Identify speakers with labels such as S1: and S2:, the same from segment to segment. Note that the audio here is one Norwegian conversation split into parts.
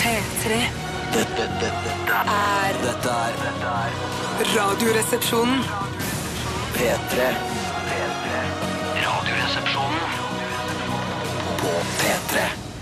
S1: P3
S2: Dette, dette, dette,
S1: er
S2: dette er dette er
S1: Radioresepsjonen.
S2: P3. P3. Radioresepsjonen på P3.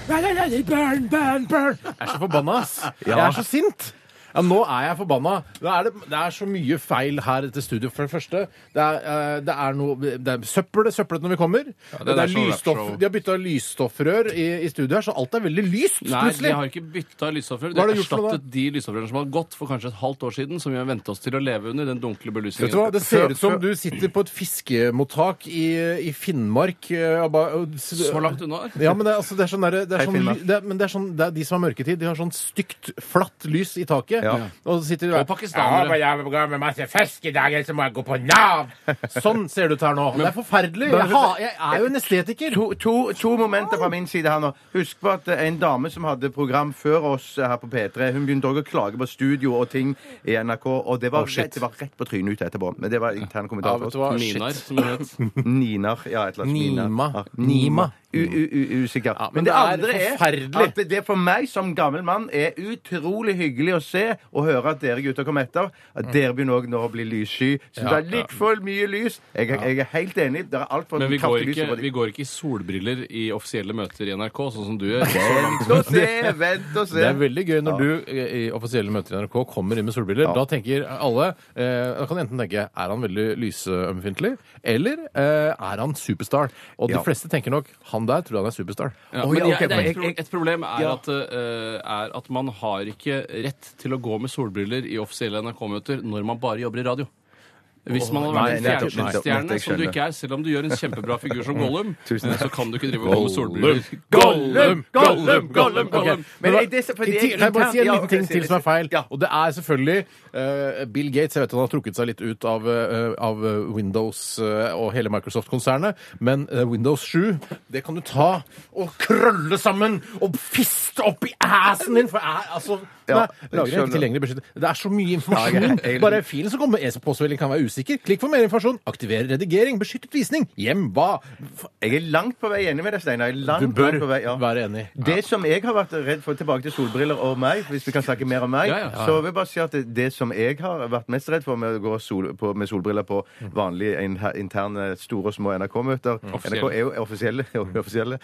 S3: Burn, burn, burn. Jeg er så forbanna, ass. Jeg er så sint. Ja, nå er jeg forbanna. Det er, det, det er så mye feil her til studio, for det første. Det er, eh, det er noe Det er søppel det er søpplet når vi kommer.
S4: det
S3: det
S4: der
S3: er
S4: show,
S3: lysstoff,
S4: show.
S3: de har bytta lysstoffrør i, i studio her, så alt er veldig lyst
S4: Nei, de
S3: plutselig.
S4: har ikke bytta lysstoffrør. De
S3: Hva har
S4: har
S3: de gjort for noe da?
S4: erstattet de lysstoffrørene som har gått for kanskje et halvt år siden, som vi har vent oss til å leve under den dunkle
S3: Vet du hva?
S4: belysningen.
S3: Det ser ut som du sitter på et fiskemottak i, i Finnmark. eh, og bare- og-
S4: Så langt unna.
S3: Ja, men det, er- altså, det er sånn derre- det er
S5: Hei,
S3: sånn,
S5: Finnmark.
S3: ly- det er, men det er sånn, det er de som har mørketid, de har sånn stygt, flatt lys i taket.
S5: Ja.
S3: Og så sitter de der
S4: Og pakistanere.
S3: Ja, men jeg går med masse fisk i dag, ellers må jeg gå på Nav! Sånn ser det ut her nå. Det er forferdelig. Jeg, har, jeg er jo en estetiker.
S5: To, to, to momenter fra min side her nå. Husk på at eh, en dame som hadde program før oss eh, her på P3, hun begynte også å klage på studio og ting i NRK, og det var, rett, det var rett på trynet ut etterpå. Men det var
S3: Ja,
S5: interne kommentarer
S3: vet du
S5: for
S3: hva?
S5: oss.
S4: Minar,
S3: Shit.
S4: som det het.
S5: Ninar. Ja, et eller annet.
S3: Nima.
S5: Minar. Ja,
S3: Nima.
S5: U, u, u, usikker.
S3: Ja, men
S5: men,
S3: det
S5: det,
S3: er
S5: andre er
S3: forferdelig.
S5: at det- det for meg som gammel mann er utrolig hyggelig å se og høre at dere gutter kommer etter.
S3: Mm.
S5: At dere begynner også nå å bli lyssky. Så det er litt for mye lys. Jeg, er- jeg er helt enig. Det er altfor
S4: Men vi går,
S5: kraftig lys.
S4: ikke,
S5: over de-
S4: vi går ikke i solbriller i offisielle møter i NRK, sånn som du gjør.
S5: Vent og se, vent og se.
S3: Det er veldig gøy når du eh, i offisielle møter i NRK kommer inn med solbriller. Da tenker alle eh, Da kan de enten tenke er han veldig lyseømfintlig, eller eh, er han superstar? Og de
S5: Ja.
S3: fleste tenker nok han der tror han er superstar.
S4: Ja,
S5: Å,
S4: men
S5: ja,
S4: jeg-
S5: ok,
S4: det er
S5: jeg-
S4: et, pro-
S5: jeg-
S4: et problem er,
S5: Ja.
S4: at, eh, er at man har ikke rett til å gå med solbriller i offisielle NRK-møter når man bare jobber i radio. Hvis man hadde vært en
S5: nei, nettopp, nettopp, nettopp,
S4: fjernsynsstjerne, som du
S5: jeg skjønner.
S4: ikke er, selv om du gjør en kjempebra figur
S3: Mm.
S4: som Gollum, eh, så kan du ikke drive og gå med solbriller.
S3: Gollum, Gollum, Gollum, Gollum.
S5: Ok, men er det så- for
S3: I
S5: det er
S3: tillegg- Kan jeg bare si en
S5: internt-
S3: liten
S5: ja,
S3: ting
S5: ok,
S3: til
S5: si-
S3: som er feil?
S5: ja.
S3: Og det er selvfølgelig eh, Bill Gates. Jeg vet han har trukket seg litt ut av, eh, av eh, Windows eh, og hele Microsoft-konsernet, men eh, Windows 7, det kan du ta og krølle sammen og fiste opp i assen din, for jeg, altså Nei,
S5: Ja,
S3: lager
S5: jeg
S3: jeg ikke tilgjengelig beskjed. Det er så mye informasjon.
S5: Ja, jeg- jeg-
S3: Bare filen som kommer med e-postmelding kan være usikker. Klikk for mer informasjon. Aktiver redigering. Beskyttet visning. Hjem hva?
S5: Jeg er langt på vei enig med deg, Steinar. Jeg er
S3: Du
S5: langt
S3: bør
S5: langt på vei, ja.
S3: være enig.
S5: Det som jeg har vært redd for, tilbake til solbriller og meg, hvis vi kan snakke mer om meg,
S4: Ja, ja, ja.
S5: så vil jeg bare si at det, det som jeg har vært mest redd for med å gå sol, på, med solbriller på vanlige in, interne store og små NRK-møter NRK er jo offisielle, offisielle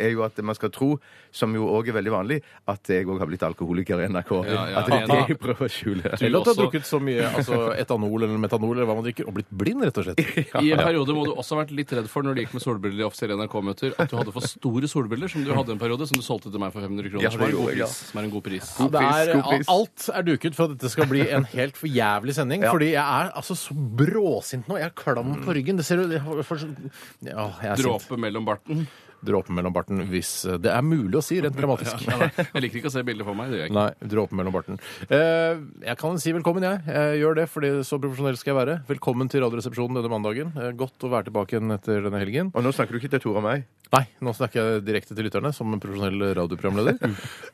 S5: er jo at man skal tro, som jo òg er veldig vanlig, at jeg òg har blitt alkoholiker i NRK.
S4: Ja, ja,
S5: At det er det
S4: ja.
S5: jeg prøver å skjule.
S3: Eller at du har
S4: også-
S3: drukket så mye altså, etanol eller metanol eller hva man drikker, og blitt blind, rett og slett.
S4: I en periode må du også ha vært litt redd for når du gikk med solbriller i offisielle NRK-møter, at du hadde for store solbriller, som du hadde en periode, som du solgte til meg for 500 kroner,
S5: Ja,
S4: som er en
S5: det
S4: god
S5: gjorde jeg, ja.
S4: pris. Som er en god pris.
S3: Ja, det
S5: god
S3: er,
S5: pris.
S3: alt er duket for at dette skal bli en helt for jævlig sending. Fordi jeg er altså så bråsint nå. Jeg er klam
S5: Mm.
S3: på ryggen. Det ser du jeg har- for, så- ja, Jeg er sint.
S4: Dråpe mellom barten.
S3: Dråpen mellom barten, hvis eh, det er mulig å si rent dramatisk.
S4: Ja, nei, jeg liker ikke å se bilder for meg. Det gjør jeg ikke.
S3: Nei, dråpen mellom barten. Eh, jeg kan si velkommen, jeg. jeg gjør det, fordi så profesjonell skal jeg være. Velkommen til Radioresepsjonen denne mandagen. Eh, godt å være tilbake igjen etter denne helgen.
S5: Og nå snakker du ikke til Tor og meg.
S3: Nei, nå snakker jeg direkte til lytterne som en profesjonell radioprogramleder.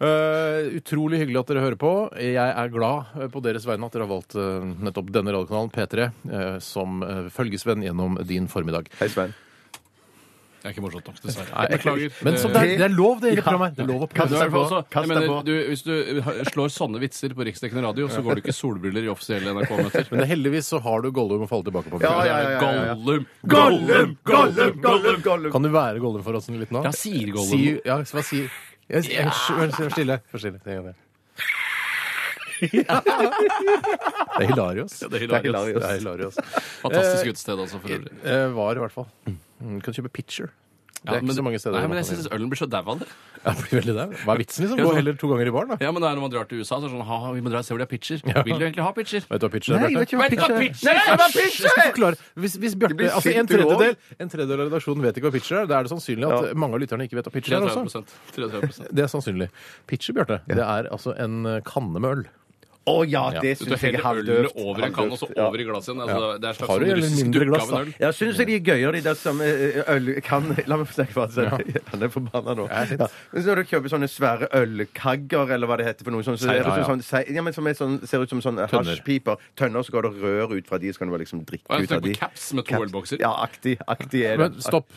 S3: Eh, utrolig hyggelig at dere hører på. Jeg er glad eh, på deres vegne at dere har valgt eh, nettopp denne radiokanalen, P3, eh, som eh, følgesvenn gjennom din formiddag.
S5: Hei, Svein.
S4: Det er ikke morsomt nok, dessverre.
S3: Nei,
S4: Beklager. Eh,
S3: Men som det, er, det er lov, det hele programmet. Det er lov å
S4: Du
S3: prøve
S4: er
S3: seg på.
S4: også,
S5: Kast
S4: jeg
S5: deg
S4: mener,
S5: på.
S4: du, hvis du ha- slår sånne vitser på riksdekkende radio, så går du ikke i solbriller i offisielle NRK-møter.
S3: Men heldigvis så har du Gollum å falle tilbake på.
S5: Ja, ja, ja, ja, ja.
S4: Gollum!
S5: Gollum, Gollum, Gollum, Gollum!
S3: Kan du være Gollum for oss en liten nå?
S4: Ja, sier Gollum.
S3: Si, ja, så hva sier jeg, jeg, Vær vær stille. Vær stille. Det gjør jeg. Det er hilarios.
S4: Ja, det er hilarious.
S3: Det er hilarios.
S4: Fantastisk utested, altså, for øvrig.
S3: Eh, Var i hvert fall. Mm, kan kjøpe Pitcher. Det er
S4: Ja,
S3: ikke så mange steder.
S4: Nei,
S3: man
S4: men jeg
S3: kan
S4: synes ølen blir så dau av det.
S3: gjøre det. ja, blir veldig der. Hva er vitsen, liksom? Gå heller to ganger i baren, da.
S4: Ja, men det er når man drar til USA, så er det sånn ha, ha, vi må dra og se hvor de har pitcher. Vil du egentlig ha pitcher?
S3: Vet du hva pitcher er,
S5: Nei, jeg
S3: Bjarte?
S5: vet ikke hva
S4: Vet du hva
S5: pitcher er.
S4: pitcher er?
S5: Nei, jeg vet
S3: Jeg skal
S5: ikke hva pitcher er!
S3: forklare. Hvis, hvis Bjarte,
S5: blir
S3: altså en
S5: sint, du
S3: tredjedel, en tredjedel av redaksjonen vet ikke hva pitcher er, da er det sannsynlig at
S5: Ja.
S3: mange av lytterne ikke vet hva pitcher er også.
S4: 33 33
S3: Det er sannsynlig. Pitcher, Bjarte, det er altså en eh, kanne med øl.
S5: Å ja, det
S4: Du tar
S5: syns jeg er
S4: hele ølen
S5: halvdøvt.
S4: over en kanne og så
S5: Halvdøvt, ja.
S4: over i glasset igjen. Altså, det er en slags
S3: Har du
S4: sånn
S3: eller
S4: russisk
S3: mindre
S4: dukke
S3: glass,
S4: av en
S3: da?
S4: øl.
S5: Ja, Jeg syns de er gøyere, de der som eh, øl kan La meg få snakke ferdig. selv. Han er forbanna nå. Ja. Men så Når du kjøper sånne svære ølkagger, eller hva det heter for noe sånt, så ser det ut som,
S3: ja.
S5: sånn, sei- ja, men som er sånn, ser ut som sånn hasjpiper. Tønner, så går det rør ut fra de, så kan du bare liksom
S4: Og
S5: drikke ut
S4: jeg
S5: av
S4: snakker
S5: de.
S4: på caps med to ølbokser.
S5: Ja, aktig, aktig er det.
S3: Men stopp.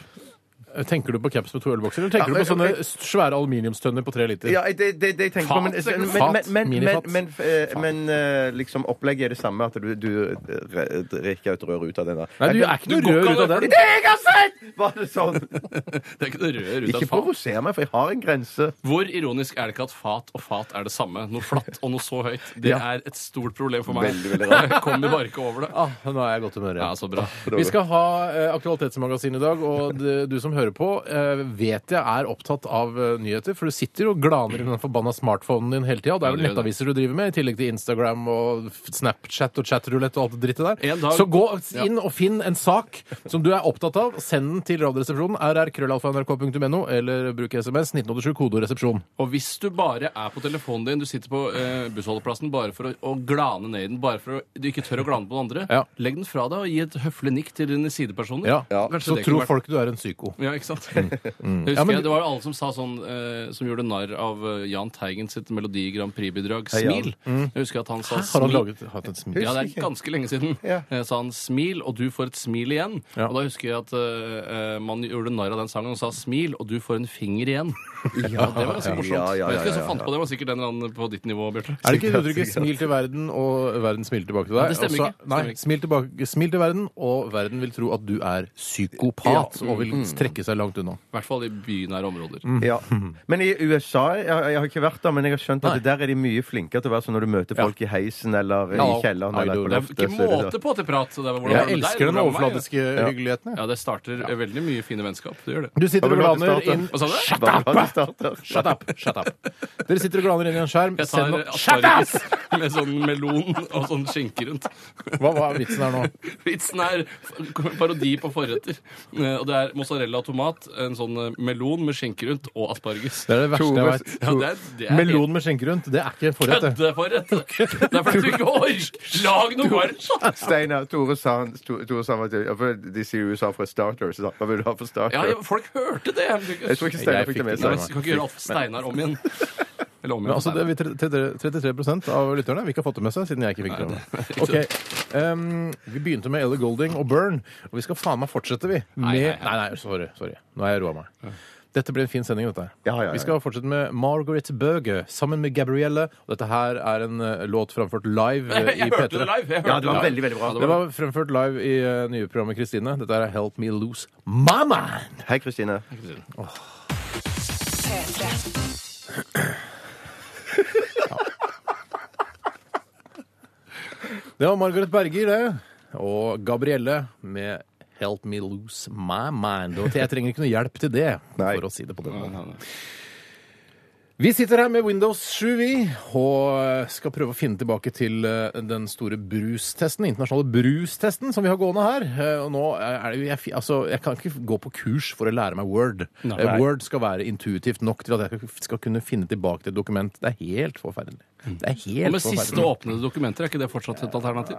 S3: Eh, Tenker du på caps med to ølbokser, eller tenker
S5: Ja,
S3: du på
S5: men-
S3: sånne svære aluminiumstønner på tre liter?
S5: Ja, det, det, det jeg tenker på, men,
S4: liksom.
S3: Fat,
S5: men,
S3: fat,
S5: men, men, men,
S3: minifat.
S5: men, eh, men eh, liksom opplegget er det samme, at du, du eh, drikker et rør ut av den der.
S3: Nei, du er ikke noe rør ut av den.
S5: Det jeg har sett! Var det sånn?
S4: Det er ikke noe rør ut av
S5: Ikke
S4: et fat.
S5: provoser meg, for jeg har en grense.
S4: Hvor ironisk er det ikke at fat og fat er det samme? Noe flatt og noe så høyt. Det er et stort problem for meg.
S5: Veldig, veldig
S4: Jeg kommer bare ikke over det.
S3: Ah, nå er jeg i godt humør
S4: Ja, altså,
S3: igjen.
S4: så bra.
S3: Vi skal ha eh, Aktualitetsmagasin i dag, og det- du som hører på, eh, vet jeg er opptatt av eh, nyheter, for du sitter jo og glaner i den forbanna smartphonen din hele tida. Det er vel
S4: Ja, det gjør
S3: nettaviser du driver med, i tillegg til Instagram og f- Snapchat og chatrulett og alt det drittet der.
S4: En dag-
S3: Så gå inn og finn en sak som du er opptatt av, send den til Radioresepsjonen, rrkrøllalfa.nrk.no, eller bruk SMS 1987 kodoresepsjon.
S4: Og hvis du bare er på telefonen din, du sitter på eh, bussholdeplassen bare for å, å glane ned i den, bare for å, du ikke tør å glane på noen andre,
S3: Ja.
S4: legg den fra deg og gi et høflig nikk til dine sidepersoner.
S3: Ja.
S4: Kanskje
S3: Så
S4: det kunne
S3: tror
S4: vært-
S3: folk du er en psyko.
S4: Ja, ikke sant? Jeg husker
S3: Ja, men-
S4: jeg, Det var jo alle som sa sånn eh, som gjorde narr av eh, Jahn Teigen sitt Melodi Grand Prix-bidrag
S5: Hei, Jan.
S4: 'Smil'. Jeg husker at han sa
S3: Mm. Hæ? Har han
S4: 'smil'.
S3: laget hatt et smil?
S4: Ja, det er ganske lenge siden.
S5: Ja.
S4: Eh, Sa han 'smil, og du får et smil igjen'.
S3: Ja.
S4: Og da husker jeg at eh, eh, man gjorde narr av den sangen og sa 'smil, og du får en finger igjen'. Ja, det var ganske morsomt.
S5: Ja, ja,
S4: Jeg vet ikke hvem
S5: ja,
S4: som
S5: ja,
S4: fant
S5: ja.
S4: på det, det var sikkert en eller annen på ditt nivå, Bjarte.
S3: Er det ikke uttrykket 'smil til verden, og verden smiler tilbake til deg'?
S4: Ja, det stemmer
S3: Også-
S4: ikke. Det
S3: Nei,
S4: stemmer ikke.
S3: smil, tilbake, smil til verden, og verden vil tro at du er psykopat og vil
S4: Mm.
S3: trekke seg langt unna.
S4: I hvert fall i bynære områder.
S5: Ja. Men i USA jeg, jeg har ikke vært der, men jeg har skjønt at der er de mye flinkere til å være sånn når du møter folk i heisen eller i
S3: Ja.
S5: kjelleren
S3: Ja, det
S5: eller på
S4: Det er
S5: loftet. så
S4: ikke
S5: er det
S4: måte på til prat. så Det er hvordan
S3: Jeg
S4: var det med
S3: elsker
S4: deg?
S3: den
S4: Hvordan var det med meg?
S3: overfladiske hyggeligheten. jeg.
S4: Ja, det starter veldig mye fine vennskap. Det gjør det.
S3: Du sitter og
S5: Hva vil du
S3: glaner
S5: at det
S3: inn
S4: Hva sa du?
S5: Hva var det du starter?
S3: Shut up! Shut up. Dere sitter og glaner inn i en skjerm.
S4: Jeg
S3: Send
S4: tar
S3: noe
S4: asparges med sånn melon og sånn skinke rundt.
S3: Hva var vitsen her nå?
S4: Vitsen er f- parodi på forretter. Eh, Og det er mozzarella og tomat, en sånn eh, melon med skinke rundt og asparges.
S3: Det er det verste jeg
S5: Tove-
S3: veit.
S4: Ja, det er, det er
S3: Melon med skjenke rundt, det er ikke en forrett. det.
S4: Køddeforrett! Det er fordi du ikke orker! Lag noe varmt!
S5: Steinar, Tore sa han- Tore Tore sa han at ja, for De sier USA for starter. Så sa han, hva vil du ha for starter?
S4: Ja, ja, folk hørte det! men du-
S5: Jeg tror ikke Steinar fikk det med
S4: Nei, men
S5: seg.
S4: Du kan ikke gjøre alt for Steinar om igjen. Eller om
S3: sånn. Men
S4: igjen.
S3: altså, det er vi tre- tre- 33 av lytterne vi ikke har fått det med seg, siden jeg ikke fikk det med meg. Ok, um, Vi begynte med Ellie Golding og Burn, og vi skal faen meg fortsette, vi. Med... Nei,
S4: nei,
S3: nei, sorry. sorry. Nå har jeg roa meg. Dette blir en fin sending, dette her.
S5: Ja, ja, ja.
S3: Vi skal fortsette med Margaret Berger sammen med Gabrielle. Og dette her er en eh, låt framført live eh, i
S4: Jeg
S3: P3.
S4: hørte det live! Jeg
S5: Ja,
S4: hørte
S5: det var
S4: live.
S5: veldig, veldig bra.
S4: Ja,
S3: Det var fremført live i eh, nye programmet Kristine. Dette her er Help Me Lose My Mind.
S5: Hei, Kristine.
S1: P3.
S3: Det var Margaret Berger, det. Og Gabrielle med Help me lose my mind. Og jeg trenger ikke noe hjelp til det,
S5: Nei.
S3: for å si det på den måten. Vi sitter her med Windows 7, vi, og skal prøve å finne tilbake til eh, den store brustesten, internasjonale brustesten som vi har gående her. Eh, Og nå er det jo jeg, fi- Altså, jeg kan ikke gå på kurs for å lære meg Word.
S4: Nei.
S3: Eh, Word skal være intuitivt nok til at jeg skal kunne finne tilbake til et dokument. Det er helt forferdelig. Det er
S4: Mm. Og
S3: helt
S4: med siste
S3: forferdelig.
S4: åpnede dokumenter, er ikke det fortsatt et alternativ?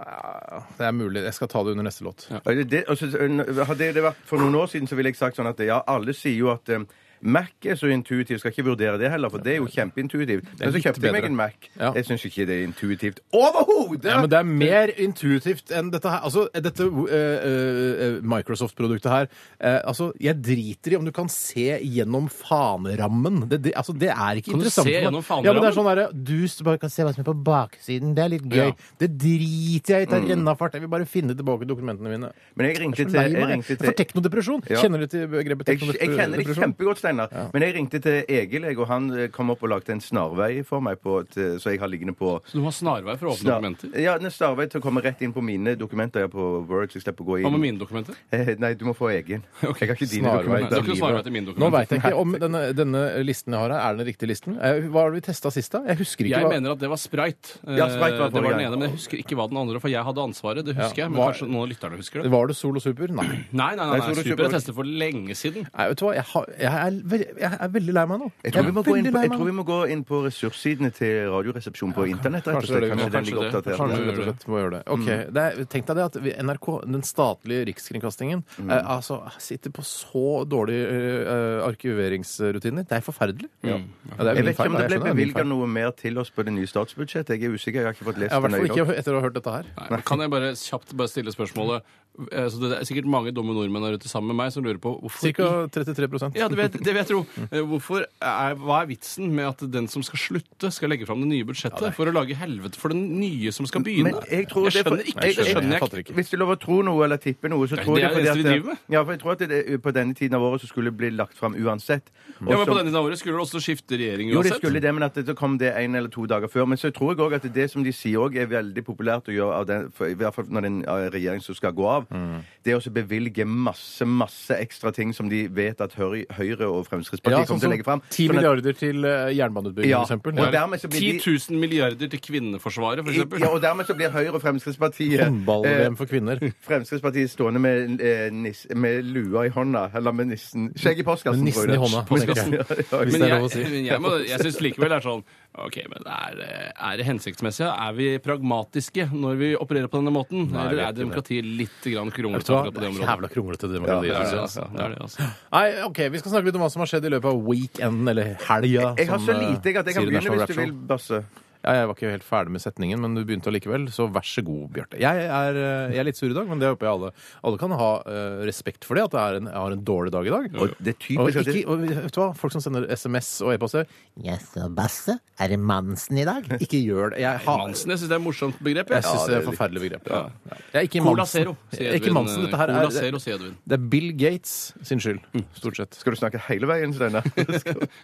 S3: Det er mulig. Jeg skal ta det under neste låt.
S5: Og Det, og så- hadde det vært for noen år siden, så ville jeg sagt sånn at ja, alle sier jo at eh, Mac er så intuitiv, skal ikke vurdere det heller, for det er jo kjempeintuitivt. Men så
S3: litt
S5: kjøpte jeg meg
S3: bedre.
S5: en Mac.
S3: Ja.
S5: Jeg syns ikke det er intuitivt overhodet!
S3: Ja, men det er mer intuitivt enn dette her. Altså, dette eh, eh, Microsoft-produktet her eh, Altså, jeg driter i om du kan se gjennom fanerammen. Det, det, altså, det er ikke
S4: Kan du
S3: interessant. for
S4: se
S3: meg.
S4: gjennom fanerammen?
S3: Ja, men det er sånn derre Du s- bare kan se hva som er på baksiden. Det er litt gøy.
S4: Ja. Mm.
S3: Det driter jeg i. Det er rennafart. Jeg vil bare finne tilbake dokumentene mine.
S5: Men jeg ringte til,
S3: Så lei
S5: jeg
S3: meg.
S5: ringte
S3: For
S5: til
S3: teknodepresjon.
S5: Ja.
S3: Kjenner du til begrepet
S5: jeg, jeg kjenner det
S3: teknodepresjon?
S5: kjempegodt, Steinar. Men jeg ringte til Egil, jeg, og han eh, kom opp og lagde en snarvei for meg, på, til, så jeg har liggende på
S4: Så du må ha snarvei for å åpne
S5: Snar-
S4: dokumenter?
S5: Ja, en snarvei til å komme rett inn på mine dokumenter ja, på Word, så jeg slipper å gå
S4: Hva med
S5: inn.
S4: mine dokumenter?
S5: Eh, Nei, du må få egen. Jeg har ikke dine
S3: Snarvei.
S4: Nei, det er
S5: dokumenter.
S4: ikke noe snarvei til mine
S3: Nå
S4: dokumenter.
S3: veit jeg ikke om denne, denne listen jeg har her, er den riktige listen. Eh, Hva var det vi testa sist, da? Jeg husker ikke.
S4: Jeg
S3: hva...
S4: mener at det var sprite. Eh,
S5: Ja, Sprite var
S4: det var
S5: forrige
S4: den ene,
S5: gang.
S4: men jeg husker ikke hva den andre For jeg hadde ansvaret, det husker
S3: Ja,
S4: jeg. Men
S3: hva-
S4: kanskje noen av lytterne husker det.
S3: Var det Sol og Super? Nei.
S4: Nei, nei, nei,
S5: Nei, så du
S4: nei super
S5: kjøper-
S4: jeg testet for lenge siden.
S3: Nei, vet du hva? Jeg, har, jeg, er, veldig, jeg er veldig lei meg nå.
S5: Jeg tror, vi
S3: er
S5: må gå inn
S3: veldig
S5: på,
S3: lei
S5: jeg
S3: meg
S5: tror
S3: nå.
S5: vi må gå inn på ressurssidene til Radioresepsjonen på internett. Rett og
S3: kanskje det
S5: slett.
S3: er det vi må-
S5: Kanskje den ligger
S4: kanskje det.
S5: oppdatert.
S3: Kanskje
S5: der.
S3: vi rett og slett må gjøre det. Ok, det er, Tenk deg det at vi- NRK, den statlige rikskringkastingen,
S5: Mm.
S3: eh, altså, sitter på så dårlige eh, arkiveringsrutiner. Det er forferdelig. Mm. Ja, det er min
S5: Jeg vet ikke
S3: feil,
S5: om
S3: da. Jeg skjønner,
S5: det ble
S3: det er min
S5: bevilga
S3: feil.
S5: noe mer til oss på det nye statsbudsjettet. Jeg er usikker, jeg har ikke fått lest
S3: Ja, I
S5: det
S3: hvert
S5: nøye
S3: fall
S5: nok.
S3: ikke etter å ha hørt dette her.
S4: Nei, men kan jeg bare kjapt bare stille spørsmålet eh, Så det er sikkert mange dumme nordmenn der ute sammen med meg som lurer på hvorfor
S3: Ca.
S4: i-
S3: 33
S4: ja, det vil, jeg- det vil jeg tro. Eh, Hvorfor er, hva er vitsen med at den som skal slutte, skal legge fram det nye budsjettet for å lage helvete for den nye som skal begynne?
S5: Men jeg tror det er for-
S4: skjønner ikke.
S5: jeg-
S4: Det
S5: jeg-
S4: skjønner jeg ikke.
S3: fatter ikke.
S5: Hvis du lover å tro noe eller tippe noe, så
S4: Det er
S5: tror
S4: det
S5: jeg fordi
S4: eneste
S5: at
S4: vi driver med.
S5: Ja, for jeg tror at det, på denne tiden av året så skulle det bli lagt fram uansett. Og
S4: Ja,
S5: så-
S4: men På denne tiden av året skulle det også skifte regjering
S5: jo, det
S4: uansett.
S5: skulle det, men at det så kom det en eller to dager før. Men så tror jeg òg at det som de sier òg, er veldig populært å gjøre, av den, for, i hvert fall når det er en eh, regjering som skal gå av,
S3: Mm.
S5: det er å så bevilge masse, masse ekstra ting som de vet at Høy- Høyre og Fremskrittspartiet
S3: Ja, sånn
S5: kommer til å
S3: som
S5: legge fram.
S3: 10
S5: Sånn at-
S3: milliarder til eh, jernbaneutbygging,
S5: Ja.
S3: for eksempel.
S5: Og
S3: Ja.
S5: dermed så blir de-
S4: 10 000 milliarder til kvinneforsvaret, f.eks. eksempel
S5: Ja, og dermed så blir Høyre og Fremskrittspartiet eh,
S3: Håndball-VM for kvinner.
S5: Fremskrittspartiet stående med, eh, nis, med lua i hånda, eller med nissen Skjegg i postkassen.
S3: Med nissen
S5: tror jeg det.
S3: i hånda, tenker jeg.
S5: Ja, ja,
S3: Hvis det
S4: Men
S5: ja.
S3: er
S4: jeg,
S3: lov å si.
S4: men jeg, må- jeg syns likevel det er sånn OK, men er, det- er det hensiktsmessig? Er vi pragmatiske når vi opererer på denne måten?
S3: Nei, jeg
S4: Eller er
S3: vet ikke
S4: demokratiet litt grann
S3: Vet
S4: kronglete
S3: du hva?
S4: akkurat på
S3: Det
S4: det
S3: er
S4: området?
S3: Jævla kronglete demokrati.
S5: Ja,
S4: Det er det,
S3: synes jeg,
S4: altså. Det er det, altså.
S3: altså. Nei, OK, vi skal snakke litt om hva som har skjedd i løpet av weekenden, eller helga.
S5: Jeg har
S3: som,
S5: så
S3: eh,
S5: lite jeg, at jeg
S3: sier
S5: kan
S3: i
S5: begynne
S3: National
S5: hvis
S3: Rap
S5: du
S3: Show.
S5: vil, Basse.
S3: Ja, jeg var ikke helt ferdig med setningen, men du begynte allikevel, så vær så god, Bjarte. Jeg er, eh, jeg er litt sur i dag, men det håper jeg alle Alle kan ha eh, respekt for det, at det er en, jeg har en dårlig dag i dag.
S5: Og det er
S3: Og,
S5: typisk at
S3: ikke,
S5: det-
S3: og vet du hva? Folk som sender SMS og e-poster
S1: Jaså, Basse, er det Mansen i dag?
S3: Ikke gjør det. Jeg, har,
S4: Mansen, jeg syns det er et morsomt begrep.
S3: jeg
S4: Jeg.
S3: syns det
S5: Ja, det er
S3: er et
S5: litt-
S3: forferdelig begrep. Ja. Jeg er ikke
S4: Cola
S3: Mansen.
S4: Zero, sier
S3: Jeg er
S4: Edvin. eh,
S3: Ikke Mansen. Dette her
S4: Cola
S3: er,
S4: Zero, sier Edvin.
S3: det er Bill Gates sin skyld,
S5: Mm.
S3: stort sett.
S5: Skal du snakke hele veien, Steinar?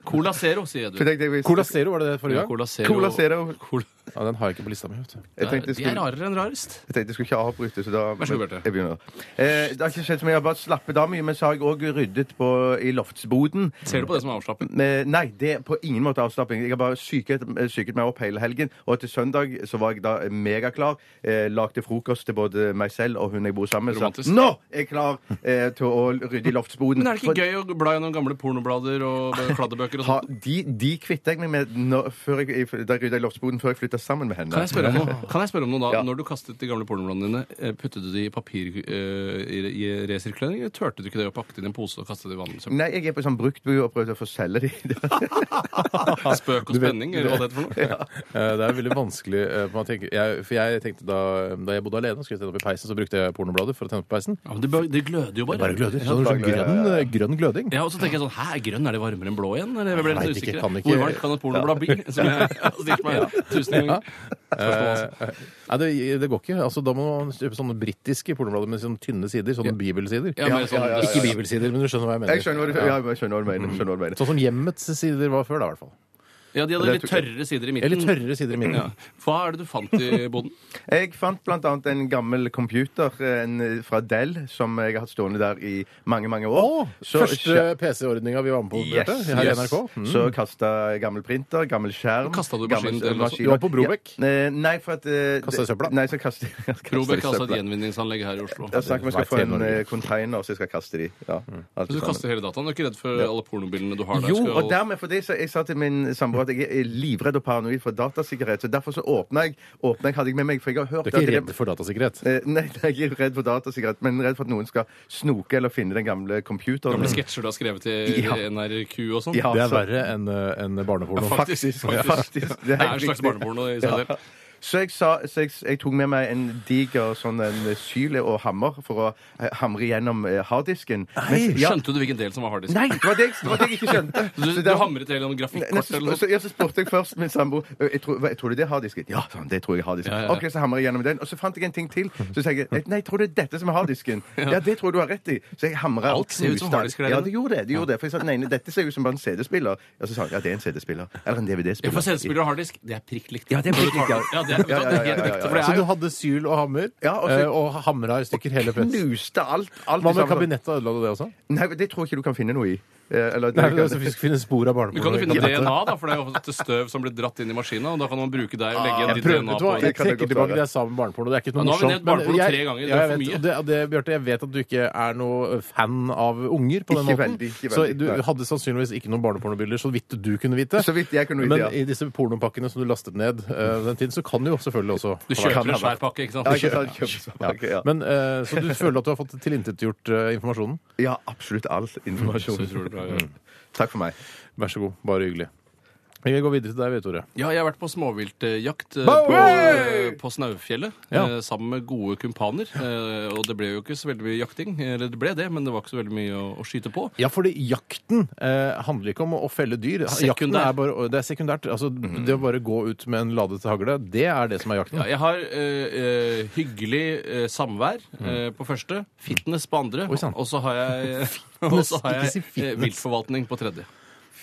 S4: Cola Zero, sier
S5: For
S4: du.
S5: tenkte jeg hvis-
S3: Cola Zero, var det det forrige
S4: Ja,
S3: gang?
S4: Cola Zero.
S5: Cola Zero.
S4: Cola.
S3: Ja, Den har jeg ikke på lista mi. vet du.
S5: Jeg tenkte jeg
S4: de er
S5: skulle,
S4: rarere enn rarest.
S5: jeg tenkte jeg skulle ikke avbryte, så da
S4: Vær så god, Bjarte.
S5: Jeg begynner. Eh, det har ikke skjedd så mye. Jeg har bare slappet av mye, men så har jeg òg ryddet på, i loftsboden.
S4: Ser du på det som er avslappet?
S5: Men Nei, det er på ingen måte avslapping. Jeg har bare syket, syket meg opp hele helgen. Og til søndag så var jeg da megaklar. Eh, lagde frokost til både meg selv og hun jeg bor sammen med.
S4: Romantisk.
S5: Sa nå er jeg klar eh, til å rydde i loftsboden.
S4: Men er det ikke gøy å bla gjennom gamle pornoblader og kladdebøker og
S5: Ha,
S4: sånt?
S5: de de kvitta jeg meg med når, før jeg, da jeg rydda i loftsboden før jeg flytta sammen med henne.
S4: Kan jeg spørre om noe, kan jeg spørre om noe da?
S5: Ja.
S4: Når du kastet de gamle pornobladene dine, eh, puttet du de i papir eh, i, i resirkulering, eller tørte du ikke det å pakke det inn i en pose og kaste det i vanlig søppel?
S5: Nei, jeg er på sånn bruktbu og prøvde å få selge de.
S4: Spøk og spenning, eller hva det heter for noe?
S3: Eh, Det er veldig vanskelig eh, for man tenker, jeg, For jeg tenkte da, da jeg bodde alene og skulle tenne opp i peisen, så brukte jeg pornoblader for å tenne opp i peisen.
S4: Ja, men det, bare- det gløder jo bare.
S3: Bare gløder. Sånn, sånn grønn, eh, grønn gløding.
S4: Ja, og så tenker jeg sånn, hæ, grønn, er det varmere enn blå igjen? Eller jeg ble
S3: Jeg
S4: litt
S3: vet ikke,
S4: usikker.
S3: kan ikke-
S4: Hvor varmt kan et pornoblad bli? Som jeg har stilt meg tusen ganger. Spørsmål, altså.
S3: Eh, Nei, det, det går ikke. Altså, da må man kjøpe sånne britiske pornoblader med sånne tynne sider. Sånne bibelsider.
S4: Ja, men sånn,
S3: Ikke bibelsider, men du skjønner hva jeg mener.
S5: Jeg skjønner hva du, ja, jeg skjønner hva du mener. skjønner hva du mener.
S3: Sånn som hjemmets sider var før, da, i hvert fall.
S4: ja, de hadde litt tørrere sider i midten.
S3: Eller tørrere sider i midten.
S4: Mm. Ja. Hva er det du fant i boden?
S5: Jeg fant bl.a. en gammel computer en, fra Dell som jeg har hatt stående der i mange, mange år.
S3: Å,
S5: Så-
S3: første PC-ordninga vi var med på, Bjarte,
S5: Yes,
S3: her i
S5: yes.
S3: NRK. Mm.
S5: Så kasta jeg gammel printer, gammel skjerm
S4: Kastet du
S5: gammel-
S4: maskinen til, altså?
S5: maskiner.
S3: Du var på Brobekk?
S5: Ja, eh, nei, for at eh,
S3: Kastet i søpla?
S5: Nei, så kastet jeg
S4: Robert kastet altså et gjenvinningsanlegg her i Oslo.
S5: Jeg snakker om jeg skal få
S3: Veit
S5: en
S3: Norge.
S5: eh, container, så jeg skal kaste de. Ja,
S3: Mm.
S5: alt
S4: Så du
S5: sammen.
S4: kaster hele dataen, du er ikke redd for alle pornobildene du har der?
S5: Jo,
S4: skal-
S5: og dermed for det, så jeg sa til min samboer at jeg er livredd og paranoid for datasikkerhet. Så derfor så åpna jeg, åpna jeg hadde jeg med meg, for jeg har hørt
S3: Du er
S5: at
S3: ikke
S5: det-
S3: redd for datasikkerhet?
S5: Eh, Nei, jeg er ikke redd for datasikkerhet, men redd for at noen skal snoke eller finne den gamle computeren.
S4: Gamle sketsjer du har skrevet i
S5: Ja.
S4: NRK og sånn?
S5: Ja,
S3: Det er
S5: så-
S3: verre enn eh, enn barneporno.
S5: Faktisk.
S4: Faktisk.
S5: faktisk.
S4: Det er
S5: helt
S4: en slags
S5: riktig.
S4: barneporno i seg selv.
S5: Så jeg, sa, så jeg, jeg tok med meg en diger sånn en syle og hammer for å eh, hamre gjennom eh, harddisken. Mens- ja,
S4: Skjønte du hvilken del som var harddisk?
S5: Nei, det var det, jeg- det var det jeg ikke skjønte.
S4: Du,
S5: Så
S4: du
S5: der-
S4: hamret hele om
S5: Nei,
S4: grafikkort
S5: så,
S4: eller noe
S5: så, ja, så spurte jeg først min samboer «Ø, jeg tror, hva- tror du det er harddisken. Ja, sånn, det tror jeg er harddisken.
S4: Ja, ja, ja.
S5: Ok, Så hamrer jeg gjennom den, og så fant jeg en ting til. Så sier jeg «Eh, nei, tror du det er dette som er harddisken? Ja, det tror jeg du har rett i. Så jeg hamra
S4: Alt ser ut som harddisken der
S5: Ja,
S4: inne.
S5: det gjorde det. det, gjorde det. For jeg sa den ene, dette ser ut som bare en CD-spiller. Og så sa han ja, det er en CD-spiller. Eller en
S4: Ja,
S5: DVD-spiller.
S4: for CD-spiller og harddisk, det er prikk likt.
S5: Ja, det er prikk likt, ja.
S4: Ja, det er, vet du hva, det
S5: Ja, ja, ja,
S4: er helt
S5: ja,
S4: riktig.
S5: ja.
S4: For det
S3: Så
S4: er
S3: du
S4: jo
S3: hadde syl og hammer,
S5: Ja, og så-
S3: eh, og hamra i stykker hele PC.
S5: Knuste alt. alt
S3: Hva
S5: i
S3: med
S5: sammen.
S3: kabinettet, ødela du det også?
S5: Nei, det tror jeg ikke du kan finne noe i. Eh, Eller,
S3: Nei, men altså, Vi skal finne spor av
S4: Du
S3: barneporno.
S4: kan jo
S3: i
S4: finne
S3: kabinettet.
S4: DNA, da, for det er jo ofte støv som blir dratt inn i maskina, og da kan man bruke deg og legge
S3: Jeg
S4: igjen ditt
S3: prøver,
S4: DNA
S3: vet du
S4: på
S3: hva, jeg
S5: kan Ah,
S4: det.
S5: det
S3: trekker
S5: godt
S3: tilbake
S5: være.
S3: det jeg sa med barneporno. Det er ikke
S4: Ja,
S3: noe
S4: nå har vi
S3: morsomt.
S4: nevnt barneporno
S3: jeg-
S4: tre ganger, det
S3: ja, jeg
S4: er for
S3: vet,
S4: mye.
S3: og det, og det, Bjarte, jeg vet at du ikke er noe fan av unger på den
S5: Ikke
S3: måten.
S5: veldig, ikke
S3: så
S5: veldig,
S3: du
S5: nei.
S3: hadde sannsynligvis ikke noen barnepornobilder, så vidt du kunne vite.
S5: Så vidt jeg kunne vite,
S3: Men
S5: ja.
S3: i disse pornopakkene som du lastet ned eh, den tiden, så kan du jo selvfølgelig også
S4: Du
S5: Kan
S4: kjøper
S5: det
S4: en svær
S5: være.
S4: pakke, ikke sant?
S5: Ja, ikke sant? Kjøpespakke, ja.
S3: Men, eh, så du føler at du har fått tilintetgjort eh, informasjonen?
S5: ja, absolutt all informasjon. Mm.
S4: Så utrolig bra, ja.
S5: Takk for meg.
S3: Vær så god. Bare hyggelig. Vi går videre til deg, Tore.
S4: Ja, jeg har vært på småviltjakt eh,
S3: Bowie!
S4: på, eh, på Snaufjellet
S3: Ja.
S4: eh, sammen med gode kumpaner. eh, Og det ble jo ikke så veldig mye jakting. Eller det ble det, men det var ikke så veldig mye å, å skyte på.
S3: Ja, fordi jakten eh, handler ikke om å, å felle dyr. Jakten
S4: Sekundær.
S3: er bare, det er sekundært. Altså, Det å bare gå ut med en ladet hagle, det er det som er jakten.
S4: Mm. Ja, jeg har eh, eh, hyggelig eh, samvær eh, på første, fitness på andre,
S3: Mm. Oi, sann.
S4: og så har jeg, og så har
S3: ikke si
S4: jeg eh,
S3: fitness.
S4: viltforvaltning på tredje.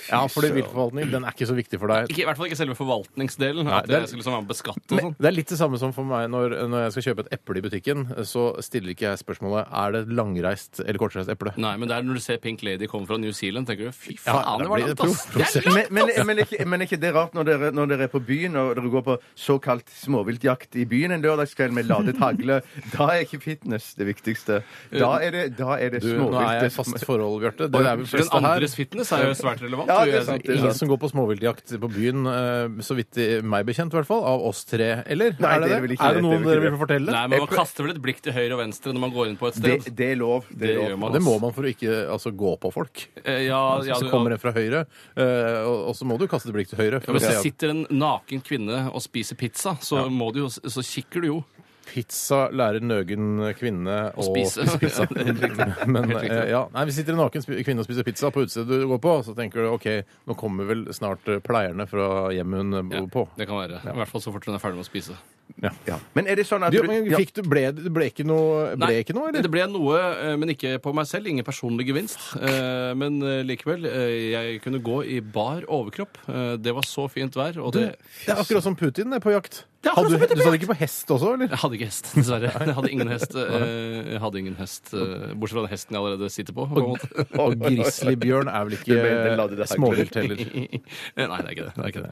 S3: Ja, fordi viltforvaltning den er ikke så viktig for deg.
S4: Ikke, I hvert fall ikke selve forvaltningsdelen.
S3: Nei,
S4: at
S3: det er-
S4: jeg skulle liksom være med å beskatte og
S3: Men
S4: sånn.
S3: det er litt det samme som for meg når, når jeg skal kjøpe et eple i butikken. Så stiller ikke jeg spørsmålet er det et langreist eller kortreist eple.
S4: Nei, men det er når du ser Pink Lady komme fra New Zealand, tenker du fy
S3: Ja, da
S4: faen, det var
S3: blir det
S4: langt, ass!
S3: pro-
S4: Det er
S5: Men, men, men, er ikke, men er ikke det rart når dere, når dere er på byen og dere går på såkalt småviltjakt i byen en lørdagskveld med ladet hagle? Da er ikke fitness det viktigste. Da er det, da er det
S3: Du, nå er jeg i fast
S5: småvilt.
S3: forhold, Bjarte. Det er vel
S4: Den
S3: fleste her.
S4: andres fitness er jo svært relevant.
S5: Ja,
S4: og
S5: det er
S4: jeg-
S5: sant, det er
S3: Ingen som går på småviltjakt på byen, eh, så vidt i- meg bekjent, i hvert fall. Av oss tre, eller?
S5: Nei,
S3: er, det
S5: dere
S3: det?
S5: vil ikke
S3: er det
S5: det,
S3: noen
S5: dere vil
S3: dere
S5: ikke
S3: vil fortelle?
S4: Nei, men Man kaster vel et blikk til høyre og venstre når man går inn på et
S5: Det,
S4: sted.
S5: det er lov. Det,
S4: Det
S5: er lov.
S4: gjør man.
S3: Det må man for å ikke altså, gå på folk.
S4: Eh, Ja, ja,
S3: så
S4: du-
S3: kommer en fra høyre, eh, og, og så må du kaste et blikk til høyre.
S4: ja,
S3: For
S4: men
S3: å se
S4: Hvis det
S3: at
S4: sitter en naken kvinne og spiser pizza, så, må du jo, så kikker du jo.
S3: pizza lærer nøgen kvinne å
S4: spise.
S3: spise pizza. Men eh, ja, nei, Hvis sitter en naken spi- kvinne og spiser pizza på utestedet du går på, så tenker du OK, nå kommer vel snart eh, pleierne fra hjemmet hun
S4: Ja,
S3: bor på.
S4: Det kan være. I hvert fall så fort hun er ferdig med å spise.
S5: Ja. Men er det sånn at
S3: Du,
S5: du-
S3: men
S5: ja.
S3: fikk du, ble, det ble ikke noe, ble
S4: Nei,
S3: ikke noe
S4: Det
S3: eller?
S4: ble noe, eh, men ikke på meg selv. Ingen personlig gevinst. Eh, Men eh, likevel, eh, jeg kunne gå i bar overkropp. Eh, Det var så fint vær, og det
S3: Det er akkurat som Putin er på jakt.
S4: Det er akkurat
S3: Hadde
S4: som Putin
S3: du, du sa det ikke på hest også, eller?
S4: Jeg hadde ikke hest, dessverre. Jeg hadde ingen hest, eh, jeg hadde ingen hest eh, bortsett fra den hesten jeg allerede sitter på. på en måte.
S3: Og grizzlybjørn er vel
S5: Det ble- det la du
S3: ikke
S5: det her.
S3: småvilt heller.
S4: Eh, Nei, det er ikke det. det, er ikke det.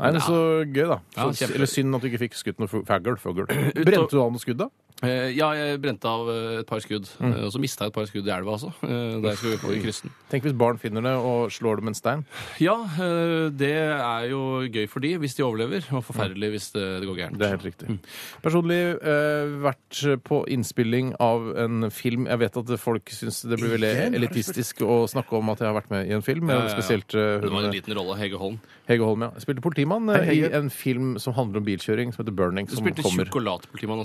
S3: Nei, men Så gøy, da. Så,
S4: Ja, kjempe-
S3: eller synd at du ikke fikk skutt noe fu- fagl. fugl. Brente du av noe skudd, da?
S4: Eh, Ja, jeg brente av eh, et par skudd.
S3: Mm.
S4: eh, Og så mista jeg et par skudd i elva også. eh, Da jeg skulle ut på i kryssen.
S3: Tenk hvis barn finner det og slår det med en stein.
S4: Ja, eh, det er jo gøy for de hvis de overlever, og forferdelig hvis eh, det, det går gærent.
S3: Det er helt riktig. Personlig eh, vært på innspilling av en film Jeg vet at folk syns det blir veldig elitistisk å snakke om at jeg har vært med i en film.
S4: ja, ja.
S3: Spesielt eh,
S4: Det var en
S3: hun
S4: liten rolle, Hege Holm.
S3: Hege Holm, ja. Jeg Spilte politimann eh, i
S5: Hege.
S3: en film som handler om bilkjøring, som heter Burning.
S4: Du
S3: Som
S4: spilte
S3: kommer.
S4: sjokoladpolitimann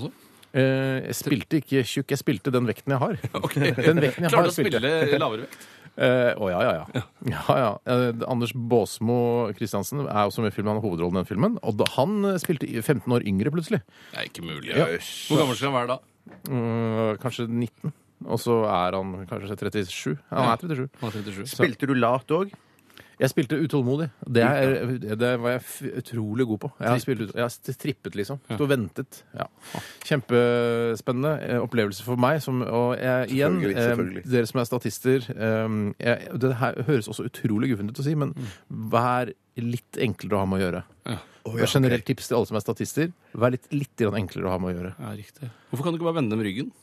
S4: også?
S3: Eh, jeg spilte ikke tjukk, jeg spilte den vekten jeg har.
S4: Okay.
S3: Den vekten jeg
S4: Klarer
S3: har,
S4: du å
S3: spilte jeg.
S4: spille i lavere vekt?
S3: Eh, Å ja, ja, ja. ja, ja. Eh, Anders Baasmo Christiansen er også med i filmen. Han har hovedrollen i den filmen. Og da, han eh, spilte i 15 år yngre, plutselig.
S4: Det er ikke mulig. Hvor gammel skal han være da?
S3: Mm, kanskje 19. Og så er han kanskje 37. Ja, Han er 37.
S4: Han er 37.
S5: Spilte du lat òg?
S3: Jeg spilte utålmodig. Det, er, det var jeg f utrolig god på. Jeg har, spilt ut, jeg har st- trippet, liksom. Stod og ventet. Ja. Kjempespennende eh, opplevelse for meg. Som, og jeg, igjen,
S5: Selvfølgelig,
S3: eh,
S5: selvfølgelig.
S3: dere som er statister eh, jeg, Det her høres også utrolig guffent ut å si, men vær litt enklere å ha med å gjøre.
S4: Ja.
S3: Det er generelt tips til alle som er statister. Vær litt, litt grann enklere å ha med å gjøre.
S4: Ja, riktig. Hvorfor kan du ikke bare vende dem ryggen?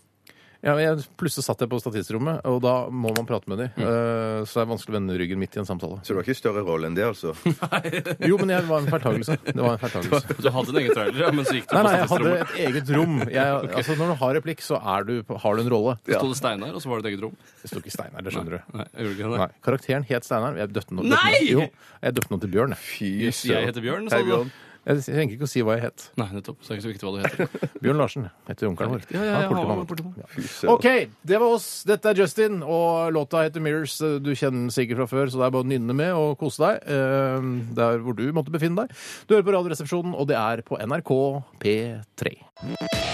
S3: Ja, men jeg, plutselig satt jeg på statistrommet, og da må man prate med dem. så det er vanskelig å vende ryggen midt i en samtale.
S5: Så du har ikke større rolle enn det, altså?
S3: Jo, men jeg, det var en feiltagelse. Det var en feiltagelse.
S4: Du hadde en egen trailer, ja, men så gikk du
S3: Nei,
S4: på
S3: nei, jeg hadde
S4: statistrommet.
S3: et eget rom. Jeg, altså, når du har replikk, så er du, på- har du en rolle.
S4: Så sto det Steinar, og så var det et eget rom.
S3: Det sto ikke Steinar, det skjønner du.
S4: Nei, jeg gjorde ikke det.
S3: Nei, Karakteren het Steinar. Jeg døpte noe,
S4: Nei!
S3: Jo, jeg døpte noe til Bjørn. Jeg.
S5: Fy
S4: Yes, jeg heter Bjørn,
S5: Hei,
S4: sa du.
S5: Bjørn.
S3: jeg trenger ikke å si hva jeg het.
S4: Nei, nettopp. Så det er ikke så viktig hva du heter.
S3: Bjørn Larsen heter onkelen vår.
S4: Ja, ja,
S3: Han
S4: ja,
S3: er politimann.
S4: han var politimann.
S3: OK, det var oss. Dette er Justin, og låta heter 'Mirrors'. Du kjenner den sikkert fra før, så det er bare å nynne med og kose deg eh, der hvor du måtte befinne deg. Du hører på Radioresepsjonen, og det er på NRK P3.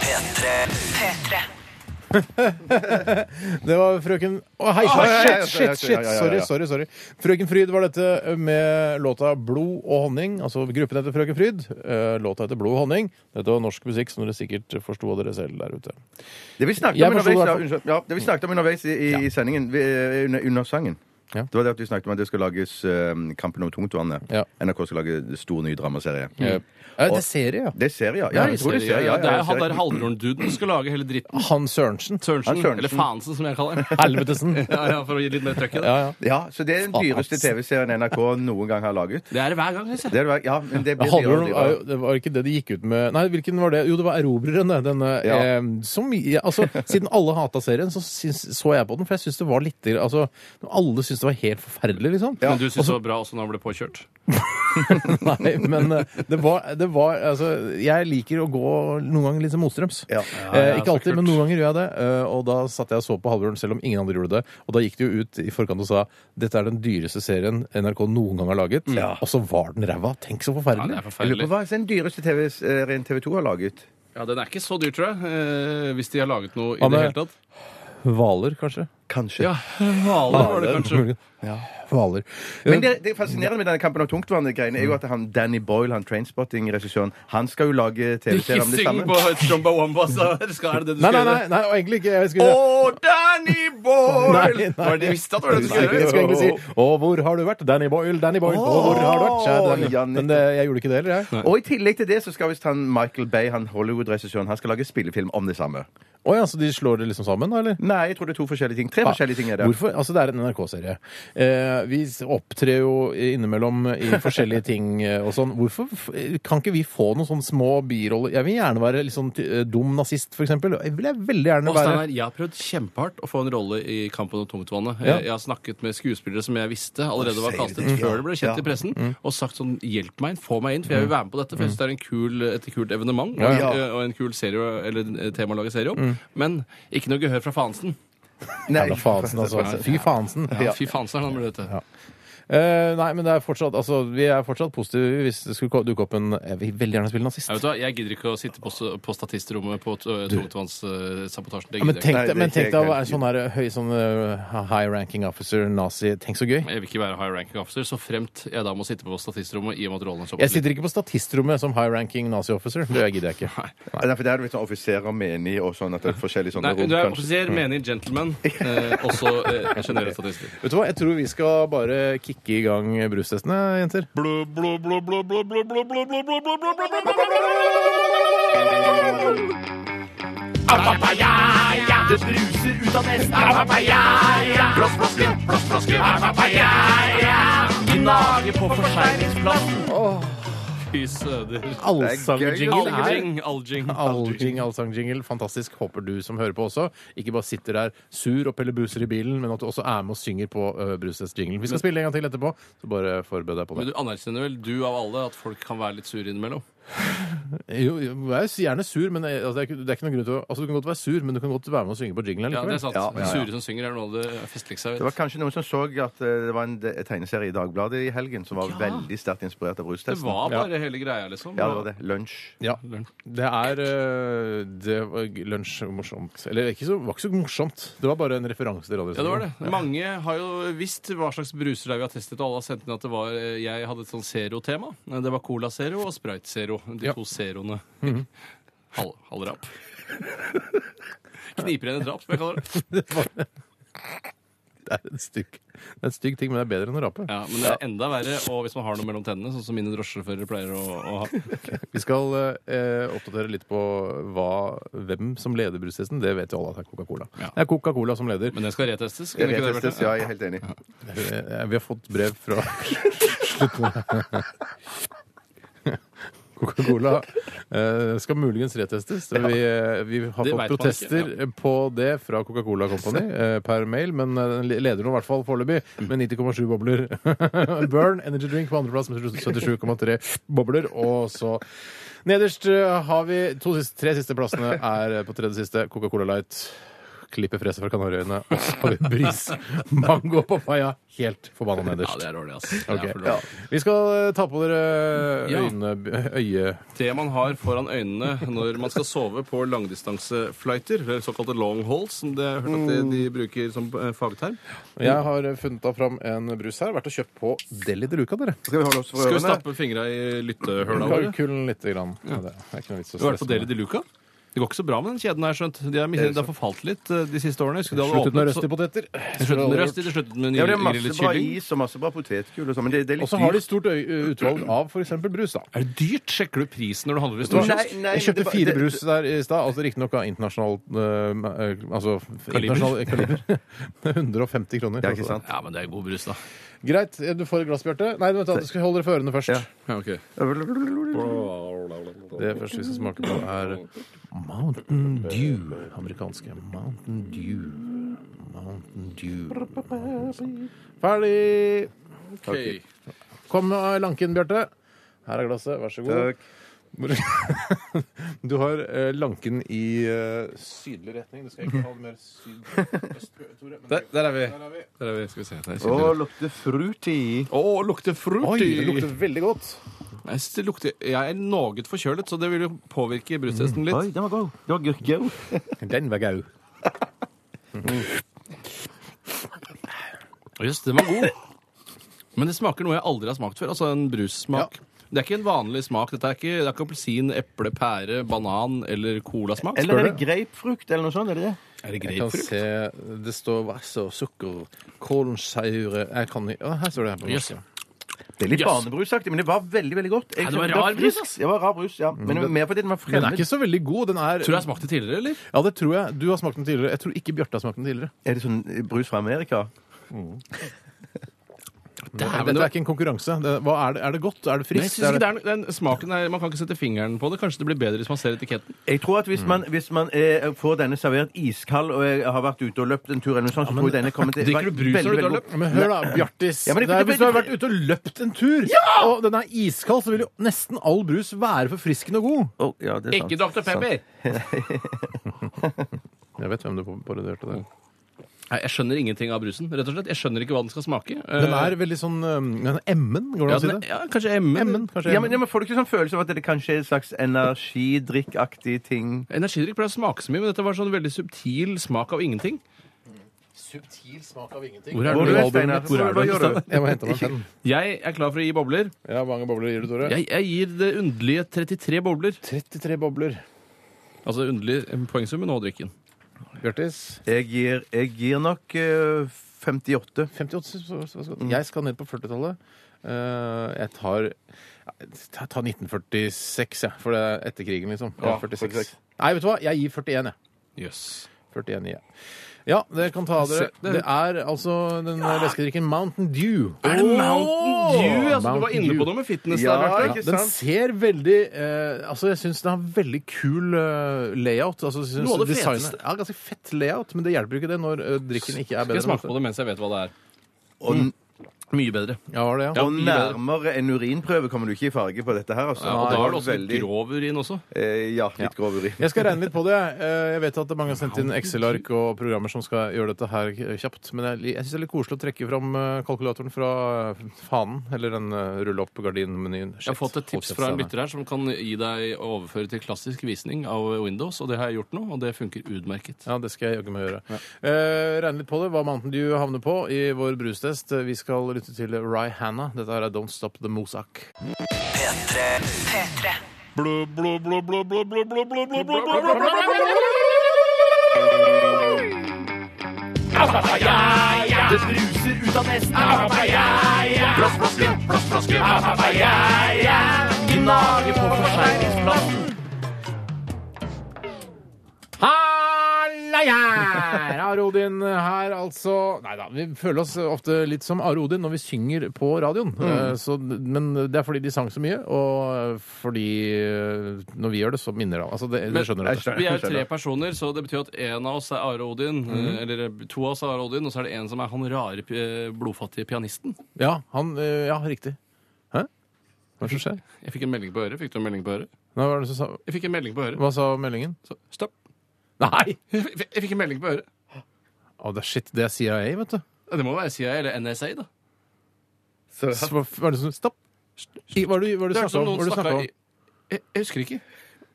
S6: P3.
S3: Det var frøken Å, hei,
S5: hei, hei,
S3: shit,
S5: hei,
S3: shit,
S5: hei,
S3: shit!
S5: hei, hei,
S3: Sorry,
S5: hei.
S3: sorry. sorry. Frøken Fryd var dette eh, med låta 'Blod og honning'. Altså gruppen heter Frøken Fryd. eh, Låta heter 'Blod og honning'. Dette var norsk musikk som dere sikkert forsto av dere selv der ute.
S5: Det vi snakket
S3: Jeg
S5: om
S3: forstod i
S5: underveis, da,
S3: hvert
S5: unnskyld, ja, det vi snakket om underveis i, i, i sendingen, vi, eh, under, under sangen
S3: Ja.
S5: Det var det at vi snakket om at det skal lages eh, Kampen om tungtvannet.
S3: Ja.
S5: NRK skal lage stor ny dramaserie.
S3: Mm. Ja, Eh, det er serie, ja.
S5: Det er serie, ja. ja. Jeg tror det er serie. Ja,
S4: det er
S5: ja,
S4: jo han der
S5: serie.
S4: halvbroren-duden som skulle lage hele dritten.
S3: Han Sørensen.
S4: Sørensen,
S5: Han Sørensen.
S4: eller Fansen, som jeg kaller den.
S3: Helvetesen.
S4: Ja, ja, for å gi litt mer trøkk i
S3: Ja,
S4: det.
S3: ja.
S5: Ja, så det er den dyreste TV-serien NRK noen gang har laget.
S4: Det er det hver gang. Jeg ser.
S5: Det er, det- ja, men det blir
S3: Handler om,
S5: dyrere og
S3: er
S5: dyrere.
S3: jo- det var ikke det de gikk ut med Nei, hvilken var det? Jo, det var 'Erobrerne'. Denne,
S5: Ja.
S3: eh, som, ja, altså, siden alle hata serien, så syns, så jeg på den. For jeg syns det var litt altså, Alle syntes det var helt forferdelig, liksom.
S4: Men du syns det var bra også når han ble påkjørt?
S3: Nei, men eh, det var, det var Altså, jeg liker å gå noen ganger litt som motstrøms.
S5: Ja.
S3: eh, ikke alltid, men noen ganger gjør jeg det. eh, og da satt jeg og så på Halvbjørn, selv om ingen andre gjorde det. Og da gikk de jo ut i forkant og sa dette er den dyreste serien NRK noen gang har laget. Og så var den ræva. Tenk så
S4: Ja, det
S3: forferdelig.
S4: er
S5: Jeg lurer
S4: forferdelig.
S5: på hva er den dyreste TV-serien TV 2 har laget?
S4: Ja, Den er ikke så dyr, tror jeg. eh, Hvis de har laget noe i
S3: Hva
S4: det
S3: med-
S4: hele tatt.
S3: Hvaler, kanskje?
S5: Kanskje.
S4: Ja, Hvaler var det kanskje.
S3: Hvaler.
S5: Men det, det fascinerende med denne Kampen om tungtvannet-greiene er jo at han, Danny Boyle, han trainspotting-regissøren, han skal jo lage TV-serier om det
S4: Hyssing
S5: samme.
S4: på Chomba Wambas der. Skal, er det det du
S3: Nei, nei,
S4: skal
S3: nei,
S4: gjøre?
S3: nei, og egentlig ikke. Jeg skulle
S4: Å, Danny
S3: Nei,
S4: Boyle!
S3: nei.
S4: Var det visste at det var det du skulle
S3: Jeg
S4: gjøre?
S3: skulle egentlig si 'Å, hvor har du vært?' Danny Boyle, Danny Boyle. Å, hvor har du vært? Kjære Danny.
S5: Ja,
S3: Men det, jeg gjorde ikke det heller, jeg.
S5: Og i tillegg til det så skal visst han Michael Bay, han Hollywood-regissøren, han skal lage spillefilm om det samme.
S3: Å ja, så de slår det liksom sammen, da, eller?
S5: Nei, jeg tror det er to forskjellige ting.
S3: Ah,
S5: Tre forskjellige ting er det.
S3: Hvorfor? Altså, det er en NRK-serie. Eh, vi opptrer jo innimellom i forskjellige ting eh, og sånn. Hvorfor f- kan ikke vi få noen sånne små biroller? Jeg vil gjerne være litt sånn eh, dum nazist, for eksempel. Jeg vil jeg veldig gjerne
S4: Og
S3: være
S4: Steinar, jeg har prøvd kjempehardt å få en rolle i Kampen om tungtvannet.
S3: Ja.
S4: Jeg, jeg har snakket med skuespillere som jeg visste allerede var kastet før det ble kjent i pressen,
S3: Mm.
S4: og sagt sånn Hjelp meg, få meg inn, for jeg vil være med på dette. For jeg syns det er en kul, et kult evenement og, eh,
S3: Ja, Mm.
S5: ja.
S4: og en kul serie eller eh, tema å lage serie om. Men ikke noe gehør fra Fansen.
S5: Nei,
S3: Jævla Faensen, altså. Fy faensen.
S4: Ja, fy Fansen er han med dette.
S3: Eh, nei, men det er fortsatt, altså, vi er fortsatt positive hvis det skulle ko- dukke opp en Jeg vil veldig gjerne spille nazist.
S4: Jeg, vet du hva, jeg gidder ikke å sitte på, s- på statistrommet på t- tungtvannssabotasjen. Det
S3: Ja, men
S4: gidder jeg ikke.
S3: tenk
S5: Nei, det
S3: deg
S5: er
S3: men
S5: ikke
S3: tenk deg
S5: jeg
S3: å
S5: helt
S3: være sånn her høy sånn eh, high ranking officer, nazi. Tenk så gøy.
S4: Jeg vil ikke være high ranking officer, så fremt jeg da må sitte på statistrommet i og med at rollen er såpass
S3: Jeg sitter ikke på statistrommet som high ranking nazi officer. Det gidder jeg ikke.
S5: Nei, for der er det litt sånn offiserer menig og sånn at det er forskjellige sånne
S4: Nei,
S5: rom,
S4: du er
S5: kanskje.
S4: offiser, mener gentleman, eh, også eh, generell statister.
S3: Vet du hva, Jeg tror vi skal bare kicke i gang brustestene, jenter.
S4: Fy søder.
S3: Allsangjingle er
S4: Alging, alging.
S3: Alljing, allsangjingle. Fantastisk. Håper du som hører på også ikke bare sitter der sur og peller buser i bilen, men at du også er med og synger på uh, brustestjinglen. Vi skal spille en gang til etterpå, så bare forbered deg på
S4: Men
S3: det.
S4: du anerkjenner vel, du av alle, at folk kan være litt sure innimellom?
S3: Jo, jo, jeg er gjerne sur, men eh, altså, det, er ikke, det er ikke noen grunn til å Altså, du kan godt være sur, men du kan godt være med og synge på jinglen
S4: Ja, det
S3: likevel.
S4: er sant.
S5: Ja, ja, ja.
S4: De sure som synger, er noe av det festligste jeg
S5: Det
S4: vet.
S5: var kanskje noen som så at eh, det var en de- tegneserie i Dagbladet i helgen som var veldig sterkt inspirert av
S4: Det
S5: rustesten.
S4: var bare hele greia, liksom.
S5: Ja, det var det. Lunsj.
S3: Ja, det er eh, Det var g- lunsj morsomt. Eller ikke så, var ikke så morsomt. Det var bare en referanse til
S4: Ja, det var det.
S3: Radioresepsjonen.
S4: Mange har jo visst hva slags bruser det er vi har testet, og alle har sendt inn at det var eh, Jeg hadde et sånn Zero-tema. Det var Cola Zero og Sprite Zero. De
S3: Ja.
S4: to Zeroene. Hal- Halvrap. Kniprene drap, som jeg kaller det.
S3: Det er en stygg, det er en stygg ting, men det er bedre enn å rape.
S4: Ja, Men det er enda verre og hvis man har noe mellom tennene, sånn som mine drosjesjåfører pleier å, å ha.
S3: Vi skal eh, oppdatere litt på hva, hvem som leder brustesten. Det vet jo alle at det er Coca-Cola.
S4: Ja.
S3: Det er Coca-Cola som leder.
S4: Men den skal retestes. kunne ikke det vært det?
S5: Retestes, ja, jeg er helt enig.
S3: Eh, Vi har fått brev fra Coca-Cola eh, skal muligens retestes. Vi, eh, vi har fått
S4: Det vet man
S3: protester
S4: ikke,
S3: på det fra Coca-Cola Company eh, per mail, men eh, den leder nå i hvert fall foreløpig med 90,7 bobler. Burn Energy Drink på andreplass med 77,3 bobler. Og så nederst eh, har vi to siste, tre siste plassene er eh, på tredje siste Coca-Cola Light. Klippe fjeset fra Kanariøyene. Og så har vi bris. Mango og papaya helt forbanna
S4: Ja,
S3: nederst.
S4: det er dårlig, ass. Det er
S3: Ok.
S4: for dårlig.
S3: Vi skal eh, ta på dere eh,
S4: Ja.
S3: øyne... øye...
S4: Det man har foran øynene når man skal sove på langdistanseflighter, eller såkalte long hauls, som det jeg har hørt at de, de bruker som eh, fagterm
S3: Jeg har eh, funnet da fram en brus her. Vært og kjøpt på Deli de Luca, dere.
S5: Skal vi holde oss for
S4: Skal vi
S5: ørene?
S4: stappe fingra i lyttehøla våre?
S3: Kalkulen lite grann. Ja. Det er ikke noe vits å
S4: Du har vært på
S3: stresse
S4: Deli
S3: med.
S4: de Luca? Det går ikke så bra med den kjeden, har jeg skjønt. De har, de har forfalt litt eh, de siste årene. Jeg Husker de hadde
S3: Sluttet med
S4: åpnet,
S3: røst i poteter.
S4: så, sluttet med røst, de sluttet med
S5: Ja, det er masse
S4: grillet
S5: bra
S4: kylling.
S5: is og masse bra potetgull og sånn, men det, det er
S3: Og
S5: litt
S3: så har de stort øy- utvalg av f.eks. brus, da.
S4: Er det dyrt? Sjekker du prisen når du handler i storkiosk?
S5: Nei, nei,
S3: jeg kjøpte
S5: det var-
S3: fire
S5: det-
S3: brus der i stad. Altså Riktignok av internasjonal eh, eh, Altså
S4: Kaliber.
S3: internasjonal kaliber. 150 kroner.
S5: Ja, ikke sant?
S4: Ja, men det er god brus, da.
S3: Greit, du får et glass, Bjarte. Nei, vent, da, du skal holde dere for ørene først.
S5: Ja.
S4: Ja, ok.
S3: Det første vi skal smake på, er Mountain Dew. Amerikanske Mountain Dew. Mountain Dew. Ferdig!
S4: Ok.
S3: Kom eh, lanken, Bjarte. Her er glasset, vær så god. Du har eh, lanken i eh, sydlig retning. Du skal ikke ha det mer syd-øst, Tore. men-
S4: Der, der er vi.
S3: Der er vi.
S4: Der er vi. Skal vi se. Der
S5: Å,
S4: sitter vi.
S5: lukter fruity.
S4: Å, lukter fruity!
S3: Oi, det lukter veldig godt.
S4: Jeg, synes det lukter, jeg er noe forkjølet, så det vil jo påvirke
S3: Mm.
S4: brustesten litt.
S5: Oi, den var god. Det var gurkegod.
S3: Den var gau.
S4: Jøss, den var god. Men det smaker noe jeg aldri har smakt før. Altså en brussmak. Det er ikke en vanlig smak. Dette er ikke, det er ikke appelsin, eple, pære, banan eller colasmak.
S5: Eller
S4: Spør
S5: er
S4: du?
S5: det grapefrukt eller noe sånt? er det det?
S4: Er det
S3: Jeg kan
S4: grapefrukt?
S3: se Det står vasse og sukker, kålsaure Jeg kan ikke Å, her står det her på
S4: Jøss.
S3: norsk. ja.
S5: Det er litt
S4: Yes.
S5: barnebrusaktig, men det var veldig veldig godt. Jeg
S4: Ja, det var
S5: kjøpte
S4: rar brus,
S5: frisk.
S4: ass.
S5: Mm, Det var rar brus, ja. Men mer fordi den var
S3: Den er
S5: fremmed.
S3: ikke så veldig god. Den er
S4: Tror du jeg har smakt det tidligere, eller?
S3: Ja, det tror jeg. Du har smakt den tidligere. Jeg tror ikke Bjarte har smakt den tidligere.
S5: Er det sånn brus fra Amerika?
S4: Dæven,
S3: Dette
S4: det
S3: er ikke en konkurranse. Det, hva er, det, er det godt? Er det
S4: Nei, jeg
S3: friskt?
S4: synes ikke
S3: Er det-
S4: det er noe- den smaken er, Man kan ikke sette fingeren på det. Kanskje det blir bedre hvis man ser etiketten.
S5: Jeg tror at
S4: Mm.
S5: hvis man, hvis man eh, får denne servert iskald, og jeg har vært ute og løpt en tur, eller noe sånt, så tror jeg denne kommer til
S4: drikker du brus når du
S5: veldig,
S4: har
S5: veldig god.
S4: løpt?
S3: Ja, men hør da, Bjartis.
S5: Ja, men det-
S3: det er, hvis du har
S5: det-
S3: vært ute og løpt en tur, og den er iskald, så vil jo nesten all brus være forfriskende god.
S5: Å, ja, det er sant.
S4: Dr. Pepper!
S3: Jeg vet hvem du parodierte der.
S4: Nei, jeg skjønner ingenting av brusen. rett og slett. Jeg skjønner ikke hva den skal smake. Eh,
S3: Den
S5: Eh.
S3: er veldig sånn um, den er emmen, går det
S4: ja,
S3: an å si
S4: den er-
S3: det?
S4: ja, kanskje M.
S3: Emmen, kanskje.
S5: Ja, men, ja, men Får du ikke sånn følelse av at det kanskje er en slags energidrikkaktig ting?
S4: Energidrikk pleier å smake så mye, men dette var sånn veldig subtil smak av ingenting.
S3: Subtil smak av ingenting.
S4: Hvor er
S5: Hvor
S4: du,
S5: er du,
S4: albumet
S5: Steinar?
S4: mitt? Hvor er
S5: Hva
S4: du?
S5: gjør du?
S3: Jeg må hente meg en penn.
S4: Jeg er klar for å gi bobler.
S3: Ja, mange bobler gir du, Tore?
S4: Jeg, jeg gir det underlige 33 bobler.
S3: 33 bobler.
S4: Altså underlig eh, poengsummen og drikken.
S3: Bjartis?
S5: Jeg gir, jeg gir nok eh, 58.
S3: 58, så, så, så.
S5: Mm.
S3: Jeg skal ned på 40-tallet. Eh, jeg tar Jeg tar 1946, jeg. For det er etter krigen, liksom. Ja,
S5: Ja,
S3: 46.
S5: 46.
S3: Nei, vet du hva? Jeg gir 41, jeg.
S4: Jøs.
S3: 41 i, ja. Ja, dere kan ta dere.
S4: Se, det-
S3: Det er altså den leskedrikken Mountain Dew.
S4: Er det Mountain Dew? Altså, du var
S3: Mountain
S4: inne
S3: Dew.
S4: på noe med fitness
S5: Ja,
S4: der,
S5: ikke
S4: Bjarte.
S3: Den
S5: sant?
S3: ser veldig eh, Altså, jeg syns den har veldig kul eh, layout. Altså, jeg synes
S4: Noe av det
S3: designet-
S4: feteste.
S3: Ja, ganske fett layout, men det hjelper jo ikke det når eh, drikken ikke er
S4: Skal
S3: bedre.
S4: jeg smake på det mens jeg vet hva det er? Mm.
S5: Og,
S4: Mye bedre.
S3: Ja, var det, ja.
S5: og
S4: mye bedre.
S5: nærmere en urinprøve kommer du ikke i farge på dette her. altså.
S4: Ja, og da er det også litt
S5: Veldig-
S4: grov urin også.
S5: Eh, ja, litt grov urin.
S3: Jeg skal regne litt på det. Eh, Jeg vet at det er mange som har sendt inn Excel-ark og programmer som skal gjøre dette her kjapt, men jeg, jeg syns det er litt koselig å trekke fram eh, kalkulatoren fra eh, fanen, eller den eh, rulle opp gardinmenyen.
S4: Jeg har fått et tips fra en lytter her som kan gi deg overføre til klassisk visning av Windows, og det har jeg gjort nå, og det funker utmerket.
S3: Ja, det skal jeg jaggu meg gjøre. Eh, regne litt på det, hva Mountain Dew havner på i vår brustest. Vi skal lytte til Rihanna. Dette her er Don't Stop The Mozak. Her, Are Odin her, altså. Nei da, vi føler oss ofte litt som Are Odin når vi synger på radioen. Eh, Så, men det er fordi de sang så mye, og fordi eh, når vi gjør det, så minner det. om- Altså, det, det skjønner Mhm.
S5: jeg
S3: du.
S4: Vi er jo tre personer, så det betyr at én av oss er Are Odin. eh, Eller to av oss er Are Odin, og så er det en som er han rare pi- eh, blodfattige pianisten.
S3: Ja, han, eh, ja, riktig. Hæ? Hva er det som skjer?
S4: Jeg fikk en melding på øret. Fikk du en melding på øret?
S3: Nei, hva, er det som sa,
S4: Jeg fikk en melding på øret.
S3: hva sa meldingen?
S4: Så, stopp.
S3: Nei!
S4: Jeg fikk- jeg fikk en melding på øret.
S3: Å, det er shit, det er CIA, vet du.
S4: Det må være CIA eller NSA, da.
S5: Så,
S3: Så Hva hva er det som Stopp! I, hva er det hva er det
S4: Det
S3: du
S4: er
S3: snakka
S4: som
S3: om?
S4: noen
S3: Hva er det du snakket
S4: snakka
S3: om?
S4: i jeg, jeg husker ikke.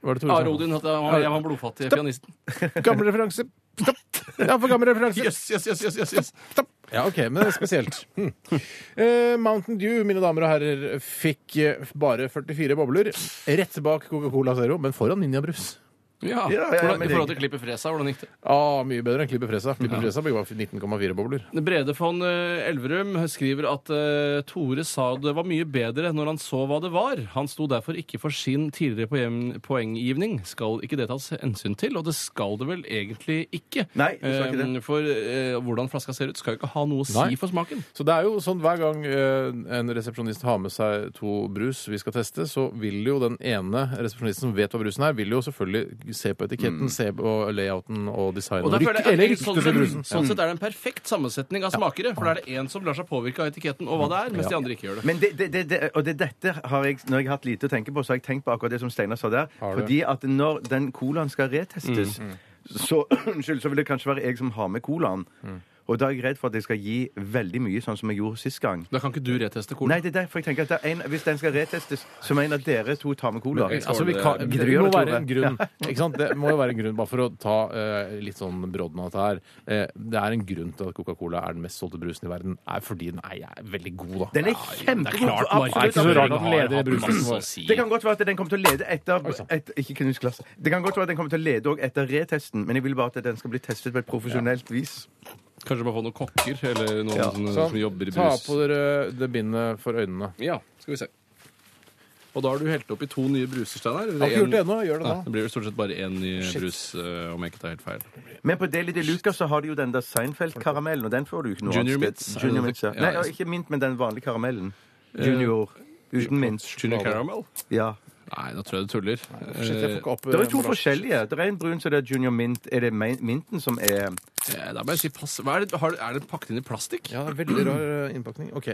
S3: Hva er det Tore
S4: Are
S3: snakket om?
S4: Odin, at jeg var, jeg var blodfattig pianisten.
S3: Gammel referanse. Stopp! Ja, for gammel referanse.
S4: Yes, yes, yes, yes, yes, yes.
S3: Stopp. Ja, OK, men det er spesielt. Hm. Eh, Mountain Dew, mine damer og herrer, fikk eh, bare 44 bobler. Rett bak Coca-Cola Zero, men foran Ninja Brus.
S4: Ja,
S5: ja,
S4: hvordan,
S5: men
S4: I
S5: det-
S4: forhold til klippet Fresa, hvordan gikk det?
S3: Ah, mye bedre enn Klipper Fresa. Klipper Fresa fikk bare 19,4 bobler.
S4: Brede von eh, Elverum skriver at eh, Tore sa det var mye bedre når han så hva det var. Han sto derfor ikke for sin tidligere poeng- poenggivning. Skal ikke det tas hensyn til? Og det skal det vel egentlig ikke.
S5: Nei, det skal ikke
S4: Eh, For eh, hvordan flaska ser ut, skal jo ikke ha noe å si
S3: Nei.
S4: for smaken.
S3: Så det er jo sånn hver gang eh, en resepsjonist har med seg to brus vi skal teste, så vil jo den ene resepsjonisten som vet hva brusen er, vil jo selvfølgelig se på etiketten, se på layouten og designen.
S4: Og da føler
S3: Rykt-
S4: jeg at
S3: eller
S4: det-
S3: ryktet
S4: sånn,
S3: til brusen.
S4: sett, sånn sett er det en perfekt sammensetning av smakere, for da er det én som lar seg påvirke av etiketten og hva det er, mens de andre ikke gjør det.
S5: Men det, det, det, det, og det, dette har jeg, når jeg har hatt lite å tenke på, så har jeg tenkt på akkurat det som Steinar sa der.
S3: du?
S5: Fordi at når den colaen skal retestes, så, unnskyld, så vil det kanskje være jeg som har med colaen. Og da er jeg redd for at jeg skal gi veldig mye, sånn som jeg gjorde sist gang.
S4: Da kan ikke du reteste
S5: Nei,
S4: cola.
S5: det er derfor jeg tenker at det er en, hvis den skal retestes, så mener jeg at dere to tar med cola.
S4: Men,
S3: Altså, vi kan,
S5: Gidder
S3: det
S5: du
S3: må
S5: gjøre det,
S3: være en
S5: Tore?
S3: grunn. Ikke sant? Det må jo være en grunn, bare for å ta eh, litt sånn brodden av dette her. Eh, det er en grunn til at Coca-Cola er den mest solgte brusen i verden. Er fordi den er, er veldig god, da.
S5: Den er kjempegod!
S3: Det er
S5: absolutt.
S3: ikke så rart at den leder i brusen vår.
S5: Det kan godt være at den kommer til å lede etter et, Ikke knus glass. Det kan godt være at den kommer til å lede også etter retesten, men jeg vil bare at den skal bli testet på et profesjonelt vis.
S4: Kanskje bare få noen kokker eller noen
S5: Ja.
S4: sånne,
S3: Sånn.
S4: som jobber i
S3: Ta
S4: brus.
S3: på dere det bindet for øynene.
S4: Ja, skal vi se. Og da har du helt oppi to nye bruser, Steinar.
S3: Har ikke gjort det ennå. Gjør det
S4: Nei,
S3: nå.
S4: det blir jo stort sett bare én ny brus, eh, om jeg ikke tar helt feil.
S5: Men på Deli de Luca så har de jo den der Seinfeld-karamellen, og den får du jo ikke noe
S4: Junior
S5: annet
S4: Mints,
S5: sted.
S4: er det
S5: Junior
S4: det?
S5: Mints, ja.
S4: Ja,
S5: Nei,
S4: ja.
S5: ja, ikke mint, men den vanlige karamellen. Junior. Uten minst.
S4: Junior Caramel?
S5: Ja.
S4: Nei, nå tror jeg du tuller. Eh,
S3: Shit, jeg får ikke opp
S5: Det er jo to
S3: emballasjen.
S5: forskjellige. Det er en brun, så det er junior mint. Er det min- minten som er
S4: Eh, Da må jeg si pass. Hva er, det, har, er det pakket inn i plastikk?
S3: Ja, det er veldig rar eh, innpakning. OK.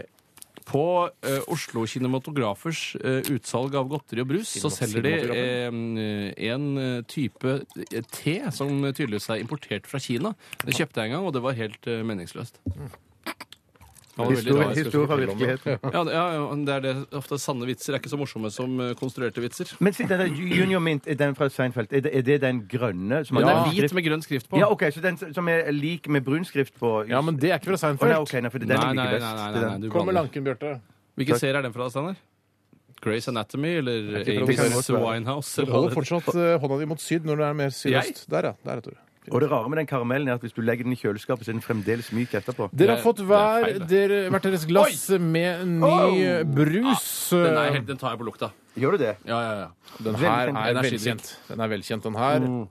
S4: På eh, Oslo Kinematografers eh, utsalg av godteri og brus så selger de eh, en eh, type eh, te som tydeligvis er importert fra Kina. Det kjøpte jeg en gang, og det var helt eh, meningsløst. Det var veldig
S5: Mm. historie
S4: rart.
S5: historie fra virkeligheten?
S4: Ja, det- ja, ja, det er det. Ofte sanne vitser er ikke så morsomme som eh, konstruerte vitser.
S5: Men si, den der junior mint, er den fra Seinfeld, er det, er det den grønne som har
S4: Men det
S5: grønn
S4: er hvit
S5: skrift?
S4: med grønn skrift på.
S5: Ja, OK, så den som er lik med brun skrift på
S3: Ja, men det er ikke fra
S5: Å,
S3: Seinfeld.
S5: nei, ok, nei, for den
S4: Nei,
S5: liker
S4: nei, nei,
S5: best.
S4: nei,
S5: Det
S4: nei,
S5: er
S4: nei,
S5: den.
S4: du
S3: Kom med
S4: blander.
S3: lanken, Bjarte.
S4: Hvilken serie er den fra, Steinar? Grey's Anatomy eller
S3: ikke fra-
S4: Amy's Winehouse?
S3: Du
S4: eller hva
S3: holder
S4: det-
S3: fortsatt eh, hånda di mot syd når det er mer sydøst. Der, ja. Der, ja, Tore.
S5: Og det rare med den karamellen er at hvis du legger den i kjøleskapet, så er den fremdeles myk etterpå.
S3: Dere har
S4: Det-
S3: fått
S4: det er
S3: hver,
S4: feil, det.
S3: dere, hvert deres glass med ny eh, brus. eh,
S4: Den, er helt, den tar jeg på lukta.
S5: Gjør du det?
S4: Ja, ja, ja.
S3: Den her
S5: veldig
S3: er Mm.
S4: energidrikk.
S3: velkjent. Den er velkjent, den her.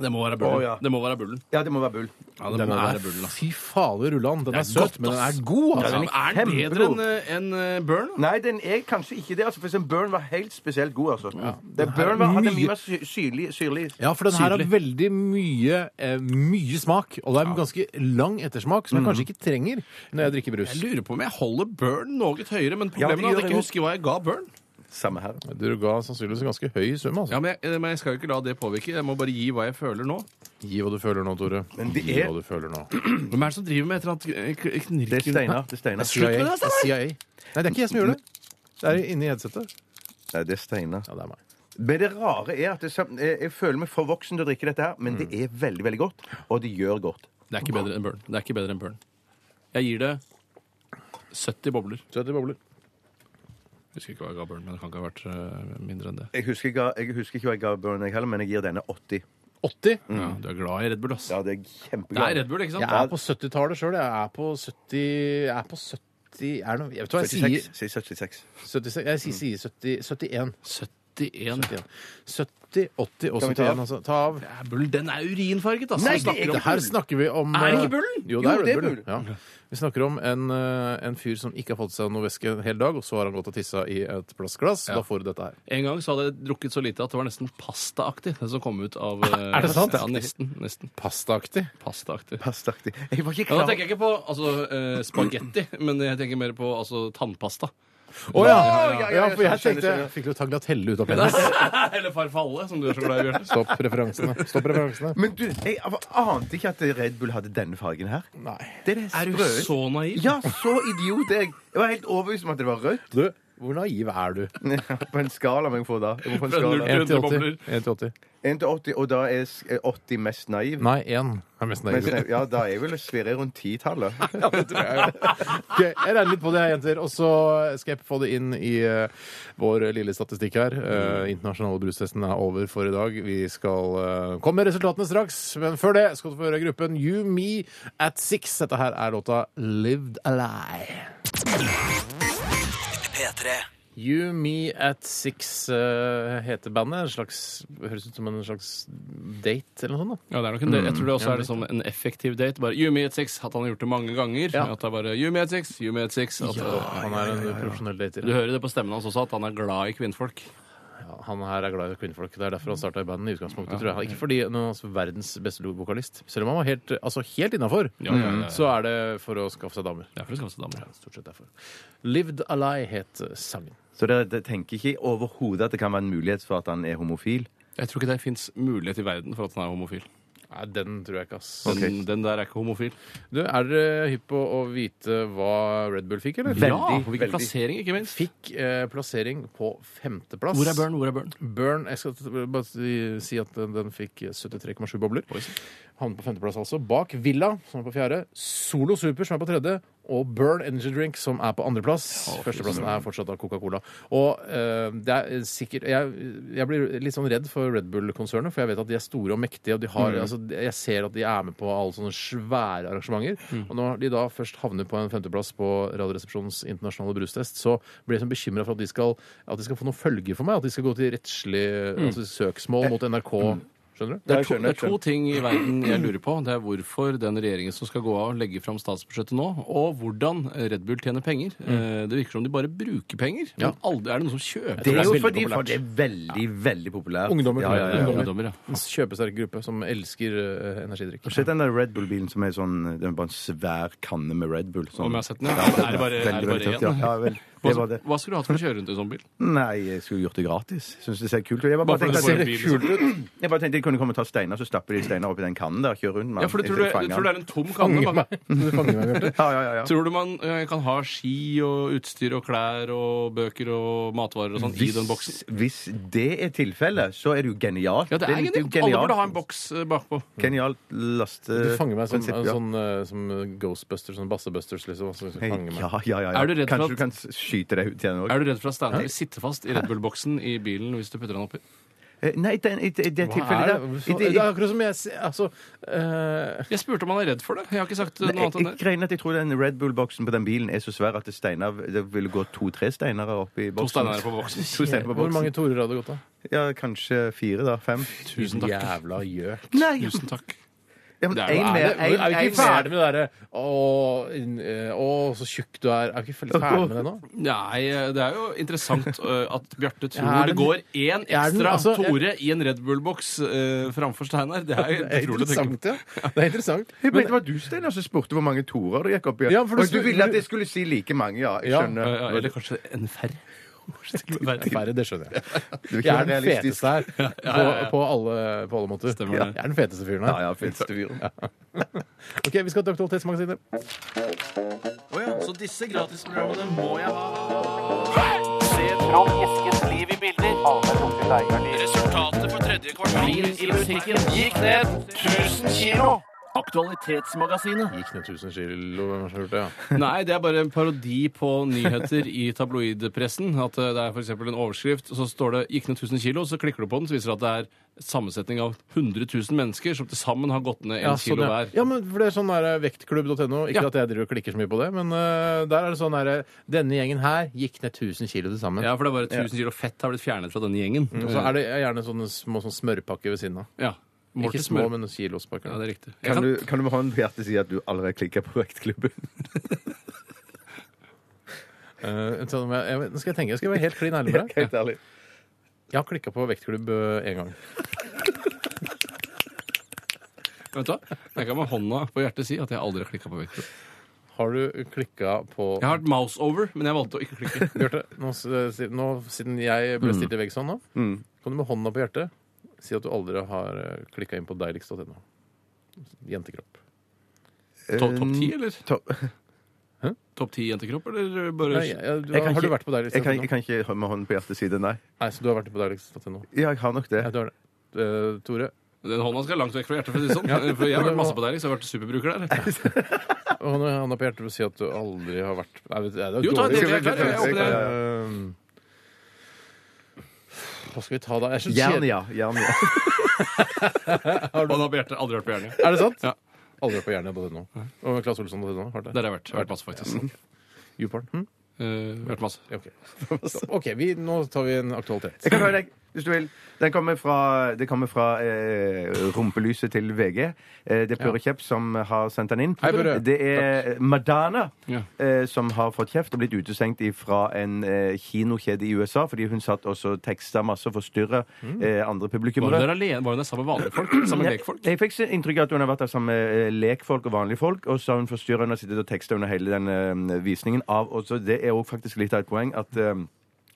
S4: Det må være bullen.
S5: Å, ja.
S4: Det må være bullen.
S5: Ja, det må være bull.
S4: Ja, det
S3: Den
S4: må
S3: er
S4: være bullen, ass.
S3: Fy fader, Rullan. Den altså. er
S4: godt,
S3: søt, men den
S4: ass.
S3: er god.
S4: Ja,
S3: Altså.
S4: men er den bedre enn enn Burn? da?
S5: Nei, den er kanskje ikke det. Altså, for eksempel Burn var helt spesielt god. altså. Den
S3: Den
S5: Burn
S3: er
S5: var, hadde
S3: mye-
S5: mye mer sy- syrlig. syrlig.
S3: Ja, for den her har
S4: Sydlig.
S3: veldig mye, eh, mye smak. Og det er en ganske lang ettersmak, som jeg kanskje ikke trenger når Mm. jeg drikker brus.
S4: Jeg lurer på om jeg holder Burn noe høyere, men
S5: Ja, det
S4: problemet
S5: gjør
S4: er at jeg
S5: jeg.
S4: ikke husker hva jeg ga Burn.
S5: Samme her.
S3: Du ga sannsynligvis en ganske høy sum.
S4: Ja,
S3: altså.
S4: men jeg, eh, men jeg skal jo ikke la det påvirke. Jeg må bare gi hva jeg føler nå.
S3: Gi hva du føler nå, Tore.
S5: Men det
S3: Gi
S5: er-
S3: hva du føler nå.
S4: Hvem er det som driver med et eller annet eh, kn- kn- knirk
S5: Det er Steinar. Det er Steinar.
S4: Slutt med det,
S3: Det er CIA. Nei, det er ikke jeg som gjør det. Det er inni headsetet.
S5: Nei, det er Steinar.
S3: Ja, det er meg.
S5: Men det rare er at det, sam- jeg, jeg føler meg for voksen til å drikke dette her, men det er veldig, veldig godt. Og det gjør godt.
S4: Det er ikke bedre enn Burn. Det er ikke bedre enn Burn. Jeg gir det 70 bobler.
S3: Søt i bobler.
S4: Husker ikke hva jeg ga Burn, men det kan ikke ha vært eh, mindre enn det.
S5: Jeg husker, ikke- jeg husker ikke hva jeg ga Burn, jeg heller, men jeg gir denne 80.
S3: 80?
S4: Ja, du er glad i Red Bull, ass.
S5: Ja, det er
S4: Det er
S5: kjempegodt.
S4: Red Bull, ikke sant?
S3: Jeg er på 70-tallet sjøl. Jeg er på 70 Jeg er på 70 er det noe, Jeg vet hva jeg sier.
S5: 76. Si 76.
S3: 76, jeg sier, sier 70, 71.
S4: 71.
S3: 71. 70, 80 og
S5: Kan vi ta av?
S3: 71. Altså, ta av.
S4: Det er Bullen, den er urinfarget, ass.
S5: Nei,
S4: Vi
S5: det
S4: snakker
S5: er
S4: om-
S3: Det her snakker vi om
S4: Er det
S3: eh,
S4: ikke bullen?
S3: Jo, det
S5: Jo,
S3: er,
S5: det er
S3: bullen. Ja. Vi snakker om en, eh, en fyr som ikke har fått seg noe væske en hel dag, og så har han gått og tissa i et plastglass. Da får du dette her.
S4: En gang så hadde jeg drukket så lite at det var nesten pastaaktig, det som kom ut av eh,
S3: Er det sant?
S4: Ja, nesten. nesten
S3: Pastaaktig.
S4: pastaaktig.
S5: Pastaktig. Jeg var ikke
S4: Ja, da
S5: klar
S4: tenker jeg ikke på altså, eh, spagetti, men jeg tenker mer på altså, tannpasta.
S3: Å ja!
S5: ja, ja,
S3: ja! For jeg
S5: skjønner,
S3: tenkte
S5: skjønner.
S3: Fikk du taglatelle ut av penis?
S4: Eller farfalle, som du er så glad i, Bjarte.
S3: Stopp referansene. Stopp referansene.
S5: Men du, jeg ante ikke at Red Bull hadde denne fargen her.
S3: Nei.
S5: Det er, det
S4: Er du
S5: sprøeste.
S4: så naiv?
S5: Ja, så idiot er jeg. Jeg var helt overbevist om at det var rødt.
S3: Du, hvor naiv er du?
S5: På en skala må jeg få da. Jeg må få en
S4: Fra null
S5: skala.
S4: til-
S3: 1 til 80.
S4: bobler.
S3: 1 til 80.
S5: 1 til 80, og da er s- er 80 mest naiv.
S3: Nei, 1 er mest
S5: Mens,
S3: naiv.
S5: ja, da er jeg vel svirre rundt 10-tallet.
S3: Ok, jeg regner litt på det, her, jenter. Og så skal jeg få det inn i eh, vår lille statistikk her. Eh, internasjonale brustesten er over for i dag. Vi skal eh, komme med resultatene straks. Men før det skal du få høre gruppen You Me At Six. Dette her er låta Lived A Lie.
S2: P3
S3: You Me At Six eh, heter bandet. En slags, høres ut som en slags date eller noe sånt. da.
S4: Ja, det er nok en del. Jeg tror det også er liksom en effektiv date. Bare you me at six. At han har gjort det mange ganger.
S3: Ja.
S4: At det er bare you me at six, you me at six. At,
S3: Han er en profesjonell dater.
S4: Du hører det på stemmen hans også, at han er glad i kvinnfolk.
S3: Ja, han her er glad i kvinnfolk. Det er
S4: Mm.
S3: derfor han starta i bandet i utgangspunktet, tror jeg. Ikke fordi han er verdens beste vokalist. Selv om han var helt, altså helt innafor,
S4: Ja, ja, ja, ja.
S3: Mm. så er det for å skaffe seg damer.
S4: Det er for å skaffe seg damer.
S3: Stort sett derfor. Lived a Lie het sangen.
S5: Så dere dere tenker ikke overhodet at det kan være en mulighet for at han er homofil?
S4: Jeg tror ikke det fins mulighet i verden for at han er homofil.
S3: Nei, den tror jeg ikke, ass.
S4: Den, den der er ikke homofil.
S3: Du, er dere hypp på å vite hva Red Bull fikk, eller?
S4: ja, og hvilken
S5: veldig.
S4: plassering, ikke minst.
S3: Fikk eh, plassering på femteplass.
S4: Hvor er Børn? Hvor er Børn?
S3: Burn, jeg skal t- bare si- si at den, den fikk 73,7 bobler.
S4: Oi, sant.
S3: Havnet på femteplass, altså. Bak Villa, som er på fjerde. Solo Super, som er på tredje. Og Burn Energy Drink, som er på andreplass.
S4: Ja,
S3: Førsteplassen er fortsatt av Coca-Cola. Og eh, det er sikkert jeg, jeg blir litt sånn redd for Red Bull-konsernet, for jeg vet at de er store og mektige. Og de har,
S5: Mm.
S3: altså, jeg ser at de er med på alle sånne svære arrangementer.
S5: Mm.
S3: Og når de da først havner på en femteplass på Radioresepsjonens internasjonale brustest, så blir jeg sånn bekymra for at de, skal, at de skal få noen følger for meg. At de skal gå til rettslig
S5: Mm.
S3: altså, søksmål mot NRK. Skjønner du?
S4: Det er,
S5: Eh, jeg
S4: to,
S5: skjønner,
S4: det er to ting i verden jeg lurer på. Det er hvorfor den regjeringen som skal gå av, legger fram statsbudsjettet nå, og hvordan Red Bull tjener penger.
S5: Mm.
S4: Eh, Det virker som de bare bruker penger. Men aldri, er det noen som kjøper
S5: Det er jo
S3: veldig
S5: fordi
S3: populært.
S5: folk er veldig, veldig populært.
S3: Ungdommer,
S5: Ja, ja, ja, ja.
S4: ungdommer? Ja.
S3: En kjøpesterk gruppe som elsker eh, energidrikk.
S5: Har du sett den der Red Bull-bilen som er sånn Det er bare en svær kanne med Red Bull? Sånn.
S4: Om jeg har sett den, ja. Er det bare- er det
S5: veldig,
S4: bare
S5: veldig tøft,
S4: en?
S5: Ja, ja, vel, det
S4: Hva,
S5: var det.
S4: hva skulle du hatt for å kjøre rundt i en sånn bil?
S5: Nei, jeg skulle gjort det gratis. Syns det ser kult ut. Jeg bare,
S4: Bare for
S5: tenkte
S4: å få
S5: at-
S4: en bil, liksom.
S5: Jeg bare tenkte de kunne komme og ta steiner, så stapper de steiner oppi den kannen der. Kjører rundt med
S4: Ja, for du tror, det,
S5: Fanger
S4: du tror det
S5: den.
S4: er en tom kanne? bare-
S3: Du fanger meg, Bjarte.
S5: Ja, ja, ja, ja.
S4: Tror du man eh, kan ha ski og utstyr og klær og bøker og matvarer og sånn i den boksen?
S5: hvis det er tilfellet, så er det jo genialt.
S4: Ja, det er
S5: jo
S4: genialt. Alle burde ha en boks eh, bakpå.
S5: Genialt
S3: Du fanger meg som,
S5: lasteprinsipp.
S3: en
S5: eh, ja.
S3: sånn, eh, som Ghostbusters, sånn Bassebusters, liksom. som
S5: Hei,
S3: fanger meg.
S5: Ja, ja, ja.
S4: Er du redd for
S5: Kanskje
S4: at-
S5: du kan skyte deg ut igjen òg?
S4: Er du redd for at Steinar vil sitte fast i Red Bull-boksen i bilen hvis du putter den oppi?
S5: Eh, Nei, den, i, det- i det
S3: Hva
S5: tilfellet
S3: er det?
S5: der
S3: Så-
S5: i- i-
S3: Det er akkurat som jeg ser Altså eh,
S4: Jeg spurte om han er redd for det. Jeg har ikke sagt eh,
S5: Nei,
S4: noe annet enn
S5: Jeg
S4: det.
S5: regner at jeg tror den Red Bull-boksen på den bilen er så svær at det, steiner, det ville gå to-tre steiner opp i
S4: To
S5: boksen.
S4: Steinar på boksen.
S5: To steiner på
S3: Hvor mange
S5: boksen.
S3: torer hadde gått av?
S5: Ja, kanskje fire, da. Fem.
S4: Tusen takk.
S3: Jævla gjøk.
S5: Nei, ja,
S4: Tusen takk.
S5: men
S4: Det er jo-
S5: en
S3: Er,
S5: mer.
S3: det, er
S5: en-
S3: vi
S5: en
S3: ikke
S5: mer.
S3: ferdig med det derre å, inn- eh, å, så tjukk du er. Er vi ikke ferdig med det nå?
S4: Nei, eh, det er jo interessant eh, at Bjarte tror
S3: Ja, er
S4: det
S3: den-
S4: går én
S3: Ja, er den-
S4: ekstra
S3: altså, jeg-
S4: Tore i en Red Bull-boks eh, framfor Steinar. Det er jo
S3: Det er
S4: utrolig å tenke
S3: interessant, ja. Det er interessant.
S5: Jeg mente det var du, Steinar, som spurte hvor mange torer du gikk opp i.
S3: Ja, for du
S5: Og du
S3: spør-
S5: ville at jeg skulle si like mange, ja. Jeg
S3: Ja,
S4: på.
S5: skjønner.
S4: Ja, Eller kanskje en færre.
S3: Færre, det skjønner jeg.
S5: Du
S3: Jeg
S5: er ikke
S3: er den
S5: realistisk.
S3: feteste her. På, på, alle, på alle måter.
S4: Stemmer
S3: Jeg
S4: det.
S3: er den feteste fyren
S5: Ja,
S3: her.
S5: ja, feteste fyren.
S3: Ok, Vi skal til Aktualitetsmagasinet.
S4: Så disse gratisprogrammene må jeg ha. Resultatet på tredje kvartal i musikken gikk ned 1000 kilo. Aktualitetsmagasinet.
S3: Gikk ned 1000 kilo. hvem har gjort det, ja?
S4: Nei, det er bare en parodi på nyheter i tabloidpressen. At eh, det er f.eks. en overskrift, og så står det 'gikk ned 1000 kilo', så klikker du på den, så viser det at det er sammensetning av 100 000 mennesker som til sammen har gått ned
S3: Ja,
S4: en kilo
S3: sånn, ja.
S4: hver.
S3: Ja, men for det er sånn der eh, vektklubb.no. Ikke
S4: Ja.
S3: at jeg driver og klikker så mye på det, men eh, der er det sånn derre Denne gjengen her gikk ned 1000 kilo til sammen.
S4: Ja, for det er bare 1000 kilo fett har blitt fjernet fra denne gjengen.
S3: Mm. Og så er det gjerne sånne små sånn smørpakker ved siden av.
S4: Ja. Målt
S3: Ikke
S4: i smør.
S3: små, men kilospakker.
S4: Ja, det er riktig. Jeg
S5: Kan
S4: kan,
S5: du, kan du med hånden på hjertet si at du allerede klikka på vektklubben?
S3: Eh, sånn om jeg, jeg, nå skal jeg tenke, jeg skal være helt klin ærlig med deg.
S5: Helt ærlig.
S3: Jeg har klikka på vektklubb én gang.
S4: vet du hva? Jeg kan med hånda på hjertet si at jeg aldri har klikka på vektklubb.
S3: Har du klikka på
S4: Jeg har hatt mouse over, men jeg valgte å ikke klikke.
S3: Bjarte, nå, s- eh, si- nå, siden jeg ble
S5: Mm.
S3: stilt i vegg sånn nå, kan du med hånda på hjertet si at du aldri har klikka inn på deiligst.no? Jentekropp.
S4: Topp
S5: Um,
S4: top 10, eller?
S5: Topp-
S4: Topp 10 jentekropp, eller bare
S3: Nei, jeg, du,
S5: Jeg kan
S3: har du
S5: ikke-
S3: vært på
S5: Jeg kan, jeg
S3: deiligst.no?
S5: kan ikke ha med hånden på hjertet si det, nei.
S3: Nei, så du har vært på deiligst.no?
S5: Ja, jeg har nok det.
S3: Ja, du har det. Eh, Tore,
S4: Den hånda skal langt vekk fra hjertet, for å si det sånn. For jeg har vært masse på deg, så jeg har vært superbruker der.
S3: hånda hånda på hjertet vil si at du aldri har vært Nei, vet du, det er
S4: Jo, ta
S3: dårlig.
S4: det, jeg er klar, jeg er åpen, jeg.
S3: Eh, Hva skal vi ta da? Jeg synes-
S5: Jern, ja. Jern, ja.
S4: Hånda på hjertet, aldri vært på hjernen.
S3: Er det sant?
S4: Ja.
S3: Aldri vært på Jernia på det nå. Og Claes Olsson på det nå? Har
S4: Der
S3: det?
S4: har jeg vært. Vært masse, faktisk.
S5: Mm-hmm.
S3: Youporn? Hm?
S4: Eh, vært masse.
S3: Ja, ok. OK, vi, nå tar vi en aktualitet.
S5: Jeg kan høre deg. hvis du vil. Den kommer fra, det kommer fra eh, rumpelyset til VG. Eh, det er Børre Kjepp som har sendt den inn.
S3: Hei, Børre.
S5: det er Madonna
S4: Ja.
S5: eh, som har fått kjeft og blitt utestengt fra en eh, kinokjede i USA fordi hun satt også teksta masse og forstyrra eh, andre
S4: Var hun
S5: publikummere.
S4: der alene? Var hun der sammen med vanlige folk? Sammen med lekfolk?
S5: Jeg fikk inntrykk av at hun har vært der sammen med eh, lekfolk og vanlige folk, og så har hun forstyrra og sittet og teksta under hele den eh, visningen av Og så det er òg faktisk litt av et poeng at eh,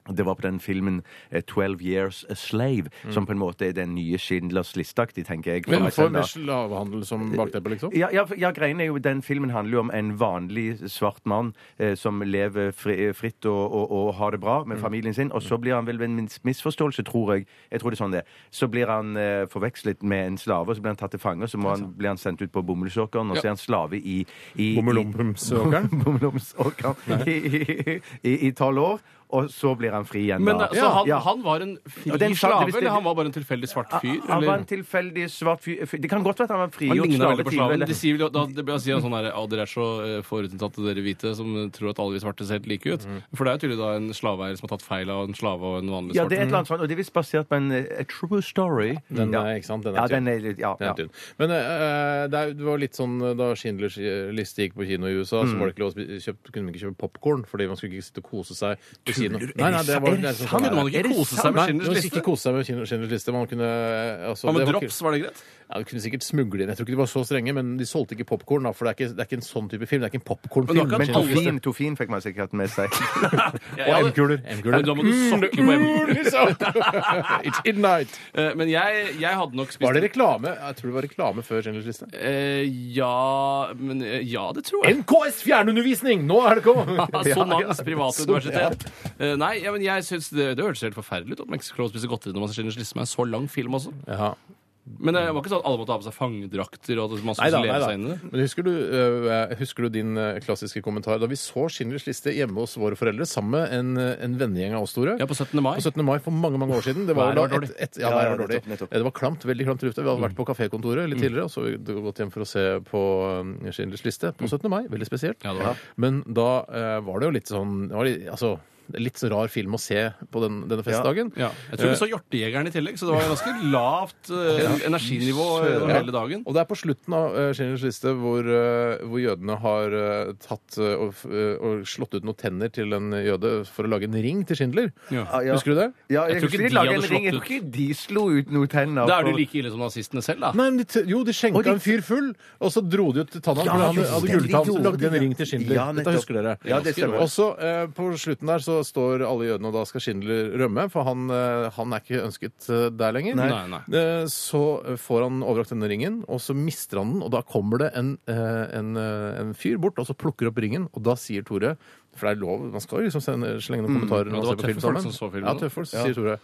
S5: det var på den filmen eh, 'Twelve Years a Slave', som på en måte er den nye Schindlers listeaktig, tenker jeg. for
S3: Men
S5: meg
S3: for
S5: selv da.
S3: med slavehandel som bakteppe, liksom?
S5: Ja, ja, for- ja, greien er jo, Den filmen handler jo om en vanlig svart mann eh, som lever fri, eh, fritt og, og, og har det bra
S4: Mm.
S5: med familien sin. Og så blir han vel ved en mis- misforståelse, tror jeg. Jeg tror det er sånn det. er. Så blir han eh, forvekslet med en slave, og så blir han tatt til fange. Og så må han, blir han sendt ut på bomullsåkeren, og så er han slave i, i, i
S3: Bommelomsåkeren?
S5: bomullsåkeren i- i i tolv år. Og så blir han fri igjen.
S4: Men,
S5: da.
S4: eh, så han,
S5: Ja.
S4: han var en fri
S5: Og den sa-
S4: slave,
S5: hvis det-
S4: eller han var bare en tilfeldig svart fyr?
S5: Han var
S4: eller?
S5: en tilfeldig svart fyr fyr- Det kan godt være at han var
S4: Han
S5: frigjort
S4: ligner veldig på
S5: tidligere,
S4: slaven.
S5: eller-
S4: De sier, vel- da, det blir- sier han sånn her, «Å, Dere er så eh, forutinntatte, dere hvite, som tror at alle vi svarte ser helt like ut. For det er jo tydelig da en slaveeier som har tatt feil av en slave og en vanlig
S5: Mm-hmm. Ja,
S4: svart.
S5: det er et eller annet sånt, og det er visst basert på en eh, a true story.
S3: Den
S5: ja.
S3: er, ikke sant? Den er
S5: ja,
S3: tynn.
S5: den er litt, ja,
S3: Den
S5: ja.
S3: er tynn. Men eh, det, er, det var litt sånn eh, da Schindlers liste gikk på kino i USA,
S4: Mm.
S3: så var det ikke lov å spi- kjøpe, kunne man ikke kjøpe popkorn fordi man skulle ikke sitte og kose seg på kino.
S5: Tuller du?
S3: Nei, nei, det var,
S5: Er det
S3: det er sånn-
S5: sant?
S4: Kunne man
S5: Er
S4: ikke
S5: det
S4: kose
S5: sant?
S4: seg
S3: Nei,
S4: med
S3: man
S4: Schindlers
S3: skulle
S4: liste?
S3: ikke kose seg med Schindlers- Schindlers liste. Man kunne eh, altså,
S4: Hva med
S3: det var ikke-
S4: drops, var det greit?
S3: Ja, du kunne sikkert smugle inn. Jeg tror ikke de var så strenge, men de solgte ikke popkorn, for det er ikke, det er ikke en sånn type film. Det er ikke en
S4: Men det
S3: popkornfilm.
S4: var
S5: Men
S4: ikke at
S5: Tofin, Tofin fikk man sikkert med seg.
S4: Jeg hadde- Ja, men Da må du sokke på M.
S3: It's midnight!
S4: Eh, Men jeg, jeg hadde nok spist
S3: Var det reklame? Jeg tror det var reklame før Schindlers liste.
S4: Eh, ja, men, eh, ja, det tror jeg.
S3: NKS fjernundervisning! Nå er det
S4: Sånn
S3: kommet!
S4: Sonans private universitet. Eh, nei, ja, men jeg synes det, det hørtes helt forferdelig ut at man ikke skal få lov å spise godteri når man ser Schindlers liste, som er en så lang film også.
S3: Ja.
S4: Men det var ikke sånn at alle måtte ha på seg fangedrakter og at man skulle
S3: Neida,
S4: leve
S3: neida.
S4: seg inn i det.
S3: Men husker du, øh, husker du din øh, klassiske kommentar da vi så Schindlers liste hjemme hos våre foreldre sammen med en, øh, en vennegjeng av oss store?
S4: Ja, på 17. mai.
S3: På 17. mai for mange mange år siden. Det var,
S4: Været var
S3: da
S4: dårlig. Mm.
S3: Et, et, ja, været var
S5: ja,
S3: dårlig. Eh,
S5: nettopp, nettopp.
S3: Det var klamt, veldig klamt i lufta. Vi hadde vært på kafékontoret litt tidligere, og så hadde vi gått hjem for å se på øh, Schindlers liste på 17. mai. Veldig spesielt.
S4: Mm. Ja, det var det.
S3: Men da øh, var det jo litt sånn det var litt, Altså, litt så rar film å se på den, denne festdagen.
S4: Ja. Jeg
S3: Eh.
S4: tror vi så Hjortejegeren i tillegg, så det var ganske lavt eh, energinivå gjennom
S3: Ja.
S4: hele dagen.
S3: Og det er på slutten av eh, Schindlers liste hvor, eh, hvor jødene har eh, tatt eh, og, f- eh, og slått ut noen tenner til en jøde for å lage en ring til Schindler.
S4: Ja.
S5: ja.
S3: Husker du det?
S5: Ja, jeg,
S4: Jeg tror
S5: husker
S4: ikke
S5: de
S4: de
S5: laget
S4: hadde
S5: en ring. Jeg
S4: slått
S5: tror ikke de slo ut noen tenner.
S4: Da er
S5: for-
S4: du like ille som nazistene selv, da.
S3: Nei, men de, t- Jo, de skjenka
S5: Og de-
S3: en fyr full, og så dro de ut tanna.
S5: Ja,
S3: for han
S5: just
S3: hadde
S5: det, de
S3: gulltann, så
S5: gjorde
S3: lagde de en
S5: det.
S3: ring til Schindler.
S5: Ja,
S3: Dette
S5: nettopp.
S3: husker dere.
S5: Ja, det stemmer.
S3: Og så eh, På slutten der så står alle jødene, og da skal Schindler rømme, for han, eh, han er ikke ønsket eh, der lenger.
S4: Nei. Nei,
S3: Eh, så får han overrakt denne ringen, og så mister han den, og da kommer det en, eh, en, eh, en fyr bort og så plukker opp ringen, og da sier Tore For det er lov, man skal jo liksom sende, slenge
S5: Mm.
S3: noen kommentarer når
S4: det
S3: man ser
S4: var
S3: på film
S4: tøffe folk
S3: sammen.
S4: som så filmen,
S3: ja,
S4: da.
S3: tøffe folk, så sier Tore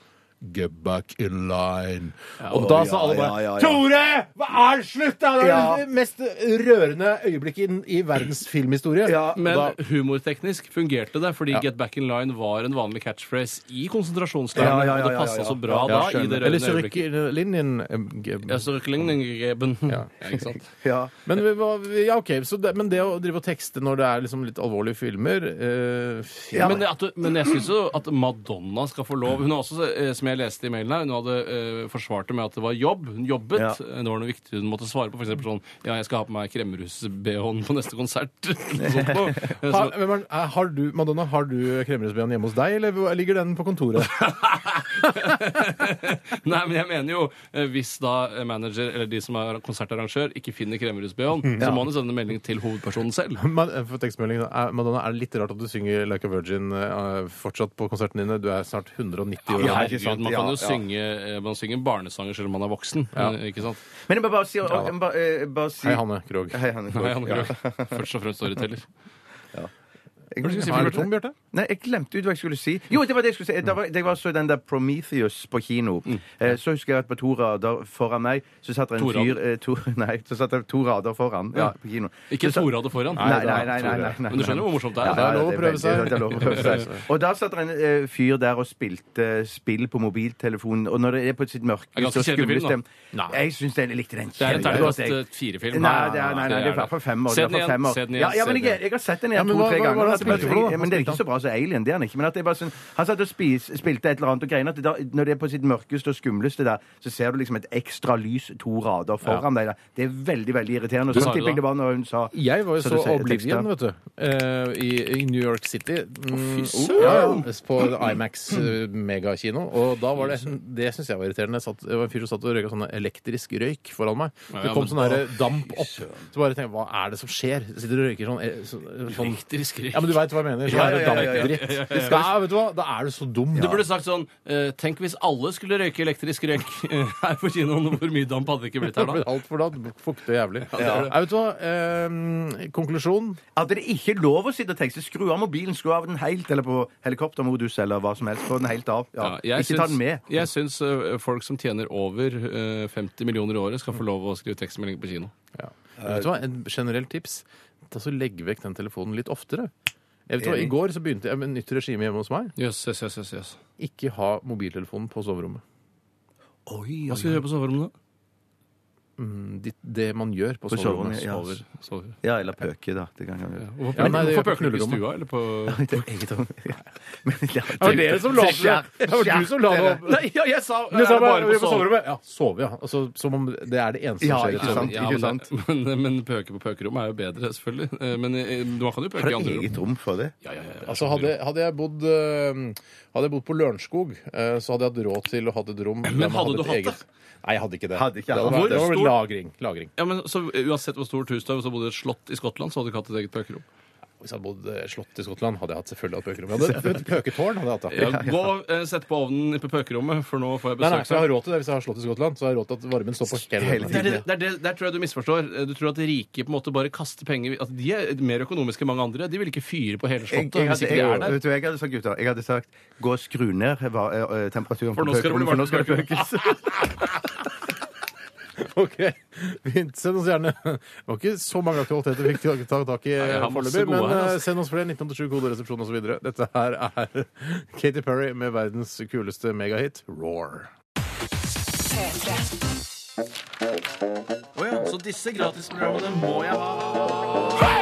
S3: Get back in line. og da sa alle bare
S5: ja, ja, ja.
S3: Tore! Hva er det slutt, da?! Det er
S5: Ja.
S3: det mest rørende øyeblikket i, i verdens filmhistorie.
S5: Ja.
S3: Men,
S4: Men
S3: da,
S4: humorteknisk fungerte det, fordi Get Back in Line var en vanlig catchphrase i konsentrasjonsleiren,
S5: Ja, ja, ja,
S4: og det
S5: ja,
S4: passa
S5: ja, ja.
S4: så bra
S3: ja,
S4: da i det
S3: skjønner. Eller
S4: rødende
S3: så
S4: øyeblikket.
S3: rykker linjen em, ge-
S4: Ja, så rykker linjen i greben.
S3: Ja.
S4: Ja, ikke sant?
S5: Ja.
S3: Men, vi var, ja, ok, så det, men det å drive og tekste når det er liksom litt alvorlige filmer eh, ja,
S4: men, at, du- men jeg syns jo at Madonna skal få lov. Hun har også, eh, som jeg leste i mailen her, hun hadde eh, forsvart det med at det var jobb. Hun jobbet. Eh,
S5: Ja.
S4: Det var noe viktig hun måtte svare på. For eksempel sånn Ja, jeg skal ha på meg Kremmerhus-BH-en på neste konsert. Noe sånt noe. Eh,
S3: har,
S4: så-
S3: hvem er- er- har du, Madonna, har du kremmerhusbehåen hjemme hos deg, eller hvor- ligger den på kontoret?
S4: Nei, men jeg mener jo eh, hvis da eh, manager eller de som er konsertarrangør, ikke finner Kremmerhus-BH-en,
S5: Mm.
S4: så må han jo sende melding til hovedpersonen selv.
S3: Man, eh, for tekstmeldingen, er, Madonna, er det litt rart at du synger Like a Virgin eh, fortsatt på konsertene dine? Du er snart 190 år.
S4: Ja,
S5: ikke sant?
S4: Man kan jo
S5: Ja, ja.
S4: synge eh, Man synger barnesanger selv om man er voksen. eh, Ikke sant?
S5: Men jeg må bare si, jeg må bare, eh, bare si
S3: Hei, Hanne Krogh.
S5: Hei, Hanne Krogh.
S4: Nei, han,
S5: Ja.
S4: Først og fremst storyteller.
S5: Jeg-
S4: du skal si,
S3: Er du tom, Bjarte?
S5: Nei, jeg glemte ut hva jeg skulle si. Jo, det var det jeg skulle si. Det var, det var så den der Prometheus på kino. Eh, så husker jeg at på to rader foran meg så satt det en
S4: To
S5: fyr eh, to, Nei, så satt det to rader foran ja, på kino.
S4: Ikke
S5: Så sa-
S4: Tora det foran.
S5: Nei, nei, nei. nei, nei, nei, nei.
S4: Men du skjønner hvor morsomt det er?
S3: det er lov å prøve seg.
S5: veldig- Det er lov å prøve seg. Og da satt det en eh, fyr der og spilte spill på mobiltelefonen. Og når det er på sitt
S4: Det er
S5: mørkeste
S4: ganske
S5: og
S4: kjedelig
S5: skumleste
S4: film,
S5: Jeg syns jeg likte den
S4: Det er en
S5: kjempegodt,
S4: terningkast
S5: altså, jeg.
S4: eh, fire-film.
S5: Nei, det er, nei, nei, det er i hvert fall femmer.
S4: Se den
S5: det er i hvert fall
S4: igjen,
S5: femmer.
S4: se den igjen,
S5: Ja, ja,
S4: se
S5: men
S4: den
S5: jeg,
S4: igjen.
S5: jeg har sett den
S3: Ja,
S5: igjen
S3: men hva-
S5: to-tre
S3: hva- hva
S5: ganger.
S3: er det
S5: spilte bare- ja, men det er ikke så bra som Alien. det er Han ikke, men at det er bare sånn, han satt og spis, spilte et eller annet og greiene at det da, når det er på sitt mørkeste og skumleste der, så ser du liksom et ekstra lys to rader foran deg. Der. Det er veldig veldig irriterende. Og
S4: Du sa
S5: sånn tipper
S4: det
S5: jeg
S4: da.
S5: det var når hun sa
S3: Jeg var jo
S5: så
S3: så
S5: du ser et
S3: Oblivion,
S5: ekstra-
S3: vet du, eh, i, i New York City. Mm,
S4: søren!
S3: ja, ja, på Imax eh, megakino. Og da var det Det syns jeg var irriterende. Jeg satt, det var en fyr som satt og røyka sånn elektrisk røyk foran meg. Det
S4: ja,
S3: kom
S4: men-
S3: sånn her damp opp. Så bare tenkte jeg hva er det som skjer? Sitter og røyker sånn, eh, så- sånn
S4: Elektrisk røyk.
S3: Ja, men du veit hva jeg mener. Sånn
S5: Ja, ja, ja, ja, ja.
S3: her dampdritt. Da, er- vet du hva, da er du så dum.
S4: Du burde sagt sånn eh, Tenk hvis alle skulle røyke elektrisk røyk eh, her på kinoen. Hvor mye damp hadde det ikke blitt her da?
S3: Altfor da. Fukte og jævlig.
S4: det er det.
S3: Nei, Vet du hva? Eh, konklusjon.
S5: at det ikke er lov å sitte og tekste. Skru av mobilen, skru av den helt, eller på helikoptermodus eller hva som helst. Få den helt av. Ja.
S4: jeg
S5: ikke ta den med.
S4: Jeg syns eh, folk som tjener over eh, 50 millioner i året, skal få lov å skrive tekstmelding på kino.
S3: Vet du hva, En generelt tips ta så Legg vekk den telefonen litt oftere. Jeg vet hva, I
S5: Enig.
S3: går så begynte jeg med nytt regime hjemme hos meg.
S4: Jøss, jøss, jøss, jøss, jøss.
S3: Ikke ha mobiltelefonen på soverommet.
S5: Oi,
S4: Hva skal du gjøre på soverommet, da?
S3: Det, Mm, det man gjør på,
S5: På
S3: soverommet.
S5: soverommet, ja.
S4: Sover. sover.
S5: Ja, eller pøke, da. Det kan jeg
S4: Ja.
S5: gjøre.
S4: Hvorfor,
S3: Ja, nei, det
S4: hvorfor
S3: gjør jeg på
S4: pøker du ikke i
S3: knullerommet.
S4: stua, eller på
S5: Det er eget rom. Ja. Men, ja,
S3: Det var dere som la opp til det! Det var du som la det opp.
S4: Nei, ja, jeg sa
S3: Du sa bare, vi er på
S4: soverommet?
S3: soverommet. Ja, sove, ja. Altså, som om det er det eneste som
S5: Ja,
S3: skjer. i et
S5: ikke
S3: soverom.
S5: sant,
S4: Ja,
S5: ikke
S4: men,
S5: sant.
S4: men, men pøke på pøkerommet er jo bedre, selvfølgelig. Eh, Men eh, man kan jo
S5: Har
S4: pøke i
S5: du
S4: andre rom.
S5: eget rom for det?
S4: Ja, ja, ja, ja.
S3: Altså, hadde, hadde, jeg bodd, eh, hadde jeg bodd på Lørenskog, eh, så hadde jeg hatt råd til å ha et rom der man
S4: hadde du
S3: et
S4: hatt det?
S3: Nei, jeg hadde ikke det.
S5: Hadde ikke
S3: det,
S5: jeg
S3: hadde vært-
S5: hatt det.
S3: det var
S4: Hvor stor-
S3: lagring. lagring.
S4: Ja, men så eh, Uansett hvor stort hus du har, hvis du bodde i et slott i Skottland, så hadde du ikke hatt et eget pøkerom.
S3: Hvis jeg hadde bodd eh, slott i Skottland, hadde jeg hatt selvfølgelig hatt pøkerom. Jeg hadde et pøketårn. hadde jeg hatt da.
S4: Ja, gå og eh, sett på ovnen på pøkerommet, for nå får jeg
S3: Nei, nei, så jeg
S4: besøk.
S3: har råd til det Hvis jeg har slått i Skottland, så har jeg råd til at varmen står på hele
S5: Hele
S3: døgnet.
S4: Det er det, det er det, der tror jeg du misforstår. Eh, Du tror at rike på en måte bare kaster penger At de er mer økonomiske enn mange andre. De vil ikke fyre på hele
S5: Jeg,
S4: slottet
S5: jeg,
S4: hvis
S5: hadde,
S4: ikke
S5: jeg,
S4: de er der.
S5: vet du hva jeg hadde sagt, gutter? Jeg hadde sagt gå og skru ned var, eh, eh, temperaturen
S4: For nå skal det bli
S5: pøkerommet, for nå skal det
S4: varmt.
S5: pøkes.
S3: Ok, vi- Send oss gjerne Det var ikke så mange aktualiteter vi fikk ta tak i
S4: jeg har masse
S3: foreløpig, men
S4: gode her,
S3: eh,
S4: altså.
S3: send oss flere 1987 koderesepsjon osv. Dette her er Katy Perry med verdens kuleste megahit, Roar.
S4: Så disse gratisprogrammene må jeg ha.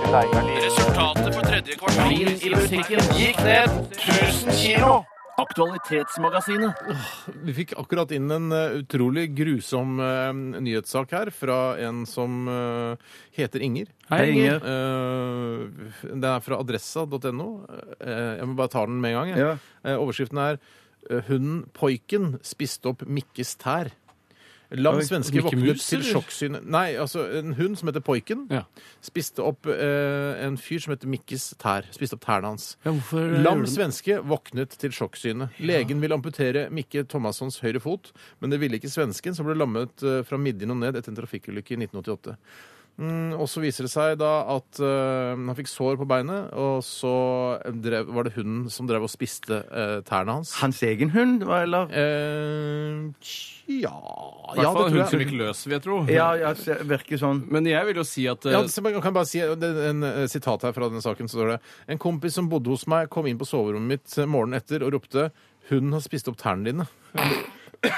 S4: Resultatet for tredje kvartal i musikken gikk ned 1000 kilo. Aktualitetsmagasinet.
S3: Vi fikk akkurat inn en eh, utrolig grusom eh, nyhetssak her fra en som eh, heter Inger.
S5: Hei, Inger.
S3: Eh, den er fra adressa.no. Eh, jeg må bare ta den med en gang. Jeg.
S5: Ja.
S3: Eh, overskriften er eh, 'Hunden Poiken spiste opp Mikkes tær'. Lam
S4: Oi,
S3: svenske
S4: Mikke
S3: våknet
S4: Mus,
S3: til
S4: eller?
S3: sjokksyn Nei, altså, en hund som heter Poiken,
S4: Ja.
S3: spiste opp eh, en fyr som heter Mikkes tær. Spiste opp tærne hans.
S4: Ja, hvorfor eh,
S3: Lam
S4: gjorde du-
S3: svenske våknet til sjokkssynet. Legen ville amputere Mikke Thomassons høyre fot, men det ville ikke svensken, som ble lammet eh, fra midjen og ned etter en trafikkulykke i 1988. Mm, og så viser det seg da at eh, han fikk sår på beinet, og så drev, var det hunden som drev og spiste eh, tærne hans.
S5: Hans egen hund, hva, eller?
S3: Eh, tja
S4: I
S3: Ja,
S4: hvert fall
S3: det
S4: hun
S3: tror
S4: som
S3: jeg.
S4: gikk løs, vil jeg tro.
S5: Ja, ja, se- virker sånn.
S4: Men jeg vil jo si at eh,
S3: Ja, så man kan bare si det er en eh, sitat her fra denne saken. så står det En kompis som bodde hos meg, kom inn på soverommet mitt eh, morgenen etter og ropte 'Hunden har spist opp tærne dine'.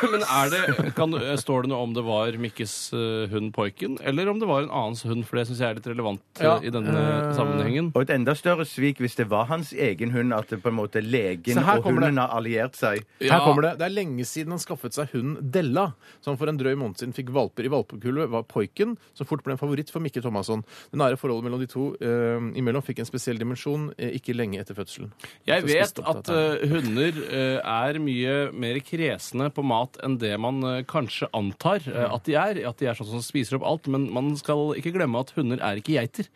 S4: Men er det, kan, du- står det noe om det var Mikkes eh, hund Poiken, eller om det var en annens hund? For det syns jeg er litt relevant eh,
S3: Ja,
S4: i denne
S3: eh,
S4: sammenhengen.
S5: Og et enda større svik hvis det var hans egen hund, at det på en måte legen
S3: Se, her
S5: og
S3: kommer det.
S5: hunden har alliert seg.
S4: Ja.
S3: Her kommer det. Det er lenge siden han skaffet seg hunden Della, som for en drøy måned siden fikk valper i valpekulvet, var Poiken, som fort ble en favoritt for Mikke Thomasson. Det nære forholdet mellom de to eh, imellom fikk en spesiell dimensjon eh, ikke lenge etter fødselen.
S4: Jeg
S3: Så
S4: vet
S3: spiste opp
S4: at
S3: dette her.
S4: eh, hunder eh, er mye mer kresne på mat enn det man eh, kanskje antar eh,
S3: Mm.
S4: at de er. At de er sånn som spiser opp alt. Men man skal ikke glemme at hunder er ikke geiter.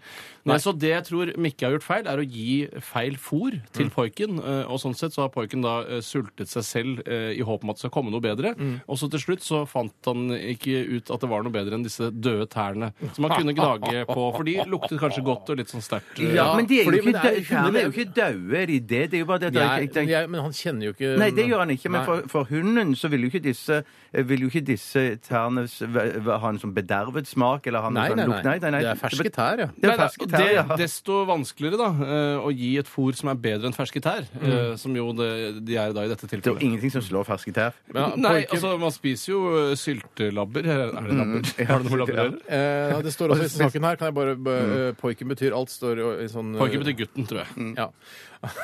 S4: Nei. Så det jeg tror Mikke har gjort feil, er å gi feil fôr
S3: Mm.
S4: til poiken. eh, og sånn sett så har poiken da eh, sultet seg selv eh, i håp om at det skal komme noe bedre.
S3: Mm.
S4: Og så til slutt så fant han ikke ut at det var noe bedre enn disse døde tærne. Som han kunne gnage på, for de luktet kanskje godt og litt sånn sterkt. eh,
S5: Ja, men de er jo
S3: fordi-
S5: ikke
S3: men det er-
S5: døde. Hundene er jo ikke døde, er de det? Det er jo bare det at jeg-
S3: Nei,
S5: jeg tenker-
S3: jeg, men han kjenner jo ikke
S5: Nei, det gjør han ikke. Men
S3: Nei.
S5: for, for hunden så ville vil jo ikke disse, eh, vil jo ikke disse tærne s- v- v- ha en sånn bedervet smak? Eller ha en
S3: Nei,
S5: sånn
S3: nei,
S5: lukt?
S3: nei. Det er ferske tær, ja.
S5: Det
S4: Nei,
S5: er
S4: nei,
S5: ferske
S4: og
S5: tær,
S4: det,
S5: ja.
S4: Desto vanskeligere da, eh, å gi et fôr som er bedre enn ferske tær, eh, som jo det, de er da i dette
S5: Det er
S4: tilfellet.
S5: jo ingenting som slår ferske tær.
S3: Men,
S4: Nei,
S3: poenget-
S4: altså, man spiser jo eh, syltelabber. Er det labber?
S5: Mm,
S4: Har du noe med labber å gjøre?
S3: Eh, ja, det står også i saken her. Kan jeg bare, b- eh,
S5: Mm.
S3: Poiken betyr alt, står jo i sånn eh,
S4: Poiken betyr gutten, tror jeg.
S3: Ja.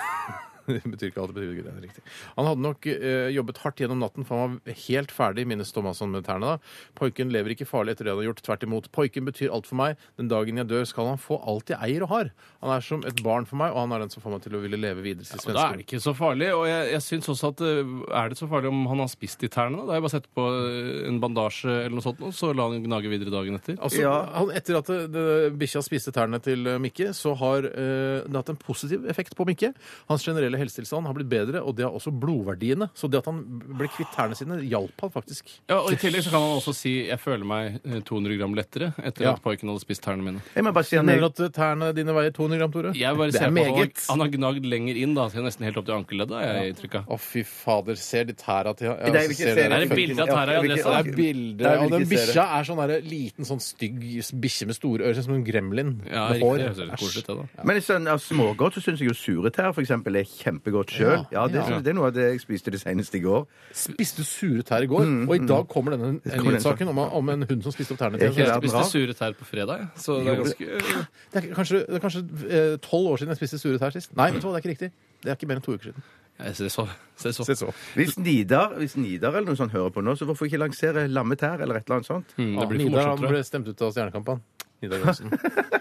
S3: det betyr ikke alt, det betyr ikke det, det er riktig. Han hadde nok eh, jobbet hardt gjennom natten, for han var helt ferdig, minnes Thomasson med tærne da. Poiken lever ikke farlig etter det han har gjort, tvert imot. Poiken betyr alt for meg. Den dagen jeg dør, skal han få alt jeg eier og har. Han er som et barn for meg, og han er den som får meg til å ville leve videre til
S4: Da er
S3: svensken.
S4: det ikke så farlig. Og jeg, jeg syns også at eh, er det så farlig om han har spist de tærne? Da Da har jeg bare sett på eh, en bandasje eller noe sånt, og så la han gnage videre dagen etter.
S3: Altså,
S5: Ja.
S3: han, etter at det- det- bikkja spiste tærne til eh, Mikke, så har eh, det hatt en positiv effekt på Mikke. Hans generelle helsetilstand har blitt bedre, og det har også blodverdiene. Så det at han ble kvitt tærne sine, hjalp han faktisk.
S4: Ja, og I tillegg så kan han også si 'jeg føler meg eh, 200 gram lettere' etter
S3: Ja.
S4: at Poiken hadde spist tærne mine.
S5: Jeg må bare si
S3: Jeg
S5: han
S3: mener
S5: er
S3: at eh, tærne dine veier 200 gram, Tore.
S4: Jeg bare
S3: det
S4: ser
S3: er
S4: på at han,
S3: meget.
S4: har- han har gnagd lenger inn, da. Så nesten helt opp til ankelleddet. er Jeg, inntrykk av.
S3: Å, fy fader. Ser de tæra til
S5: Nei, jeg vil ikke
S3: ser dere
S5: se
S4: det. Er sånn- det
S3: fucking-
S4: bilde av tæra
S5: Ja,
S4: i
S5: jeg vil ikke-
S4: adressa?
S3: Det er bilde
S5: Jeg vil
S3: av den
S5: ikke se det.
S3: bikkja er sånn der, liten, sånn stygg bikkje med store ører, som en gremlin.
S4: Ja,
S3: med
S4: riktig, det høres
S3: Æsj.
S4: litt koselig ut, det, da.
S5: Men sånn, av smågodt så syns jeg jo sure tær for eksempel, er kjempegodt sjøl. Ja, det, synes- det er noe av det jeg spiste det seneste i går.
S3: spiste sure tær i går, og i dag kommer denne nyhetssaken om, om en hund som spiste opp tærne til
S5: Er ikke
S3: en
S4: Jeg
S5: det bra?
S4: spiste sure tær på fredag, jeg. så det er ganske
S3: Det er kanskje- det er kanskje eh, tolv år siden jeg spiste sure tær sist. Nei, vet du hva, det er ikke riktig. Det er ikke mer enn to uker siden.
S4: Jeg ser så. Ser så.
S3: Se så.
S5: Hvis Nidar, hvis Nidar eller noe sånt hører på nå, så hvorfor ikke lansere lammetær eller et eller annet sånt?
S4: Mm,
S3: Ja,
S4: det blir for
S3: Nidar han
S4: morsomt, tror jeg.
S3: ble stemt ut av Stjernekampen. Nidar Johnsen.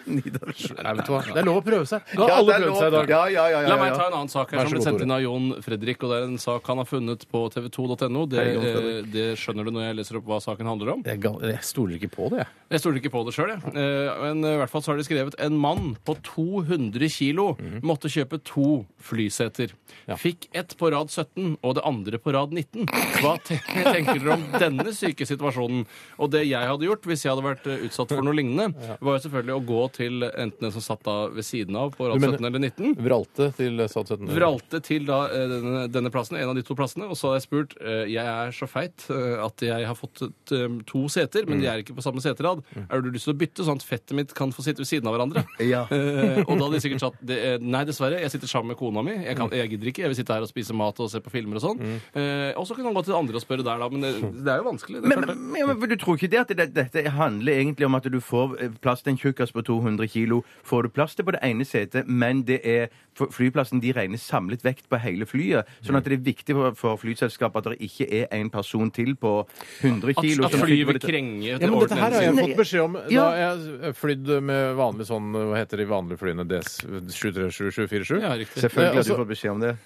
S5: Nidar.
S3: Nei, vet du hva. Det er lov å prøve seg. Nå
S5: Ja,
S3: har alle
S5: det er
S3: prøvd
S5: lov.
S3: seg i dag.
S5: Ja, ja, ja, ja,
S4: La meg
S5: ja.
S4: ta en annen sak her
S3: Vær så
S4: som ble
S3: god,
S4: sendt
S3: Tore.
S4: inn av Jon Fredrik. og Det er en sak han har funnet på tv2.no. Det,
S5: Hei, Jon
S4: eh,
S5: Fredrik.
S4: det skjønner du når jeg leser opp hva saken handler om.
S3: Jeg, gal- jeg stoler ikke på det, jeg.
S4: Jeg stoler ikke på det sjøl, jeg. Eh, Men eh, i hvert fall så har de skrevet en mann på 200 kilo
S3: Mhm.
S4: måtte kjøpe to flyseter. Fikk ett på rad 17 og det andre på rad 19. Hva te- tenker dere om denne syke situasjonen? Og det jeg hadde gjort hvis jeg hadde vært eh, utsatt for noe lignende, var jo selvfølgelig å gå til enten den som satt da ved siden av på rad
S3: Du mener-
S4: 17 eller 19.
S3: Vralte til Sad 17.
S4: Vralte til da, eh, denne, denne plassen, en av de to plassene, og så har jeg spurt eh, Jeg er så feit eh, at jeg har fått et, eh, to seter, men de
S3: Mm.
S4: er ikke på samme seterad. Er du lyst til å bytte, sånn at fettet mitt kan få sitte ved siden av hverandre?
S5: Ja.
S4: Eh, og da hadde de sikkert sagt det, eh, Nei, dessverre, jeg sitter sammen med kona mi. Jeg,
S3: Mm.
S4: kan, jeg gidder ikke. Jeg vil sitte her og spise mat og se på filmer og sånn. Eh, og så kunne han gå til andre og spørre der, da, men det,
S3: Mm.
S4: det er jo vanskelig. Det er
S5: Men,
S4: klart det.
S5: men, men, men du tror ikke det at det, dette handler egentlig om at du får eh, plass til en tjukkas på 200 kilo? Får du plass til på det ene setet, men det er for flyplassen de regner samlet vekt på hele flyet. Sånn at det er viktig for, for flyselskapet at det ikke er en person til på 100
S4: At,
S5: kilo.
S4: at
S5: som sitter på
S4: flyet vil
S5: dette-
S4: krenge
S3: Ja, men
S4: over
S3: dette
S4: den
S3: her
S4: ene
S3: har jeg
S4: siden.
S3: fått beskjed om da
S5: Ja.
S3: jeg flydde med vanlig sånn Hva heter de vanlige flyene? DS737-747?
S4: Ja, riktig.
S5: Selvfølgelig har
S3: Altså-
S5: du fått beskjed om det.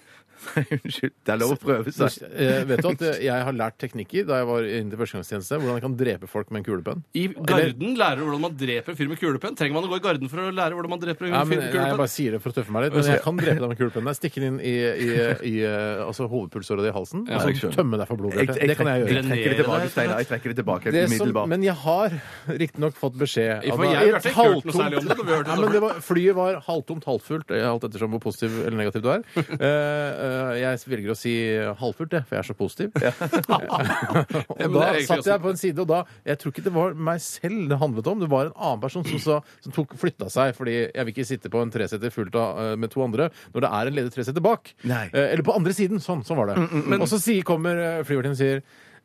S5: Nei, Unnskyld. Det er lov å prøve seg.
S3: Eh, vet du at eh, jeg har lært teknikker da jeg var inne til førstegangstjeneste, hvordan jeg kan drepe folk med en kulepenn?
S4: I Garden lærer du hvordan man dreper en fyr med kulepenn. Trenger man å gå i Garden for å lære hvordan man dreper en
S3: Nei, men,
S4: fyr med
S3: nei, jeg
S4: kulepenn?
S3: bare sier det for å tøffe meg litt. Men jeg kan drepe deg med kulepenn. Jeg Stikker den inn i, i, i eh, altså hovedpulsåret i halsen
S4: Ja,
S3: og
S5: jeg
S3: så
S5: skjønner.
S3: tømme deg for blod. Bjarte. Det kan jeg gjøre.
S4: Drenere
S5: trekker det
S4: det,
S5: tilbake,
S4: rett og
S5: Steinar. Jeg trekker det tilbake
S3: Det som,
S5: umiddelbart.
S3: men jeg har riktignok fått beskjed
S4: For
S3: at det
S4: jeg
S3: er
S4: har
S3: et
S4: i hvert fall ikke hørt
S3: halvtomt-
S4: noe særlig om det, men vi har hørt
S3: Nei,
S4: om
S3: men
S4: det.
S3: det var, flyet var halvtomt, halvfullt, eh, alt ettersom hvor positiv eller negativ du er. Eh, eh, jeg velger å si halvfullt, jeg, for jeg er så positiv.
S4: Ja,
S3: og da
S4: men det er egentlig
S3: satt jeg
S4: også-
S3: på en side, og da Jeg tror ikke det var meg selv det handlet om, det var en annen person som, sa, som tok, flytta seg, fordi jeg vil ikke sitte på en tresetter fullt av eh, med to andre når det er en ledig tresetter bak.
S5: Nei. Mm,
S3: Eh, eller på andre siden. Sånn, sånn var det. Og så sier, kommer eh, flyvertinnen og sier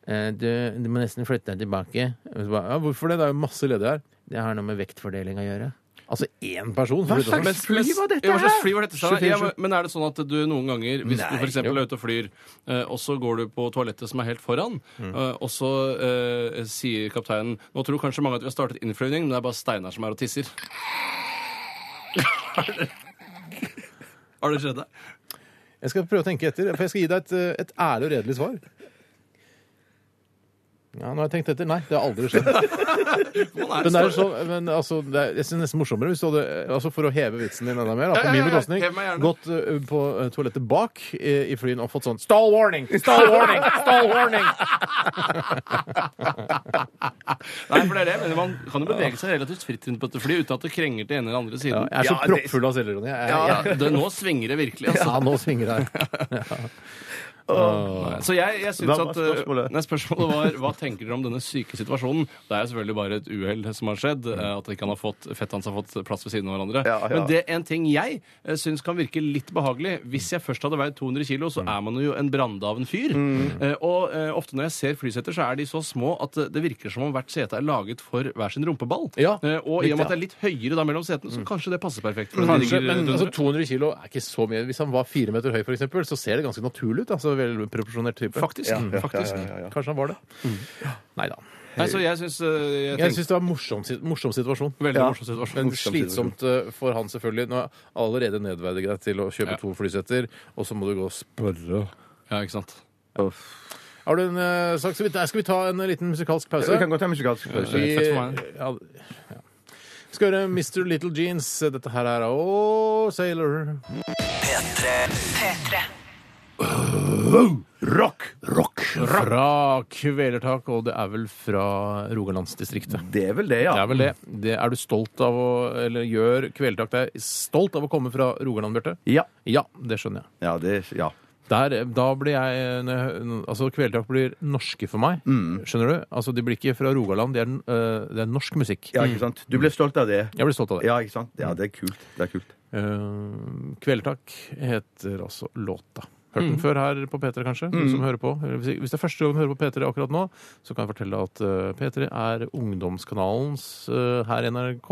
S3: eh, du, du må nesten flytte deg tilbake. Og så ba, ja, hvorfor det? Det er jo masse ledige her. Det har noe med vektfordeling å gjøre. Altså én person. som
S5: Hva
S3: flytter seg.
S5: slags fly var dette
S4: Ja, hva slags
S5: her?
S4: fly var dette? Steinar?
S3: 24,
S4: Ja, men- men er det sånn at du noen ganger, hvis du
S5: Nei.
S4: for eksempel er ute og flyr, eh, og så går du på toalettet som er helt foran,
S5: Mm.
S4: eh, og så eh, sier kapteinen Nå tror kanskje mange at vi har startet innflyvning, men det er bare Steinar som er og tisser. Har det skjedd deg?
S3: Jeg skal prøve å tenke etter, for jeg skal gi deg et, eh, et ærlig og redelig svar. Ja, nå har jeg tenkt etter. Nei, det har aldri skjedd.
S4: Man
S3: Men, det er så, men altså, det er, jeg synes det er nesten morsommere hvis du hadde, altså for å heve vitsen din enda mer, da, på
S4: Ja, ja,
S3: min
S4: ja,
S3: bekostning,
S4: hev meg gjerne.
S3: gått ø, på ø, toalettet bak i, i flyen og fått sånn Stall warning! Stall warning! Stall warning!
S4: Nei, for det er det. Men man kan jo bevege seg relativt fritt rundt på dette flyet uten at det krenger til ene eller andre
S3: Ja,
S4: siden.
S3: jeg er så
S5: Ja, det-
S3: proppfull av selvironi. Jeg,
S4: Ja,
S3: jeg, jeg,
S4: altså. det, nå svinger det virkelig.
S3: ja,
S4: Altså.
S3: nå svinger det her.
S4: Nei. Så jeg, jeg syns
S5: Hva var
S4: at eh,
S5: spørsmålet?
S4: Nei, spørsmålet var hva tenker dere om denne syke situasjonen? Det er jo selvfølgelig bare et uhell som har skjedd. eh, At ikke han har fått, fett hans har fått plass ved siden av hverandre.
S5: Ja, ja.
S4: Men det er en ting jeg eh, syns kan virke litt behagelig. Hvis jeg først hadde veid 200 kilo, så er man jo en brandaven fyr. Eh, Og eh, ofte når jeg ser flyseter, så er de så små at eh, det virker som om hvert sete er laget for hver sin rumpeball.
S3: Ja,
S4: Eh, Og i
S3: riktig,
S4: og
S3: ja.
S4: med at det er litt høyere da mellom setene, så kanskje det passer perfekt. for de
S3: Kanskje,
S4: ligger
S3: men
S4: rundt
S3: altså,
S4: hverandre.
S3: 200 kilo er ikke så mye. Hvis han var fire meter høy, for eksempel, så ser det ganske naturlig ut. Altså, vel proporsjonert type.
S4: Faktisk.
S3: Mm.
S4: faktisk.
S3: Kanskje han var det. Nei da.
S4: Nei, så Mm. jeg syns jeg
S3: Jeg
S4: tenker-
S3: syns det var en morsom, si- morsom situasjon.
S4: Veldig morsom
S3: Men
S4: situasjon.
S3: slitsomt eh, for han, selvfølgelig. Nå er allerede nedverdiget deg til å kjøpe
S4: Ja.
S3: to flysetter, og så må du gå og spørre
S4: Ja, ikke sant?
S3: Har du en eh, sak? Skal vi, nei, skal vi ta en eh, liten musikalsk pause?
S5: Vi kan godt ta musikalsk pause.
S3: Vi,
S4: Fett for meg.
S3: ja, ja. Skal høre Mr. Little Jeans. Dette her er Åh, Sailor.
S6: P3.
S3: Rock! Rock! Fra Kvelertak, og det er vel fra Rogalandsdistriktet.
S5: Det er vel det, ja.
S3: Det er vel det. det. Er du stolt av å Eller gjør Kvelertak deg stolt av å komme fra Rogaland, Bjarte?
S5: Ja.
S3: Ja, det skjønner jeg.
S5: Ja, det, ja.
S3: Der, da blir jeg, når jeg Altså, Kvelertak blir norske for meg. Skjønner du? Altså, De blir ikke fra Rogaland, de er, øh, det er norsk musikk.
S4: Mm.
S5: ja, ikke sant? Du blir stolt av det.
S3: Jeg blir stolt av det.
S5: Ja, ikke sant? Ja, det er kult. Det er kult.
S3: Eh, Kvelertak heter altså låta. Hørt den før her på P3, kanskje? du Som hører på. Eller Hvis hvis det er første gang du hører på P3 akkurat nå, så kan jeg fortelle at eh, P3 er ungdomskanalens eh, her i NRK.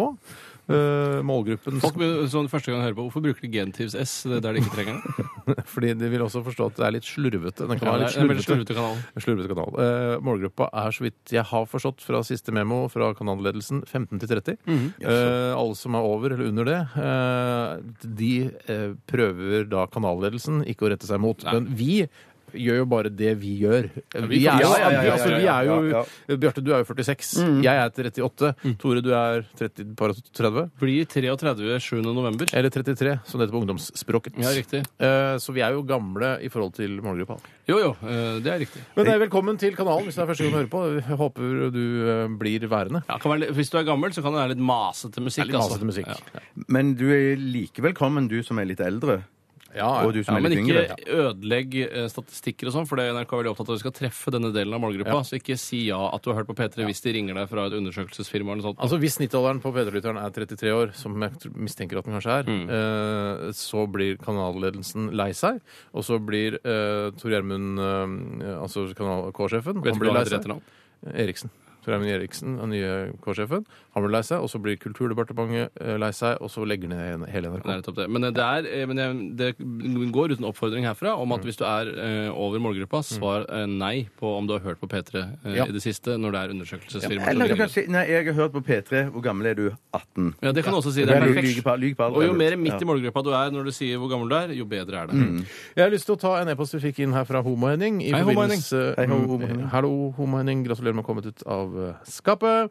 S3: Eh, målgruppen
S4: Folk begynner- sånn første gang jeg hører på, Hvorfor bruker de Gentives S det er der de ikke trenger det?
S3: Fordi de vil også forstå at det er litt slurvete. Den kan
S4: Ja,
S3: være
S4: det
S3: litt
S4: er en veldig
S3: slurvete.
S4: slurvete kanal.
S3: Slurvete kanal. Eh, målgruppa er, så vidt jeg har forstått fra siste memo fra kanalledelsen, 15 til 30. eh, alle som er over eller under det, eh, de eh, prøver da kanalledelsen ikke å rette seg mot. Men vi gjør jo bare det vi gjør. Vi er jo
S5: Ja, ja, ja, ja,
S3: altså, vi
S5: ja,
S3: er
S5: ja,
S3: jo Bjarte, du er jo 46. Jeg er 38. Tore, du er 30, par og 30.
S4: Blir 33 7. november.
S3: Eller 33, som det heter på ungdomsspråket.
S4: Ja, riktig.
S3: Eh, så vi er jo gamle i forhold til målgruppa.
S4: Jo, jo, eh, det er riktig.
S3: Men det er velkommen til kanalen hvis det er første gang du hører på. Jeg håper du eh, blir værende.
S4: Ja, kan være, litt- hvis du er gammel, så kan det være litt masete musikk.
S3: Litt
S4: altså.
S3: masete musikk.
S4: Ja.
S5: Men du er like velkommen, du som er litt eldre.
S3: Ja,
S5: Og du som
S4: Ja,
S5: er
S4: men
S5: litt
S4: ikke
S5: yngre.
S4: ødelegg eh, statistikker og sånn, for det er NRK er veldig opptatt av at vi skal treffe denne delen av målgruppa. Så ikke si ja at du har hørt på P3 hvis de ringer deg fra et undersøkelsesfirma eller noe sånt.
S3: Altså Hvis snittalderen på P3-lytteren er 33 år, som jeg tr- mistenker at den kanskje er, eh, så blir kanalledelsen lei seg. Og så blir eh, Tor Gjermund, eh, altså kanal- K-sjefen,
S4: Vet
S3: han
S4: du hva
S3: blir lei
S4: han heter
S3: seg.
S4: etternavn?
S3: Eriksen. Tor Gjermund Eriksen, den nye K-sjefen, han blir lei seg. Og så blir Kulturdepartementet eh, lei seg, og så legger ned hele
S4: Det er
S3: NRK.
S4: nettopp det. Men, det, er, eh, men jeg, det går uten oppfordring herfra om at hvis du er eh, over målgruppa, svar eh, nei på om du har hørt på P3 eh,
S3: Ja.
S4: i det siste når det er undersøkelsesfirma. som
S5: Eller du
S4: ringer.
S5: kan si Nei, jeg har hørt på P3. Hvor gammel er du? 18.
S4: ja, det kan du også si.
S5: Du
S4: Det er
S5: lyger
S4: perfekt.
S5: på- lyger på alder.
S4: Og jo mer midt
S5: Ja.
S4: i målgruppa du er når du sier hvor gammel du er, jo bedre er det.
S3: Jeg har lyst til å ta en e-post vi fikk inn her fra Homo-Henning. i
S4: Hei, Homo
S3: forbindelse- Mm,
S5: Henning. Hei, Homo Henning.
S3: Hallo, Homo-Henning. Gratulerer med å ha kommet ut av eh, skapet.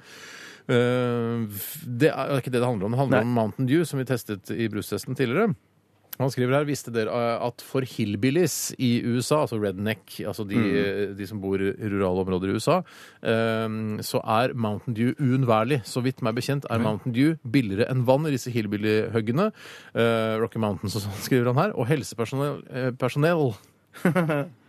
S3: Eh, Det er det er ikke det det handler om. Det handler
S5: Nei.
S3: om Mountain Dew, som vi testet i brustesten tidligere. Han skriver her visste dere eh, at for hillbillies i USA, altså redneck, altså de,
S5: Mm.
S3: eh, de som bor i rurale områder i USA, eh, så er Mountain Dew uunnværlig. Så vidt meg bekjent er Mountain Dew billigere enn vann i disse hillbillyhuggene. Eh, Rocky Mountains og sånn, skriver han her. Og helsepersonell eh, personell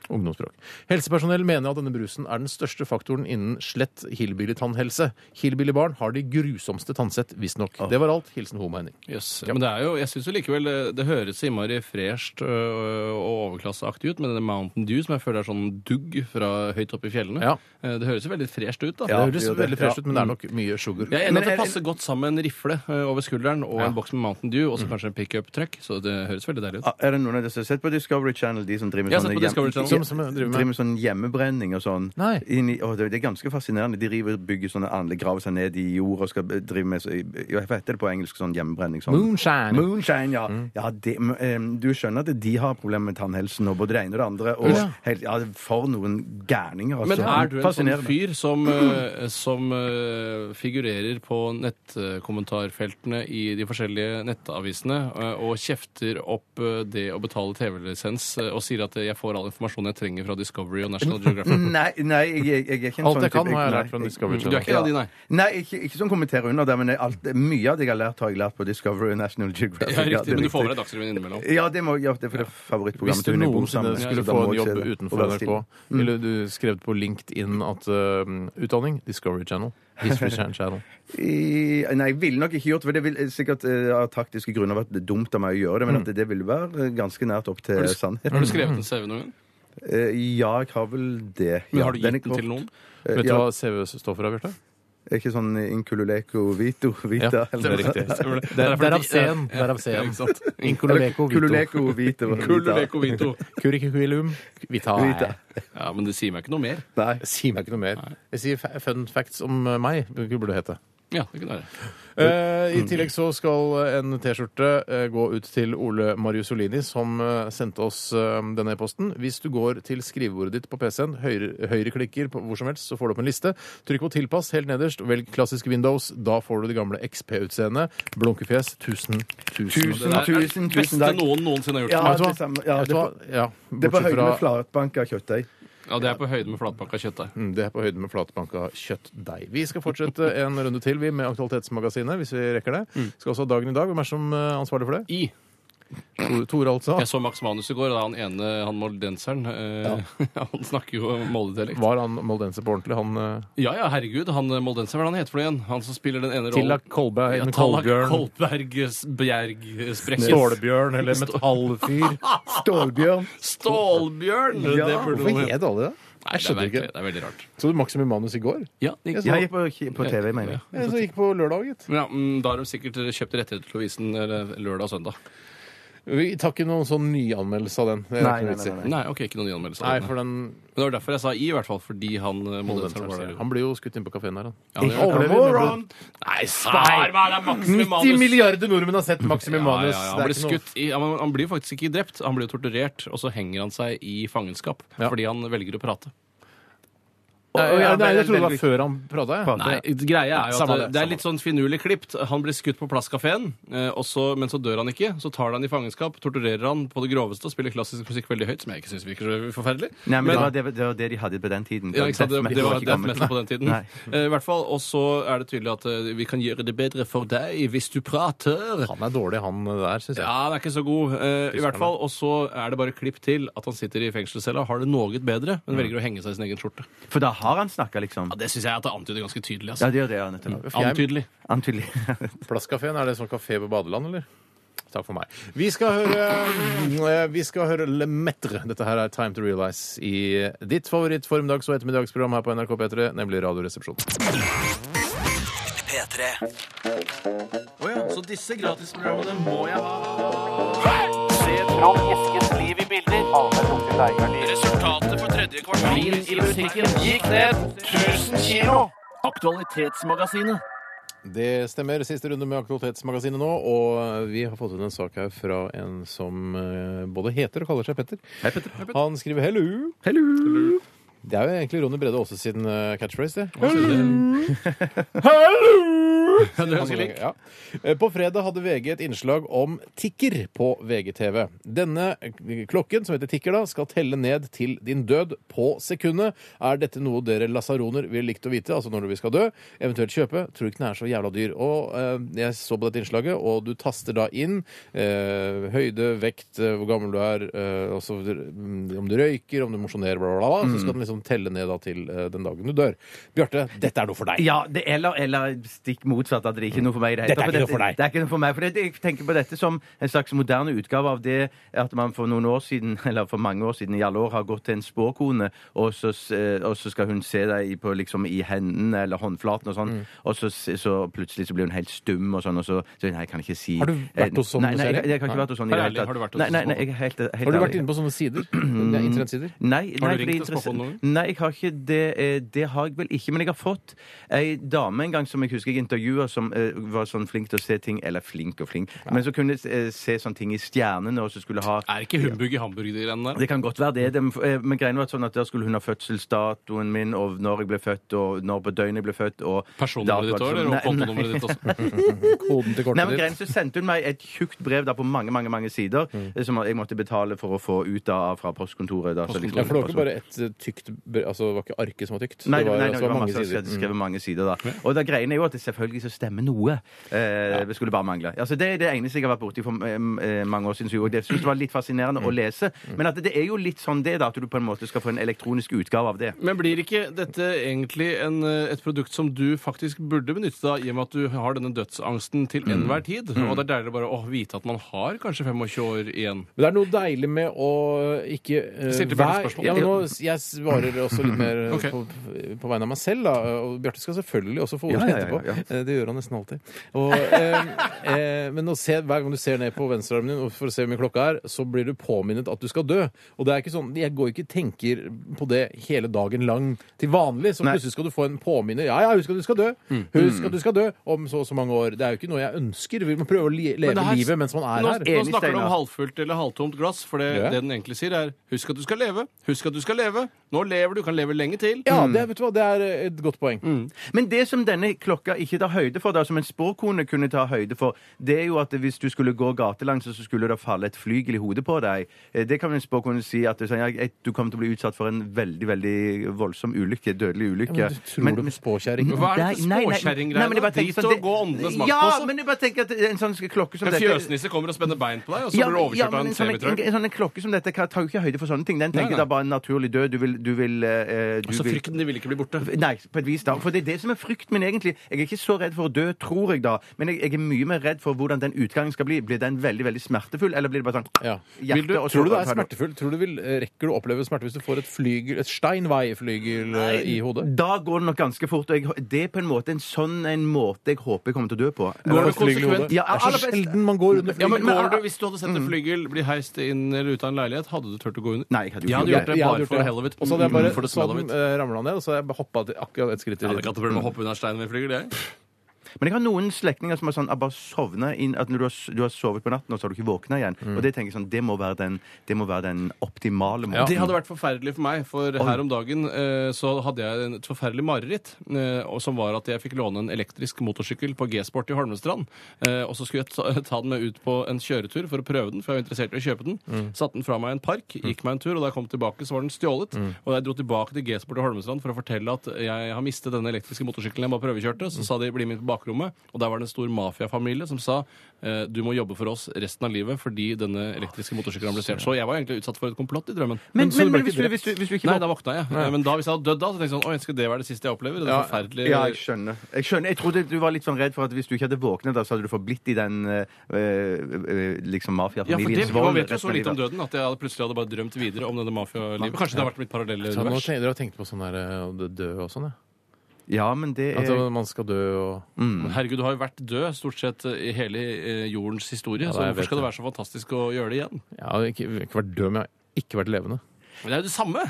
S3: Ungdomsspråk. Helsepersonell mener at denne brusen er den største faktoren innen slett hillbilly-tannhelse. Hillbilly-barn har de grusomste tannsett, visstnok. Det var alt. Hilsen Homo-Henning.
S4: Yes. Men det er jo, jeg synes jo likevel eh, det høres så innmari fresht øh, og overklasseaktig ut med denne Mountain Dew, som jeg føler er sånn dugg fra høyt oppe i fjellene.
S3: Ja.
S4: Eh, Det høres jo veldig fresht ut, da.
S5: Ja,
S3: det høres
S5: gjør det.
S3: veldig fresh
S5: Ja.
S3: ut, men det er nok mye sugar.
S4: Jeg er enig
S5: Men
S4: at det
S5: er-
S4: passer godt sammen med en rifle eh, over skulderen og en boks med Mountain Dew, og så kanskje en pickup-truck. Så det høres veldig deilig ut.
S5: Ah, Er det noen av dere som har sett på Discovery Channel? De som driver med
S4: Jeg har
S5: sånne
S4: sett på Discovery Channel.
S3: Som- som driver med-
S5: driver med sånn hjemmebrenning og sånn.
S3: Nei.
S5: Inn i- Å, det, det er ganske fascinerende. De river, bygger sånne anlegg, graver seg ned i jord og skal eh, drive med så, ja, Hva heter det på engelsk? Sånn hjemmebrenning? Sånn.
S3: Moonshine.
S5: Moonshine, ja.
S4: Mm.
S5: ja det, men, eh, du skjønner at de har problemer med tannhelsen og både det ene og det andre. Og
S3: Ja.
S5: helt, ja, for noen gærninger, altså.
S4: Men er du en sånn
S5: Fascinerende.
S4: fyr som, eh, som eh, figurerer på nettkommentarfeltene i de forskjellige nettavisene eh, og kjefter opp eh, det å betale TV-lisens eh, og sier at eh, jeg får all informasjon programmene jeg trenger fra Discovery og National Geographic.
S5: Nei, nei jeg, jeg, jeg er ikke en
S3: Alt
S5: sånn
S3: jeg kan
S5: type-
S3: har jeg
S5: nei,
S3: lært fra Discovery
S4: Du er ikke en av de, nei?
S5: Nei, ikke, ikke sånn kommenter under der, men jeg- alt, mye av det jeg har lært, har jeg lært på Discovery og National Geographic. det
S4: Ja,
S5: er
S4: riktig, men du
S5: riktig. Mm.
S4: får med deg Dagsrevyen innimellom.
S5: Ja, det må ja, det er for det er
S3: Hvis
S5: favorittprogrammet
S3: du
S5: til Unni
S3: noensinne
S5: Borsam.
S3: skulle
S5: Så da
S3: få
S5: må
S3: en
S5: jeg se
S3: jobb
S5: det. Og
S3: utenfor
S5: være
S3: NRK,
S5: stille.
S3: ville du skrevet på LinkedIn at øhm, utdanning Discovery Channel. History Channel. Channel.
S5: I, nei, jeg ville nok ikke gjort det, for det ville sikkert eh, av taktiske grunner vært dumt av meg å gjøre det, men
S3: Mm.
S5: at det, det ville være ganske nært opp til
S4: Har
S5: sannheten.
S4: du skrevet en CV noen gang?
S5: Eh, ja, jeg har vel det.
S4: Men
S5: ja.
S4: har du
S5: er
S4: gitt den
S5: kort.
S4: til noen?
S5: Eh,
S3: Vet du
S5: ja,
S3: hva CV står for, Bjarte?
S5: Er ikke sånn incululeko vito
S3: Ja,
S5: vita?
S3: det er riktig.
S4: Stemmer det.
S3: Det er-
S4: Derfor
S3: Derav
S4: de-
S3: C-en.
S4: ja,
S3: Derav C-en.
S4: ja, ikke sant?
S3: Inkuloleko vito.
S5: Kululeko vito.
S4: Kululeko vito.
S3: Curriculum vitae.
S5: Vitae.
S4: Ja, men det sier meg ikke noe mer.
S5: Nei.
S3: Jeg sier meg ikke noe mer. Jeg sier fa- fun facts om eh, meg, det burde det hete.
S4: Ja, det kunne være.
S3: Eh,
S5: Mm.
S3: I tillegg så skal en T-skjorte eh, gå ut til Ole Mariusolini, som eh, sendte oss eh, denne e-posten. Hvis du går til skrivebordet ditt på PC-en, høyre- høyreklikker på hvor som helst, så får du opp en liste. Trykk på 'tilpass' helt nederst, og velg klassisk Windows. Da får du det gamle XP-utseendet. Blunkefjes. Tusen, tusen,
S5: Tusen,
S4: Det er det
S5: tusen, tusen
S4: Beste
S5: takk.
S4: noen noensinne har gjort.
S5: Ja,
S3: Vet du
S5: det samme. Ja,
S3: hva? Vet du
S5: det
S3: hva?
S5: er
S3: Ja,
S5: Det er på
S3: bortsett
S5: høyden
S3: fra-
S5: med flatbanka kjøttdeig.
S4: Ja, det er på høyde med flatpakka kjøttdeig.
S3: Mm, Det er på høyde med flatbanka kjøttdeig. Vi skal fortsette en runde til vi med Aktualitetsmagasinet, hvis vi rekker det.
S5: Mm.
S3: Skal også ha dagen i dag. Hvem er som eh, ansvarlig for det?
S4: I.
S3: Tor- Tore, altså.
S4: Jeg så Max Manus i går, og da han ene, han moldenseren, eh, han snakker jo moldedialekt.
S3: Var han moldenser på ordentlig? Han eh,
S4: Ja ja, herregud, han eh, moldenseren, hva er det han heter for noe igjen? Han som spiller den ene rollen.
S3: Tillak Kolberg,
S4: Ja,
S3: en
S4: Tallak
S3: Kolbjørn,
S4: Kolberg s- Bjerg eh, Sprekkes.
S3: Stålbjørn eller Metallfyr?
S5: Stålbjørn.
S4: Stålbjørn!
S5: Ja,
S4: det burde
S3: Hvorfor
S4: noen hete.
S3: het alle det? Jeg
S4: Nei, det er
S3: skjønner
S4: merkelig,
S3: ikke.
S4: det er veldig rart.
S3: Så du Maximum Manus i går?
S4: Ja, det
S5: Jeg gikk på, på TV, mener jeg.
S3: Jeg så gikk på lørdag, gitt.
S4: ja, mm, Da har de sikkert kjøpt rettigheter til å vise den eh, lørdag og søndag.
S3: Vi tar ikke noen sånn nyanmeldelse av den. Det er
S5: Nei,
S3: ikke noe
S5: nei,
S3: vits i.
S5: nei,
S4: Nei, ok, ikke noen gjenmeldelse.
S3: Nei, for den
S4: Men Det var derfor jeg sa i, i hvert fall, fordi han eh, moldenseren var der.
S3: Han blir jo skutt inn på kafeen her,
S4: Ja, det
S3: han.
S4: gjør han.
S3: Overlever, men-
S4: Nei, spar meg! Det er Maximum
S3: 90
S4: Manus!
S3: milliarder nordmenn har sett Maximum
S4: Ja, ja,
S3: Manus.
S4: ja.
S3: Det
S4: Han,
S3: er
S4: blir
S3: ikke noe-
S4: skutt i, ja, men han blir faktisk ikke drept, han blir jo torturert, og så henger han seg i fangenskap
S3: Ja.
S4: fordi han velger å prate.
S3: Nei,
S5: Å, ja,
S3: nei, jeg trodde det var
S5: veldig-
S3: før han prata.
S5: Prata.
S4: Nei, greia er jo
S3: Samme
S4: at
S3: det,
S4: det, det
S3: samme
S4: er litt sånn finurlig klipt. Han blir skutt på plasskafeen, eh, og så- men så dør han ikke. Så tar han i fangenskap, torturerer han på det groveste og spiller klassisk musikk veldig høyt, som jeg ikke syns virker så forferdelig.
S5: Nei, men, det,
S4: Men-
S5: var det, det var det de hadde på den tiden.
S4: Ja, ikke
S5: Death
S4: sant? Det, det
S5: metal
S4: var
S5: ikke
S4: death
S5: kommet.
S4: metal på den tiden.
S5: Nei.
S4: Eh, I hvert fall, Og så er det tydelig at eh, vi kan gjøre det bedre for deg hvis du prater.
S3: Han er dårlig, han eh, der, syns jeg.
S4: Ja, han er ikke så god. eh, I hvert fall, Og så er det bare klipp til at han sitter i fengselscella, har det noe bedre, men velger å henge seg i sin egen skjorte.
S5: For da har han snakka, liksom.
S4: Ja, Det syns jeg at det Mm. antyder ganske tydelig.
S5: Ja,
S4: altså.
S5: det gjør det, ja, nettopp.
S4: Antydelig.
S5: Antydelig.
S3: Plasskafeen, er det sånn kafé på badeland, eller? Takk for meg. Vi skal høre, eh, vi skal høre Le Metre. Dette her er Time to Realize i ditt favoritt formiddags- og ettermiddagsprogram her på NRK P3, nemlig Radioresepsjonen.
S2: P3.
S4: Så disse gratisprogrammene må jeg ha. Resultatet på tredje kvartal i musikken gikk ned 1000 kilo. Aktualitetsmagasinet.
S3: Det stemmer. Siste runde med Aktualitetsmagasinet nå. Og vi har fått inn en sak her fra en som eh, både heter og kaller seg Petter. Hei, Petter. Han skriver 'hello'. Det er jo egentlig Ronny Brede Aase sin eh, catchphrase, det. Hallo! Ja. Eh, På fredag hadde VG et innslag om tikker på VGTV. Denne klokken, som heter tikker, da, skal telle ned til din død på sekundet. Er dette noe dere lasaroner ville likt å vite, altså når vi skal dø, eventuelt kjøpe? Tror ikke den er så jævla dyr. Og eh, jeg så på dette innslaget, og du taster da inn eh, høyde, vekt, eh, hvor gammel du er, eh, og så, mm, om du røyker, om du mosjonerer, bla, bla, bla. Så skal den liksom telle ned da til eh, den dagen du dør. Bjarte, dette er noe for deg.
S5: Ja, det, eller, eller stikk motsatt, at det ikke er noe for meg. i hele
S3: Dette er
S5: tatt,
S3: ikke noe for deg.
S5: Det er ikke noe for meg, for det, Jeg tenker på dette som en slags moderne utgave av det at man for noen år siden, eller for mange år siden i alle år, har gått til en spåkone, og så, s- eh, og så skal hun se deg i- på, liksom, i hendene eller håndflaten og sånn,
S3: Mm.
S5: og så, s- så plutselig så blir hun helt stum og sånn, og så, så nei, jeg kan ikke si Eh,
S3: Har du vært hos sånn,
S5: Nei,
S3: du
S5: nei,
S3: ser
S5: jeg,
S3: det?
S5: jeg har ikke
S3: Nei.
S5: vært hos sånn i
S4: Vær
S5: det hele
S4: ærlig, har
S5: tatt.
S4: du vært hos
S5: Nei, nei,
S4: en
S5: nei, jeg er helt, helt
S3: Har du
S5: ærlig.
S3: vært inne på sånne sider? Det er Internettsider?
S5: Nei, nei,
S4: Har du ringt
S5: fordi
S4: til
S5: interesse-
S4: Spåkon noen
S5: Nei, jeg har ikke det. eh, Det har jeg vel ikke. Men jeg har fått ei dame en gang som jeg husker jeg intervjua, Lua som eh, var sånn flink til å se ting Eller flink og flink, men som kunne eh, se sånne ting i stjernene, og så skulle ha
S4: Er ikke humbug i hamburgerne der?
S5: det kan godt være det, det men- eh, men greien var sånn at da skulle hun ha fødselsdatoen min, og når jeg ble født, og når på døgnet jeg ble født, og
S4: Personnummeret ditt
S5: datoen-
S4: òg, eller
S5: Nei, nei.
S4: kontonummeret ditt også?
S3: Koden til
S5: Nei,
S3: kortet
S5: men
S3: ditt.
S5: greien, så sendte hun meg et tjukt brev da på mange mange, mange sider
S4: Mm.
S5: eh, som jeg måtte betale for å få ut da, fra postkontoret. Da, så liksom-
S3: Ja, for det var ikke bare et eh, tykt br- Altså, det var ikke arket som var tykt.
S5: Nei,
S3: det var,
S5: nei,
S3: altså,
S5: det var
S3: mange
S5: masse,
S3: sider.
S5: skrevet, skrevet mange sider da. Og da greien er jo at det selvfølgelig så stemmer noe. Eh, Det skulle bare mangle. Altså, det er det eneste jeg har vært borti for eh, mange år siden. så jeg- Og det synes jeg var litt fascinerende
S3: Mm.
S5: å lese. Men at det er jo litt sånn det, da, at du på en måte skal få en elektronisk utgave av det.
S4: Men blir ikke dette egentlig en, eh, et produkt som du faktisk burde benytte deg av, i og med at du har denne dødsangsten til enhver tid? Og det er deilig bare å vite at man har kanskje 25 år igjen.
S3: Men det er noe deilig med å ikke eh,
S4: Stilte Bjarte
S3: vær-
S4: spørsmål?
S3: ja, men nå, Jeg svarer også litt mer eh,
S4: Ok.
S3: på, på vegne av meg selv, da. Og Bjarte skal selvfølgelig også få
S5: Ja,
S3: ordet
S5: ja, ja,
S3: etterpå.
S5: ja.
S3: Eh, Det gjør han nesten alltid. Og, eh, eh, men å se, hver gang du ser ned på venstrearmen din og for å se hvor mye klokka er, så blir du påminnet at du skal dø. Og det er ikke sånn Jeg går ikke og tenker på det hele dagen lang til vanlig. Så
S5: Nei. Mm.
S3: plutselig skal du få en påminner. Ja, ja, husk at du skal dø!
S4: Mm.
S3: Husk at du skal dø om så og så mange år. Det er jo ikke noe jeg ønsker. Vi må prøve å li- leve
S4: Men det her-
S3: livet mens man er
S4: nå,
S3: her.
S4: Nå
S5: Enig,
S4: snakker du
S5: Steinar.
S4: om halvfullt eller halvtomt glass, for det,
S3: Gjør jeg?
S4: det den egentlig sier, er husk at du skal leve, husk at du skal leve. Nå lever du, kan leve lenge til.
S3: Ja, det, vet du hva, det er eh, et godt poeng.
S4: Mm.
S5: Men det som denne klokka ikke tar høyde for, da, som en spåkone kunne ta høyde for, det er jo at hvis du skulle gå gatelangs, så skulle det falle et flygel i hodet på deg. Eh, Det kan en spåkone si at det er sånn, ja, jeg- du kommer til å bli utsatt for en veldig, veldig voldsom ulykke. Dødelig ulykke.
S3: Men du tror du på spåkjerring?
S4: Hva er
S5: Nei,
S4: dette
S5: nei, nei. Nei, men jeg
S4: spåkjerringgreiene?
S5: bare tenker
S4: Drit
S5: sånn,
S4: og
S5: det-
S4: gå åndenes makt
S5: Ja,
S4: også.
S5: men jeg bare tenker at en sånn klokke som
S4: En
S5: dette
S4: fjøsnisse kommer og spenner bein på deg, og så
S5: Ja,
S4: blir du
S5: men-
S4: overkjørt
S5: ja,
S4: av
S5: men sånn,
S4: liksom en
S5: en,
S4: semitrøkk.
S5: en sånn en klokke som dette tar jo ikke høyde for sånne ting. Den tenker
S4: Nei, nei.
S5: da bare en naturlig død. Du vil, du vil, eh, du
S4: Så
S5: vil
S4: frykten din vil ikke bli borte.
S5: Nei, på et vis da. For det er det som er frykten min egentlig. Jeg er ikke så redd for å dø, tror jeg da. Men jeg, jeg er mye mer redd for hvordan den utgangen skal bli. Blir den veldig, veldig smertefull, eller blir det bare sånn
S3: Ja.
S5: hjerte
S4: Vil du-
S5: og så-
S3: Tror du det er smertefullt? Tror du vil, eh, rekker du å oppleve smerte hvis du får et flygel, et steinveiflygel eh, i hodet?
S5: Da går det nok ganske fort. Og jeg, det er på en måte en sånn en måte jeg håper jeg kommer til å dø på.
S4: Går
S5: Eller-
S4: det konsekvent?
S3: Ja, det er
S5: aller
S3: så
S5: best-
S3: sjelden man går under
S4: Ja, men, Mm.
S3: flygel.
S4: går du, Hvis du hadde sett et flygel bli heist inn eller ut av en leilighet, hadde du turt å gå under?
S5: Nei, jeg hadde jo
S4: jeg hadde
S5: ikke
S4: gjort det
S3: Jeg hadde
S4: bare
S3: gjort
S4: for hell of it.
S3: Og så hadde jeg bare
S4: for det smell of
S3: sånn,
S4: it.
S3: eh, ramla ned, og så hadde jeg hoppa til akkurat et skritt
S4: Jeg hadde ikke
S3: til.
S4: hatt problemer med å hoppe under en stein med et flygel, jeg.
S5: Men jeg har noen slektninger som har sånn, ah, bare sovnet inn, at når du har, s- du har sovet på natten, og så har du ikke våkna igjen. Og det tenker jeg sånn, det må være den, det må være den optimale måten.
S4: Det hadde vært forferdelig for meg, for her om dagen eh, så hadde jeg en- et forferdelig mareritt, eh, og som var at jeg fikk låne en elektrisk motorsykkel på G-sport i Holmestrand, eh, og så skulle jeg ta, ta den med ut på en kjøretur for å prøve den, for jeg var interessert i å kjøpe den. Satt den fra meg i en park, gikk meg en tur, og da jeg kom tilbake så var den stjålet, og da jeg dro tilbake til G-sport i Holmestrand for å fortelle at jeg har mistet denne elektriske motorsykkelen jeg bare prøvekjørte, så sa de bli med inn på bakrommet, og der var det en stor mafiafamilie som sa eh, du må jobbe for oss resten av livet fordi denne elektriske motorsykkelen ble stjålet. Så jeg var egentlig utsatt for et komplott i drømmen.
S5: Men,
S3: Men så
S5: men,
S3: ble
S5: men
S3: ikke
S5: hvis, du,
S3: drept?
S5: hvis, du, hvis du ikke
S4: Nei, da våkna jeg. Men da, hvis jeg hadde dødd da, så tenkte jeg sånn Oi, skal det være det siste jeg opplever? Det er
S3: Ja,
S4: forferdelig.
S5: Ja, jeg skjønner. jeg skjønner. Jeg trodde du var litt sånn redd for at hvis du ikke hadde våknet, da, så hadde du forblitt i den eh, eh, liksom
S4: Ja, for det,
S5: mafiafamiliens
S4: Man
S5: vold.
S4: vet jo
S5: resten
S4: så
S5: av
S4: lite om
S5: livet.
S4: døden at jeg hadde plutselig hadde bare drømt videre om denne mafialivet. Kanskje det har vært mitt parallelle
S3: Så nå
S4: univers.
S3: tenker dere har tenkt på sånn der eh, å dø og sånn, ja.
S5: Ja, men det er
S3: At
S4: Altså-
S3: eh, man skal dø og
S4: Men Herregud, du har jo vært død stort sett i hele eh, jordens historie,
S3: Ja,
S4: så
S3: jeg vet
S4: hvorfor skal det
S3: det.
S4: være så fantastisk å gjøre det igjen?
S3: Jeg har ikke, ikke vært død, men jeg har ikke vært levende.
S4: Men det er jo det samme!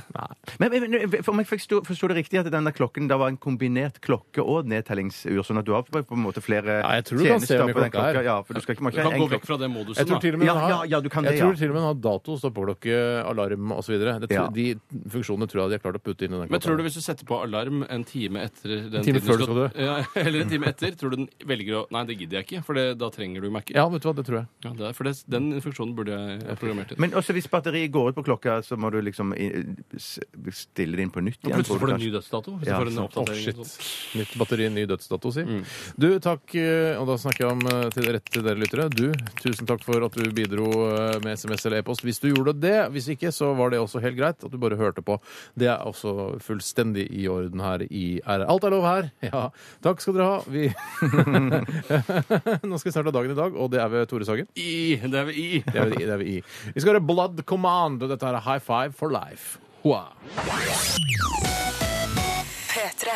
S5: Men, men, men for om jeg forsto, forsto det riktig, at denne klokken da var en kombinert klokke og nedtellingsur, sånn at du har på en måte flere
S3: Ja, jeg tror du kan se hvor mye
S5: på den
S3: klokka er.
S5: klokka? Ja, for du skal ikke
S4: Du
S5: makke
S4: kan
S5: en
S4: gå vekk
S5: klokke.
S4: fra
S3: Jeg
S4: det modusen,
S3: tror
S4: da.
S3: til og med
S5: Sånn, Ja,
S3: den har,
S5: ja, ja, du kan det,
S3: jeg tror
S5: ja.
S3: til og med den har dato, stoppeklokke, alarm osv.
S5: Ja.
S3: De funksjonene tror jeg de har klart å putte inn i den klokka.
S4: Men tror du hvis du setter på alarm en time etter den
S3: time
S4: tiden
S3: før du skal
S4: Ja, eller en time etter, tror du den velger å Nei, det gidder jeg ikke, for det, da trenger du Mac.
S3: Ja, vet du hva, det tror jeg.
S4: Ja, det er, for det, den funksjonen burde jeg ha programmert inn.
S5: Men også hvis batteriet går ut på klokka, så må du liksom i- s- stille det inn på nytt
S4: Og
S5: igjen. tror du
S4: plutselig får du en
S5: kanskje.
S4: ny dødsdato. Hvis
S5: Ja,
S4: du får en
S5: sant.
S3: Åh,
S4: oppdatering.
S3: shit.
S4: og
S5: sånn.
S4: sånt.
S3: Nytt batteri, ny dødsdato, si.
S5: Mm.
S3: Du, takk, eh, og da snakker jeg om eh, til rett til dere lyttere. Du, tusen takk for at du bidro eh, med SMS eller e-post. Hvis du gjorde det, hvis ikke, så var det også helt greit at du bare hørte på. Det er også fullstendig i orden her i RR. Alt er lov her! Ja. Takk skal dere ha. Vi Nå skal vi snart ha dagen i dag, og det er ved Tore Sagen.
S4: I! Det er vi i.
S3: Det er ved, det er ved I. Vi skal høre Blood Command, og dette er High Five for Life. Hua.
S6: P3.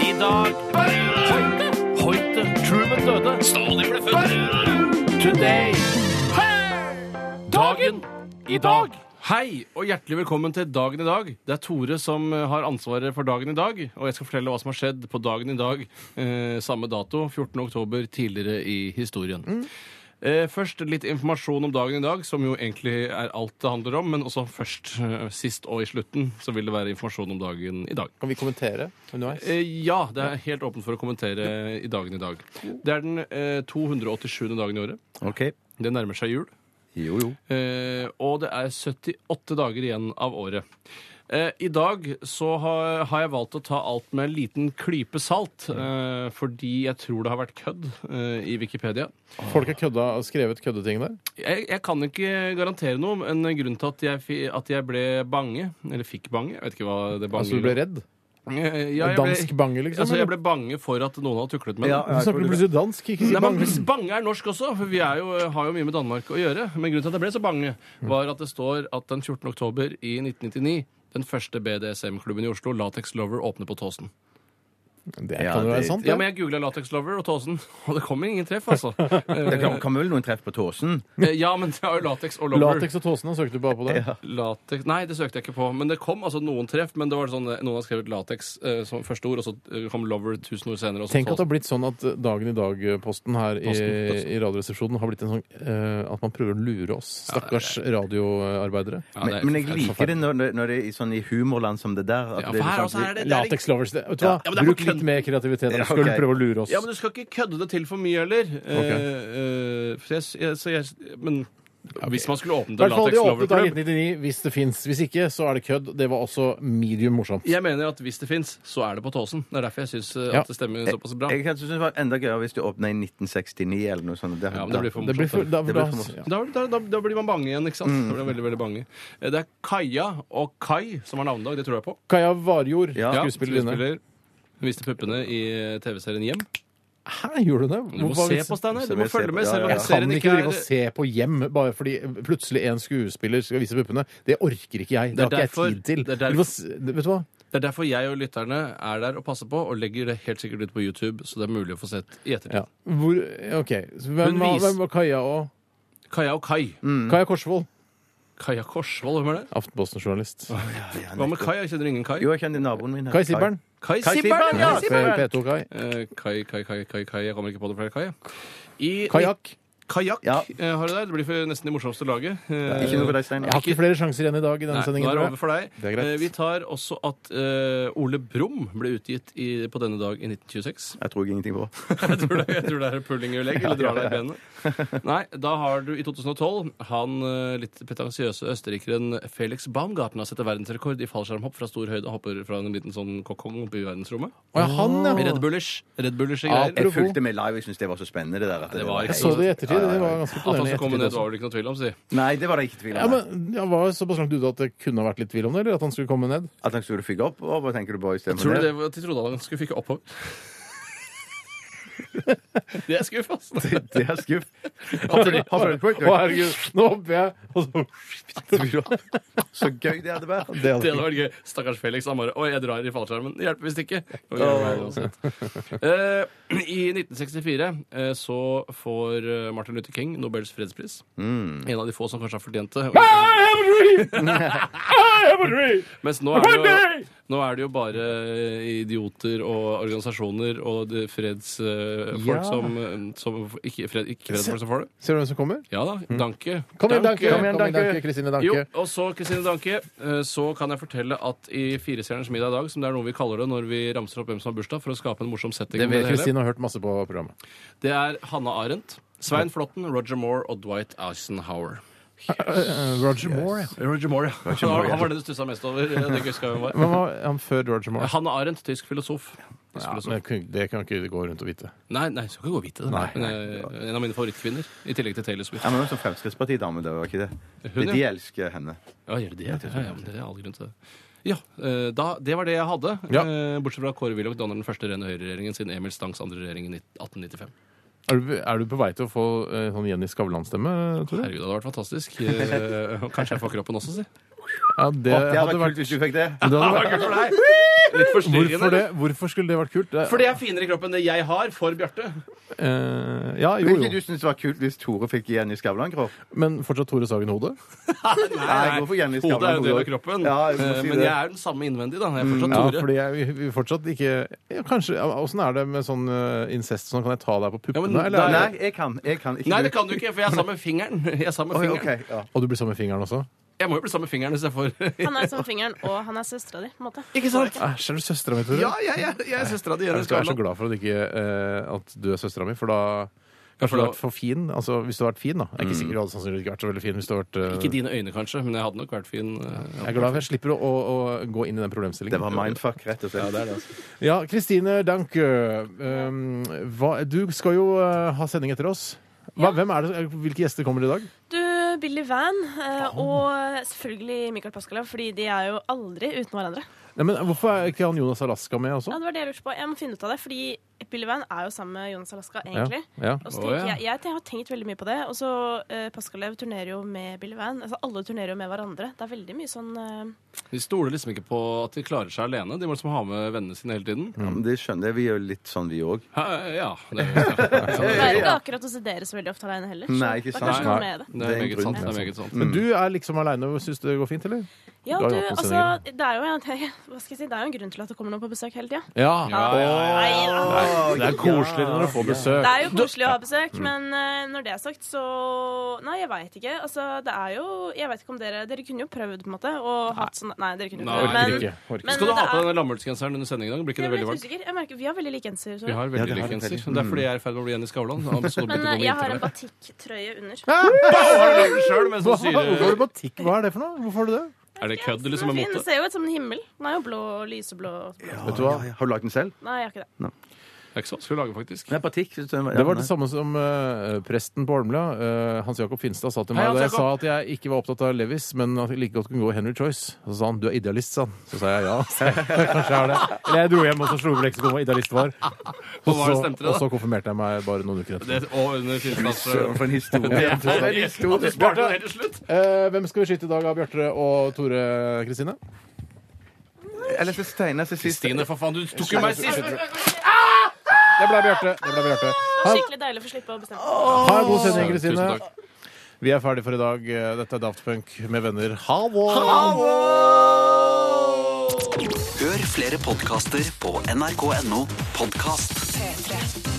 S4: I dag Hoite, Hoite, Truman døde. Stalin ble født. Today. Dagen i dag. Hei og hjertelig velkommen til Dagen i dag. Det er Tore som eh, har ansvaret for dagen i dag, og jeg skal fortelle hva som har skjedd på dagen i dag, eh, samme dato, 14. oktober, tidligere i historien. Eh, først litt informasjon om dagen i dag, som jo egentlig er alt det handler om, men også først, eh, sist og i slutten, så vil det være informasjon om dagen i dag.
S3: Kan vi kommentere underveis?
S4: Eh, ja, det er helt åpent for å kommentere i dagen i dag. Det er den eh, 287. dagen i året.
S5: OK.
S4: Det nærmer seg jul.
S5: Jo, jo.
S4: Eh, og det er 78 dager igjen av året. Eh, I dag så har, har jeg valgt å ta alt med en liten klype salt, eh, fordi jeg tror det har vært kødd eh, i Wikipedia.
S3: Folk har kødda, skrevet køddeting der?
S4: Jeg, jeg kan ikke garantere noe, men grunnen til at jeg, fi- at jeg ble bange, eller fikk bange Jeg vet ikke hva det bange
S3: Altså du ble redd?
S4: Eh, ja, jeg ble-
S3: dansk bange, liksom?
S4: Altså, jeg ble bange for at noen hadde tuklet med den.
S5: Ja,
S3: Du snakker plutselig dansk, ikke
S4: Nei, men
S3: bange.
S4: Bange er norsk også, for vi er jo, eh, har jo mye med Danmark å gjøre. Men grunnen til at jeg ble så bange, var at det står at den 14. oktober i 1999 den første BDSM-klubben i Oslo, Latex Lover, åpner på Tåsen.
S3: Det
S5: Ja,
S3: kan jo være
S5: det-
S3: sant,
S4: Ja,
S3: det.
S4: men jeg googla Latex Lover og Tåsen, og det kommer ingen treff, altså.
S5: Det kom, kom vel noen treff på tåsen?
S4: Eh, Ja, men det er jo Latex og Lover.
S3: Latex og Tåsen, da søkte du bare på det?
S4: Latex Nei, det søkte jeg ikke på. Men det kom altså noen treff. Men det var sånn, eh, noen har skrevet latex eh, som første ord, og så eh, kom Lover tusen ord senere. Og så
S3: Tenk at det
S4: Tåsen.
S3: har blitt sånn at Dagen i dag-posten her i,
S4: Posten, posten.
S3: i Radioresepsjonen har blitt en sånn eh, at man prøver å lure oss stakkars radioarbeidere.
S4: Ja, det
S5: Men,
S4: er
S5: men jeg
S4: forferdelig.
S5: liker det når, når det er i sånn i humorland som det der. at
S4: Ja,
S5: det
S4: for her
S5: liksom-
S4: også er det, det er
S3: Latex lovers. det- Vet du hva?
S4: Ja, men det er
S3: Bruk
S4: på
S3: litt
S4: kødd.
S3: mer kreativitet.
S5: Ja,
S3: Ja, Skal du
S5: ok.
S3: prøve å lure oss?
S4: Ja, men du skal ikke kødde det til for mye heller. Eh, eh, for jeg, jeg, så jeg, men hvis man skulle åpnet
S3: I
S4: en
S3: hvert fall
S4: latex
S3: de åpnet av
S4: loverklubb
S3: 1999 hvis det fins. Hvis ikke, så er det kødd. Det var også medium morsomt.
S4: Jeg mener at hvis det fins, så er det på Tåsen. Det er derfor jeg syns
S3: Ja. Eh,
S4: at det stemmer såpass bra.
S5: sånn- Jeg kanskje synes det var enda gøyere hvis du åpna i 1969 eller noe sånt.
S4: Ja, men det blir for
S3: Det blir for, Mm.
S4: morsomt. da.
S3: da,
S5: Det
S3: da,
S5: blir for morsomt.
S3: ja.
S4: Da, da, da, da blir man bange igjen, ikke sant? Da blir man veldig, veldig bange. Eh, Det er Kaja og Kai som har navnedag, det tror jeg på.
S3: Kaja Varjord,
S5: Ja,
S3: skuespillerinne.
S4: Hun viste puppene i TV-serien Hjem.
S3: Hæ, gjorde hun det?
S4: Du må
S3: Hvorfor-
S4: se på, Steinar. Du må
S5: Se på-
S4: følge med.
S5: ja,
S4: Selv
S5: ja,
S4: om
S5: ja.
S3: Jeg
S4: serien
S3: kan ikke
S4: ikke
S3: drive og
S4: er
S3: se på hjem bare fordi plutselig en skuespiller skal vise puppene. Det orker ikke jeg. Det
S4: Det er
S3: har ikke jeg
S4: derfor-
S3: tid til.
S4: det er derfor-
S3: Du må s- Vet du hva?
S4: Det er derfor jeg og lytterne er der og passer på, og legger det helt sikkert ut på YouTube, så det er mulig å få sett i ettertid.
S3: Ja. Hvor, OK. Så Hvem,
S4: Men
S3: var-
S4: vis- Mm.
S3: hvem var Kaja og
S4: Kaja og Kai.
S3: Kaja Korsvoll.
S4: Kaja Korsvold, hvem er det?
S3: Aftenposten-journalist.
S4: Hva med Kai? Jeg kjenner ingen Kai.
S5: Jo, jeg kjenner naboen min. her.
S3: Kai Sibbern.
S4: Kai
S5: Kai
S4: Sibber'n,
S5: Sibber'n,
S4: ja!
S5: ja.
S4: Sibber'n.
S3: P2 Kai.
S4: Eh, Kai, Kai, Kai, Kai, Kai Jeg kommer ikke på det flere Kai. ja. I
S3: Kajakk.
S4: kajakk
S5: Ja.
S4: eh, har du der. Det blir for nesten det morsomste laget. Eh,
S5: Ikke noe for deg,
S3: Jeg har
S5: Steinar.
S3: ikke flere sjanser igjen i dag i denne
S4: Nei, nå
S3: sendingen,
S4: er det
S3: tror
S4: over for deg.
S3: Det er greit.
S4: Eh, Vi tar også at eh, Ole Brumm ble utgitt i, på denne dag i 1926.
S5: Jeg tror ingenting på.
S4: Jeg tror det, jeg tror det er pullingølegg eller drar deg i benet. Nei, da har du i 2012 han eh, litt pretensiøse østerrikeren Felix Baumgartner setter verdensrekord i fallskjermhopp fra stor høyde og hopper fra en liten sånn kokong oppe i verdensrommet.
S3: jeg. Å, ja, Han, ja.
S4: Red Bullers. Red Bullers
S3: Ja,
S4: greier.
S5: Jeg fulgte med live. Jeg syns det var så spennende, det der. At
S4: det var ikke
S3: Jeg
S5: helt-
S3: så det i ettertid.
S5: Ja, ja, ja.
S3: Det var ganske
S4: At han
S3: imponerende. i
S4: skulle
S3: ettertid
S4: komme ned,
S3: også.
S4: var det ikke noe tvil om, si.
S5: Nei, det var det ikke tvil
S3: Ja,
S5: om.
S3: men jeg var såpass langt ute at det kunne ha vært litt tvil om det, eller at han skulle komme ned.
S5: At han skulle fygge opp? Og hva tenker du på
S4: Tror du
S5: istedenfor
S4: det
S5: det?
S4: var at de trodde han skulle fikke oppover? Det er skuff, altså.
S5: Det er skuff.
S3: Å, herregud, nå hopper jeg! Og så
S5: Så gøy det hadde vært.
S3: Det hadde
S4: Det hadde vært gøy. Stakkars Felix. Han bare Oi, jeg drar i fallskjermen. Det hjelper visst ikke. Og gjør det uansett. Eh, I 1964 eh, så får eh, Martin Luther King Nobels fredspris.
S3: Mm.
S4: En av de få som kanskje har fortjent det.
S3: I have a dream! I have a dream!
S4: Mens nå er, det jo, nå er det jo bare eh, idioter og organisasjoner og fredsfolk
S3: Ja.
S4: som, eh, som Ikke, fred, ikke fredsfolk som får det.
S3: Ser du hvem som kommer?
S4: Ja da. Danke.
S3: Mm. Kom igjen,
S4: Danke.
S3: Danke! Kom
S5: igjen,
S3: igjen,
S5: Danke.
S3: Danke, Kristine
S4: Jo,
S3: Danke.
S4: og så, Kristine Danke, eh, så kan jeg fortelle at i Firestjerners middag i dag, som det er noe vi kaller det når vi ramser opp hvem som har bursdag, for å skape en morsom setting,
S3: Det vet
S4: med det hele,
S3: Eh, Kristine har hørt masse på programmet.
S4: det er Hanna Arendt, Svein Flåtten, Roger Moore og Dwight Eisenhower.
S3: Roger Moore, ja.
S4: Roger Moore, ja. Han, han var det du stussa mest over. eh, Det husker jeg hvem var.
S3: Hvem var han før Roger Moore?
S4: Hanna Arendt, tysk filosof. Tysk
S3: Ja,
S4: filosof.
S3: men kun- det kan ikke gå rundt og vite.
S4: Nei, nei, skal ikke gå vidt i det.
S3: Nei,
S4: Men, eh, en av mine favorittkvinner, i tillegg til Taylor Swift.
S5: Ja, men hun er sånn Fremskrittspartidame, det var ikke det?
S4: Hun,
S5: De elsker henne.
S4: Ja, gjør det det? Ja, ja, men det er all grunn til det. Ja, eh, da, Det var det jeg hadde.
S3: Ja.
S4: Eh, Bortsett fra at Kåre Willoch danner den første rene høyreregjeringen siden Emil Stangs andre regjering i nitt- 1895.
S3: Er du, er du på vei til å få eh, sånn Jenny Skavlan-stemme, tror du?
S4: Herregud, det hadde vært fantastisk. Eh, Kanskje jeg får kroppen også, si.
S3: Ja, det
S5: Det hadde
S3: hadde
S5: vært kult
S3: vært
S5: hvis du fikk det.
S3: det hadde vært-
S4: Takk for deg! Litt forstyrrende.
S3: Hvorfor, det? Hvorfor skulle det vært kult? Det,
S4: Fordi jeg er finere i kroppen enn det jeg har, for Bjarte.
S3: eh, ja, jo,
S5: Ville ikke
S3: jo.
S5: du synes det var kult hvis Tore fikk Jenny Skavlan-kropp?
S3: Men fortsatt Tore Sagen Hode?
S5: Nei, jeg går for Jenny Skavlan.
S4: Hodet er jo en del av
S5: Hode.
S4: kroppen.
S5: Ja, jeg må
S4: Eh,
S5: si
S4: men
S5: det.
S4: jeg er jo den samme innvendig, da. Jeg er fortsatt
S3: Ja,
S4: Tore.
S3: fordi jeg vi- vi fortsatt ikke ja, Kanskje, ja, Åssen er det med sånn eh, incest? Sånn, kan jeg ta deg på
S4: Ja,
S3: puppene?
S4: men
S3: eller? er
S4: der-
S3: det-
S5: Nei, jeg kan. Jeg kan ikke
S4: Nei, det kan du ikke, for jeg er sammen med fingeren. Jeg er sammen med
S5: Oi,
S4: fingeren.
S5: ok, ja.
S3: Og du blir sammen med fingeren også?
S4: Jeg må jo bli sammen med fingeren hvis jeg får
S6: Han er som fingeren, og han er søstera di. på en måte.
S4: Ikke sant?
S3: Æsj, er du søstera mi, Tore?
S4: Ja, jeg, jeg, jeg er søstera di.
S3: Jeg
S4: Jenny
S3: skal være så
S4: Skavlan.
S3: glad for at, ikke, eh, at du er søstera mi, for da Kanskje du har vært for fin? Altså, hvis du har vært fin, da. Jeg er ikke sikker du hadde sannsynligvis ikke vært så veldig fin hvis du har vært eh,
S4: Ikke dine øyne, kanskje, men jeg hadde nok vært fin. eh,
S3: Jeg er glad for jeg slipper å, å, å gå inn i den problemstillingen.
S5: Det var mindfuck, rett og slett. Ja, det er det,
S3: Ja, Kristine Danke. Um, hva, du skal jo eh, ha sending etter oss. Hva, hvem er det, hvilke gjester kommer i dag?
S6: Du, Billy Van, eh, og selvfølgelig Michael Pascalov, fordi de er jo aldri uten hverandre.
S3: Nei, men Hvorfor er ikke han Jonas Alaska med
S6: Ja,
S3: også?
S6: det var det jeg lurte på. Jeg må finne ut av det, fordi Billy Van er jo sammen med Jonas Alaska, egentlig.
S3: Ja, ja.
S6: Og så
S4: Å,
S6: tenker
S4: ja.
S6: jeg, jeg ten- har tenkt veldig mye på det. Og så eh, Pascalev turnerer jo med Billy Van. Altså, alle turnerer jo med hverandre. Det er veldig mye sånn eh,
S4: De stoler liksom ikke på at de klarer seg alene. De må liksom ha med vennene sine hele tiden.
S5: men det skjønner jeg. Vi er jo litt sånn, vi òg.
S4: Hæ, ja, det er, ja.
S6: Det er ikke akkurat å studere så veldig ofte alene heller. så
S5: Nei, ikke
S6: Det er
S5: sant.
S6: kanskje noe med det.
S4: Det er meget sant.
S5: grunn.
S4: Det er meget sant.
S3: Men du er liksom aleine og syns det går fint, eller?
S6: Ja,
S3: Du har
S6: du,
S3: jo hatt noen
S6: altså,
S3: sendinger.
S6: det er jo en, hva skal jeg si, det er jo en grunn til at det kommer noen på besøk hele tida.
S3: Ja.
S4: ja, ja.
S3: Det er koseligere når du får besøk.
S6: Det er jo koselig å ha besøk,
S4: Mm.
S6: men eh, når det er sagt, så Nei, jeg veit ikke. Altså, det er jo Jeg vet ikke om dere Dere kunne jo prøvd, på en måte, og hatt sånn Nei, dere kunne jo
S4: Nei,
S6: prøvd,
S3: Orker
S6: men
S3: ikke. Orker.
S6: men-
S4: Skal du ha på
S6: det er-
S4: denne lammeltsgenseren under sending i dag? Blir ikke det
S6: jeg er
S4: veldig
S6: litt
S4: varmt?
S6: usikker. Jeg merker, Vi har veldig like genser. tror
S4: Vi
S6: jeg.
S4: har
S5: det
S4: veldig
S5: har
S4: like
S5: vi
S4: genser.
S5: veldig.
S4: Det er fordi jeg er i ferd med å bli Jenny Skavlan. så nå
S6: Men
S4: begynte det å gå
S6: eh, jeg har en
S4: vinter her.
S6: batikk-trøye under.
S4: Har du lagd selv, men så
S3: Hva,
S4: sier
S3: hvorfor er det batikk? Hva er det for noe? Hvorfor har du det?
S4: Er det kødd liksom, eller som
S6: Den
S4: er
S6: er fin. Det
S4: mote?
S6: ser jo ut som en himmel. Den er jo blå, lyseblå.
S3: Vet du hva?
S5: Har du lagd den selv?
S6: Nei, jeg har ikke det.
S4: Det er ikke så vanskelig å lage, faktisk.
S5: Nei, partikk. Det
S3: Det var det samme som eh, presten på Holmlia, eh, Hans Jakob Finstad, sa til
S4: Hei,
S3: meg da jeg
S4: Hans
S3: sa at jeg ikke var opptatt av Levis, men at jeg like godt kunne gå Henry Choice. Og så sa han 'du er idealist', sa han. Så sa jeg ja. sa jeg. Kanskje jeg er det. Eller jeg dro hjem og så slo opp leksikon hva idealist var. Og
S4: hva
S3: så,
S4: stemte det, da?
S3: og så konfirmerte jeg meg bare noen uker etter.
S4: Det, og under eh. Finlands
S5: For en historie.
S4: At du sparte den helt til slutt!
S3: Eh, hvem skal vi skyte i dag av Bjarte og Tore Kristine?
S5: Eller så Steinar til sist.
S4: Stine, for faen, du tok jo meg sist!
S3: Det ble Bjarte. Det ble Bjarte. Ha,
S6: Skikkelig deilig å få slippe å bestemme. seg.
S3: ha en god sending,
S4: Tusen
S3: Kristine.
S4: takk.
S3: Vi er ferdig for i dag. Dette er Daft Punk med venner. Ha det!
S2: Hør flere podkaster på nrk.no podkast.
S7: P3.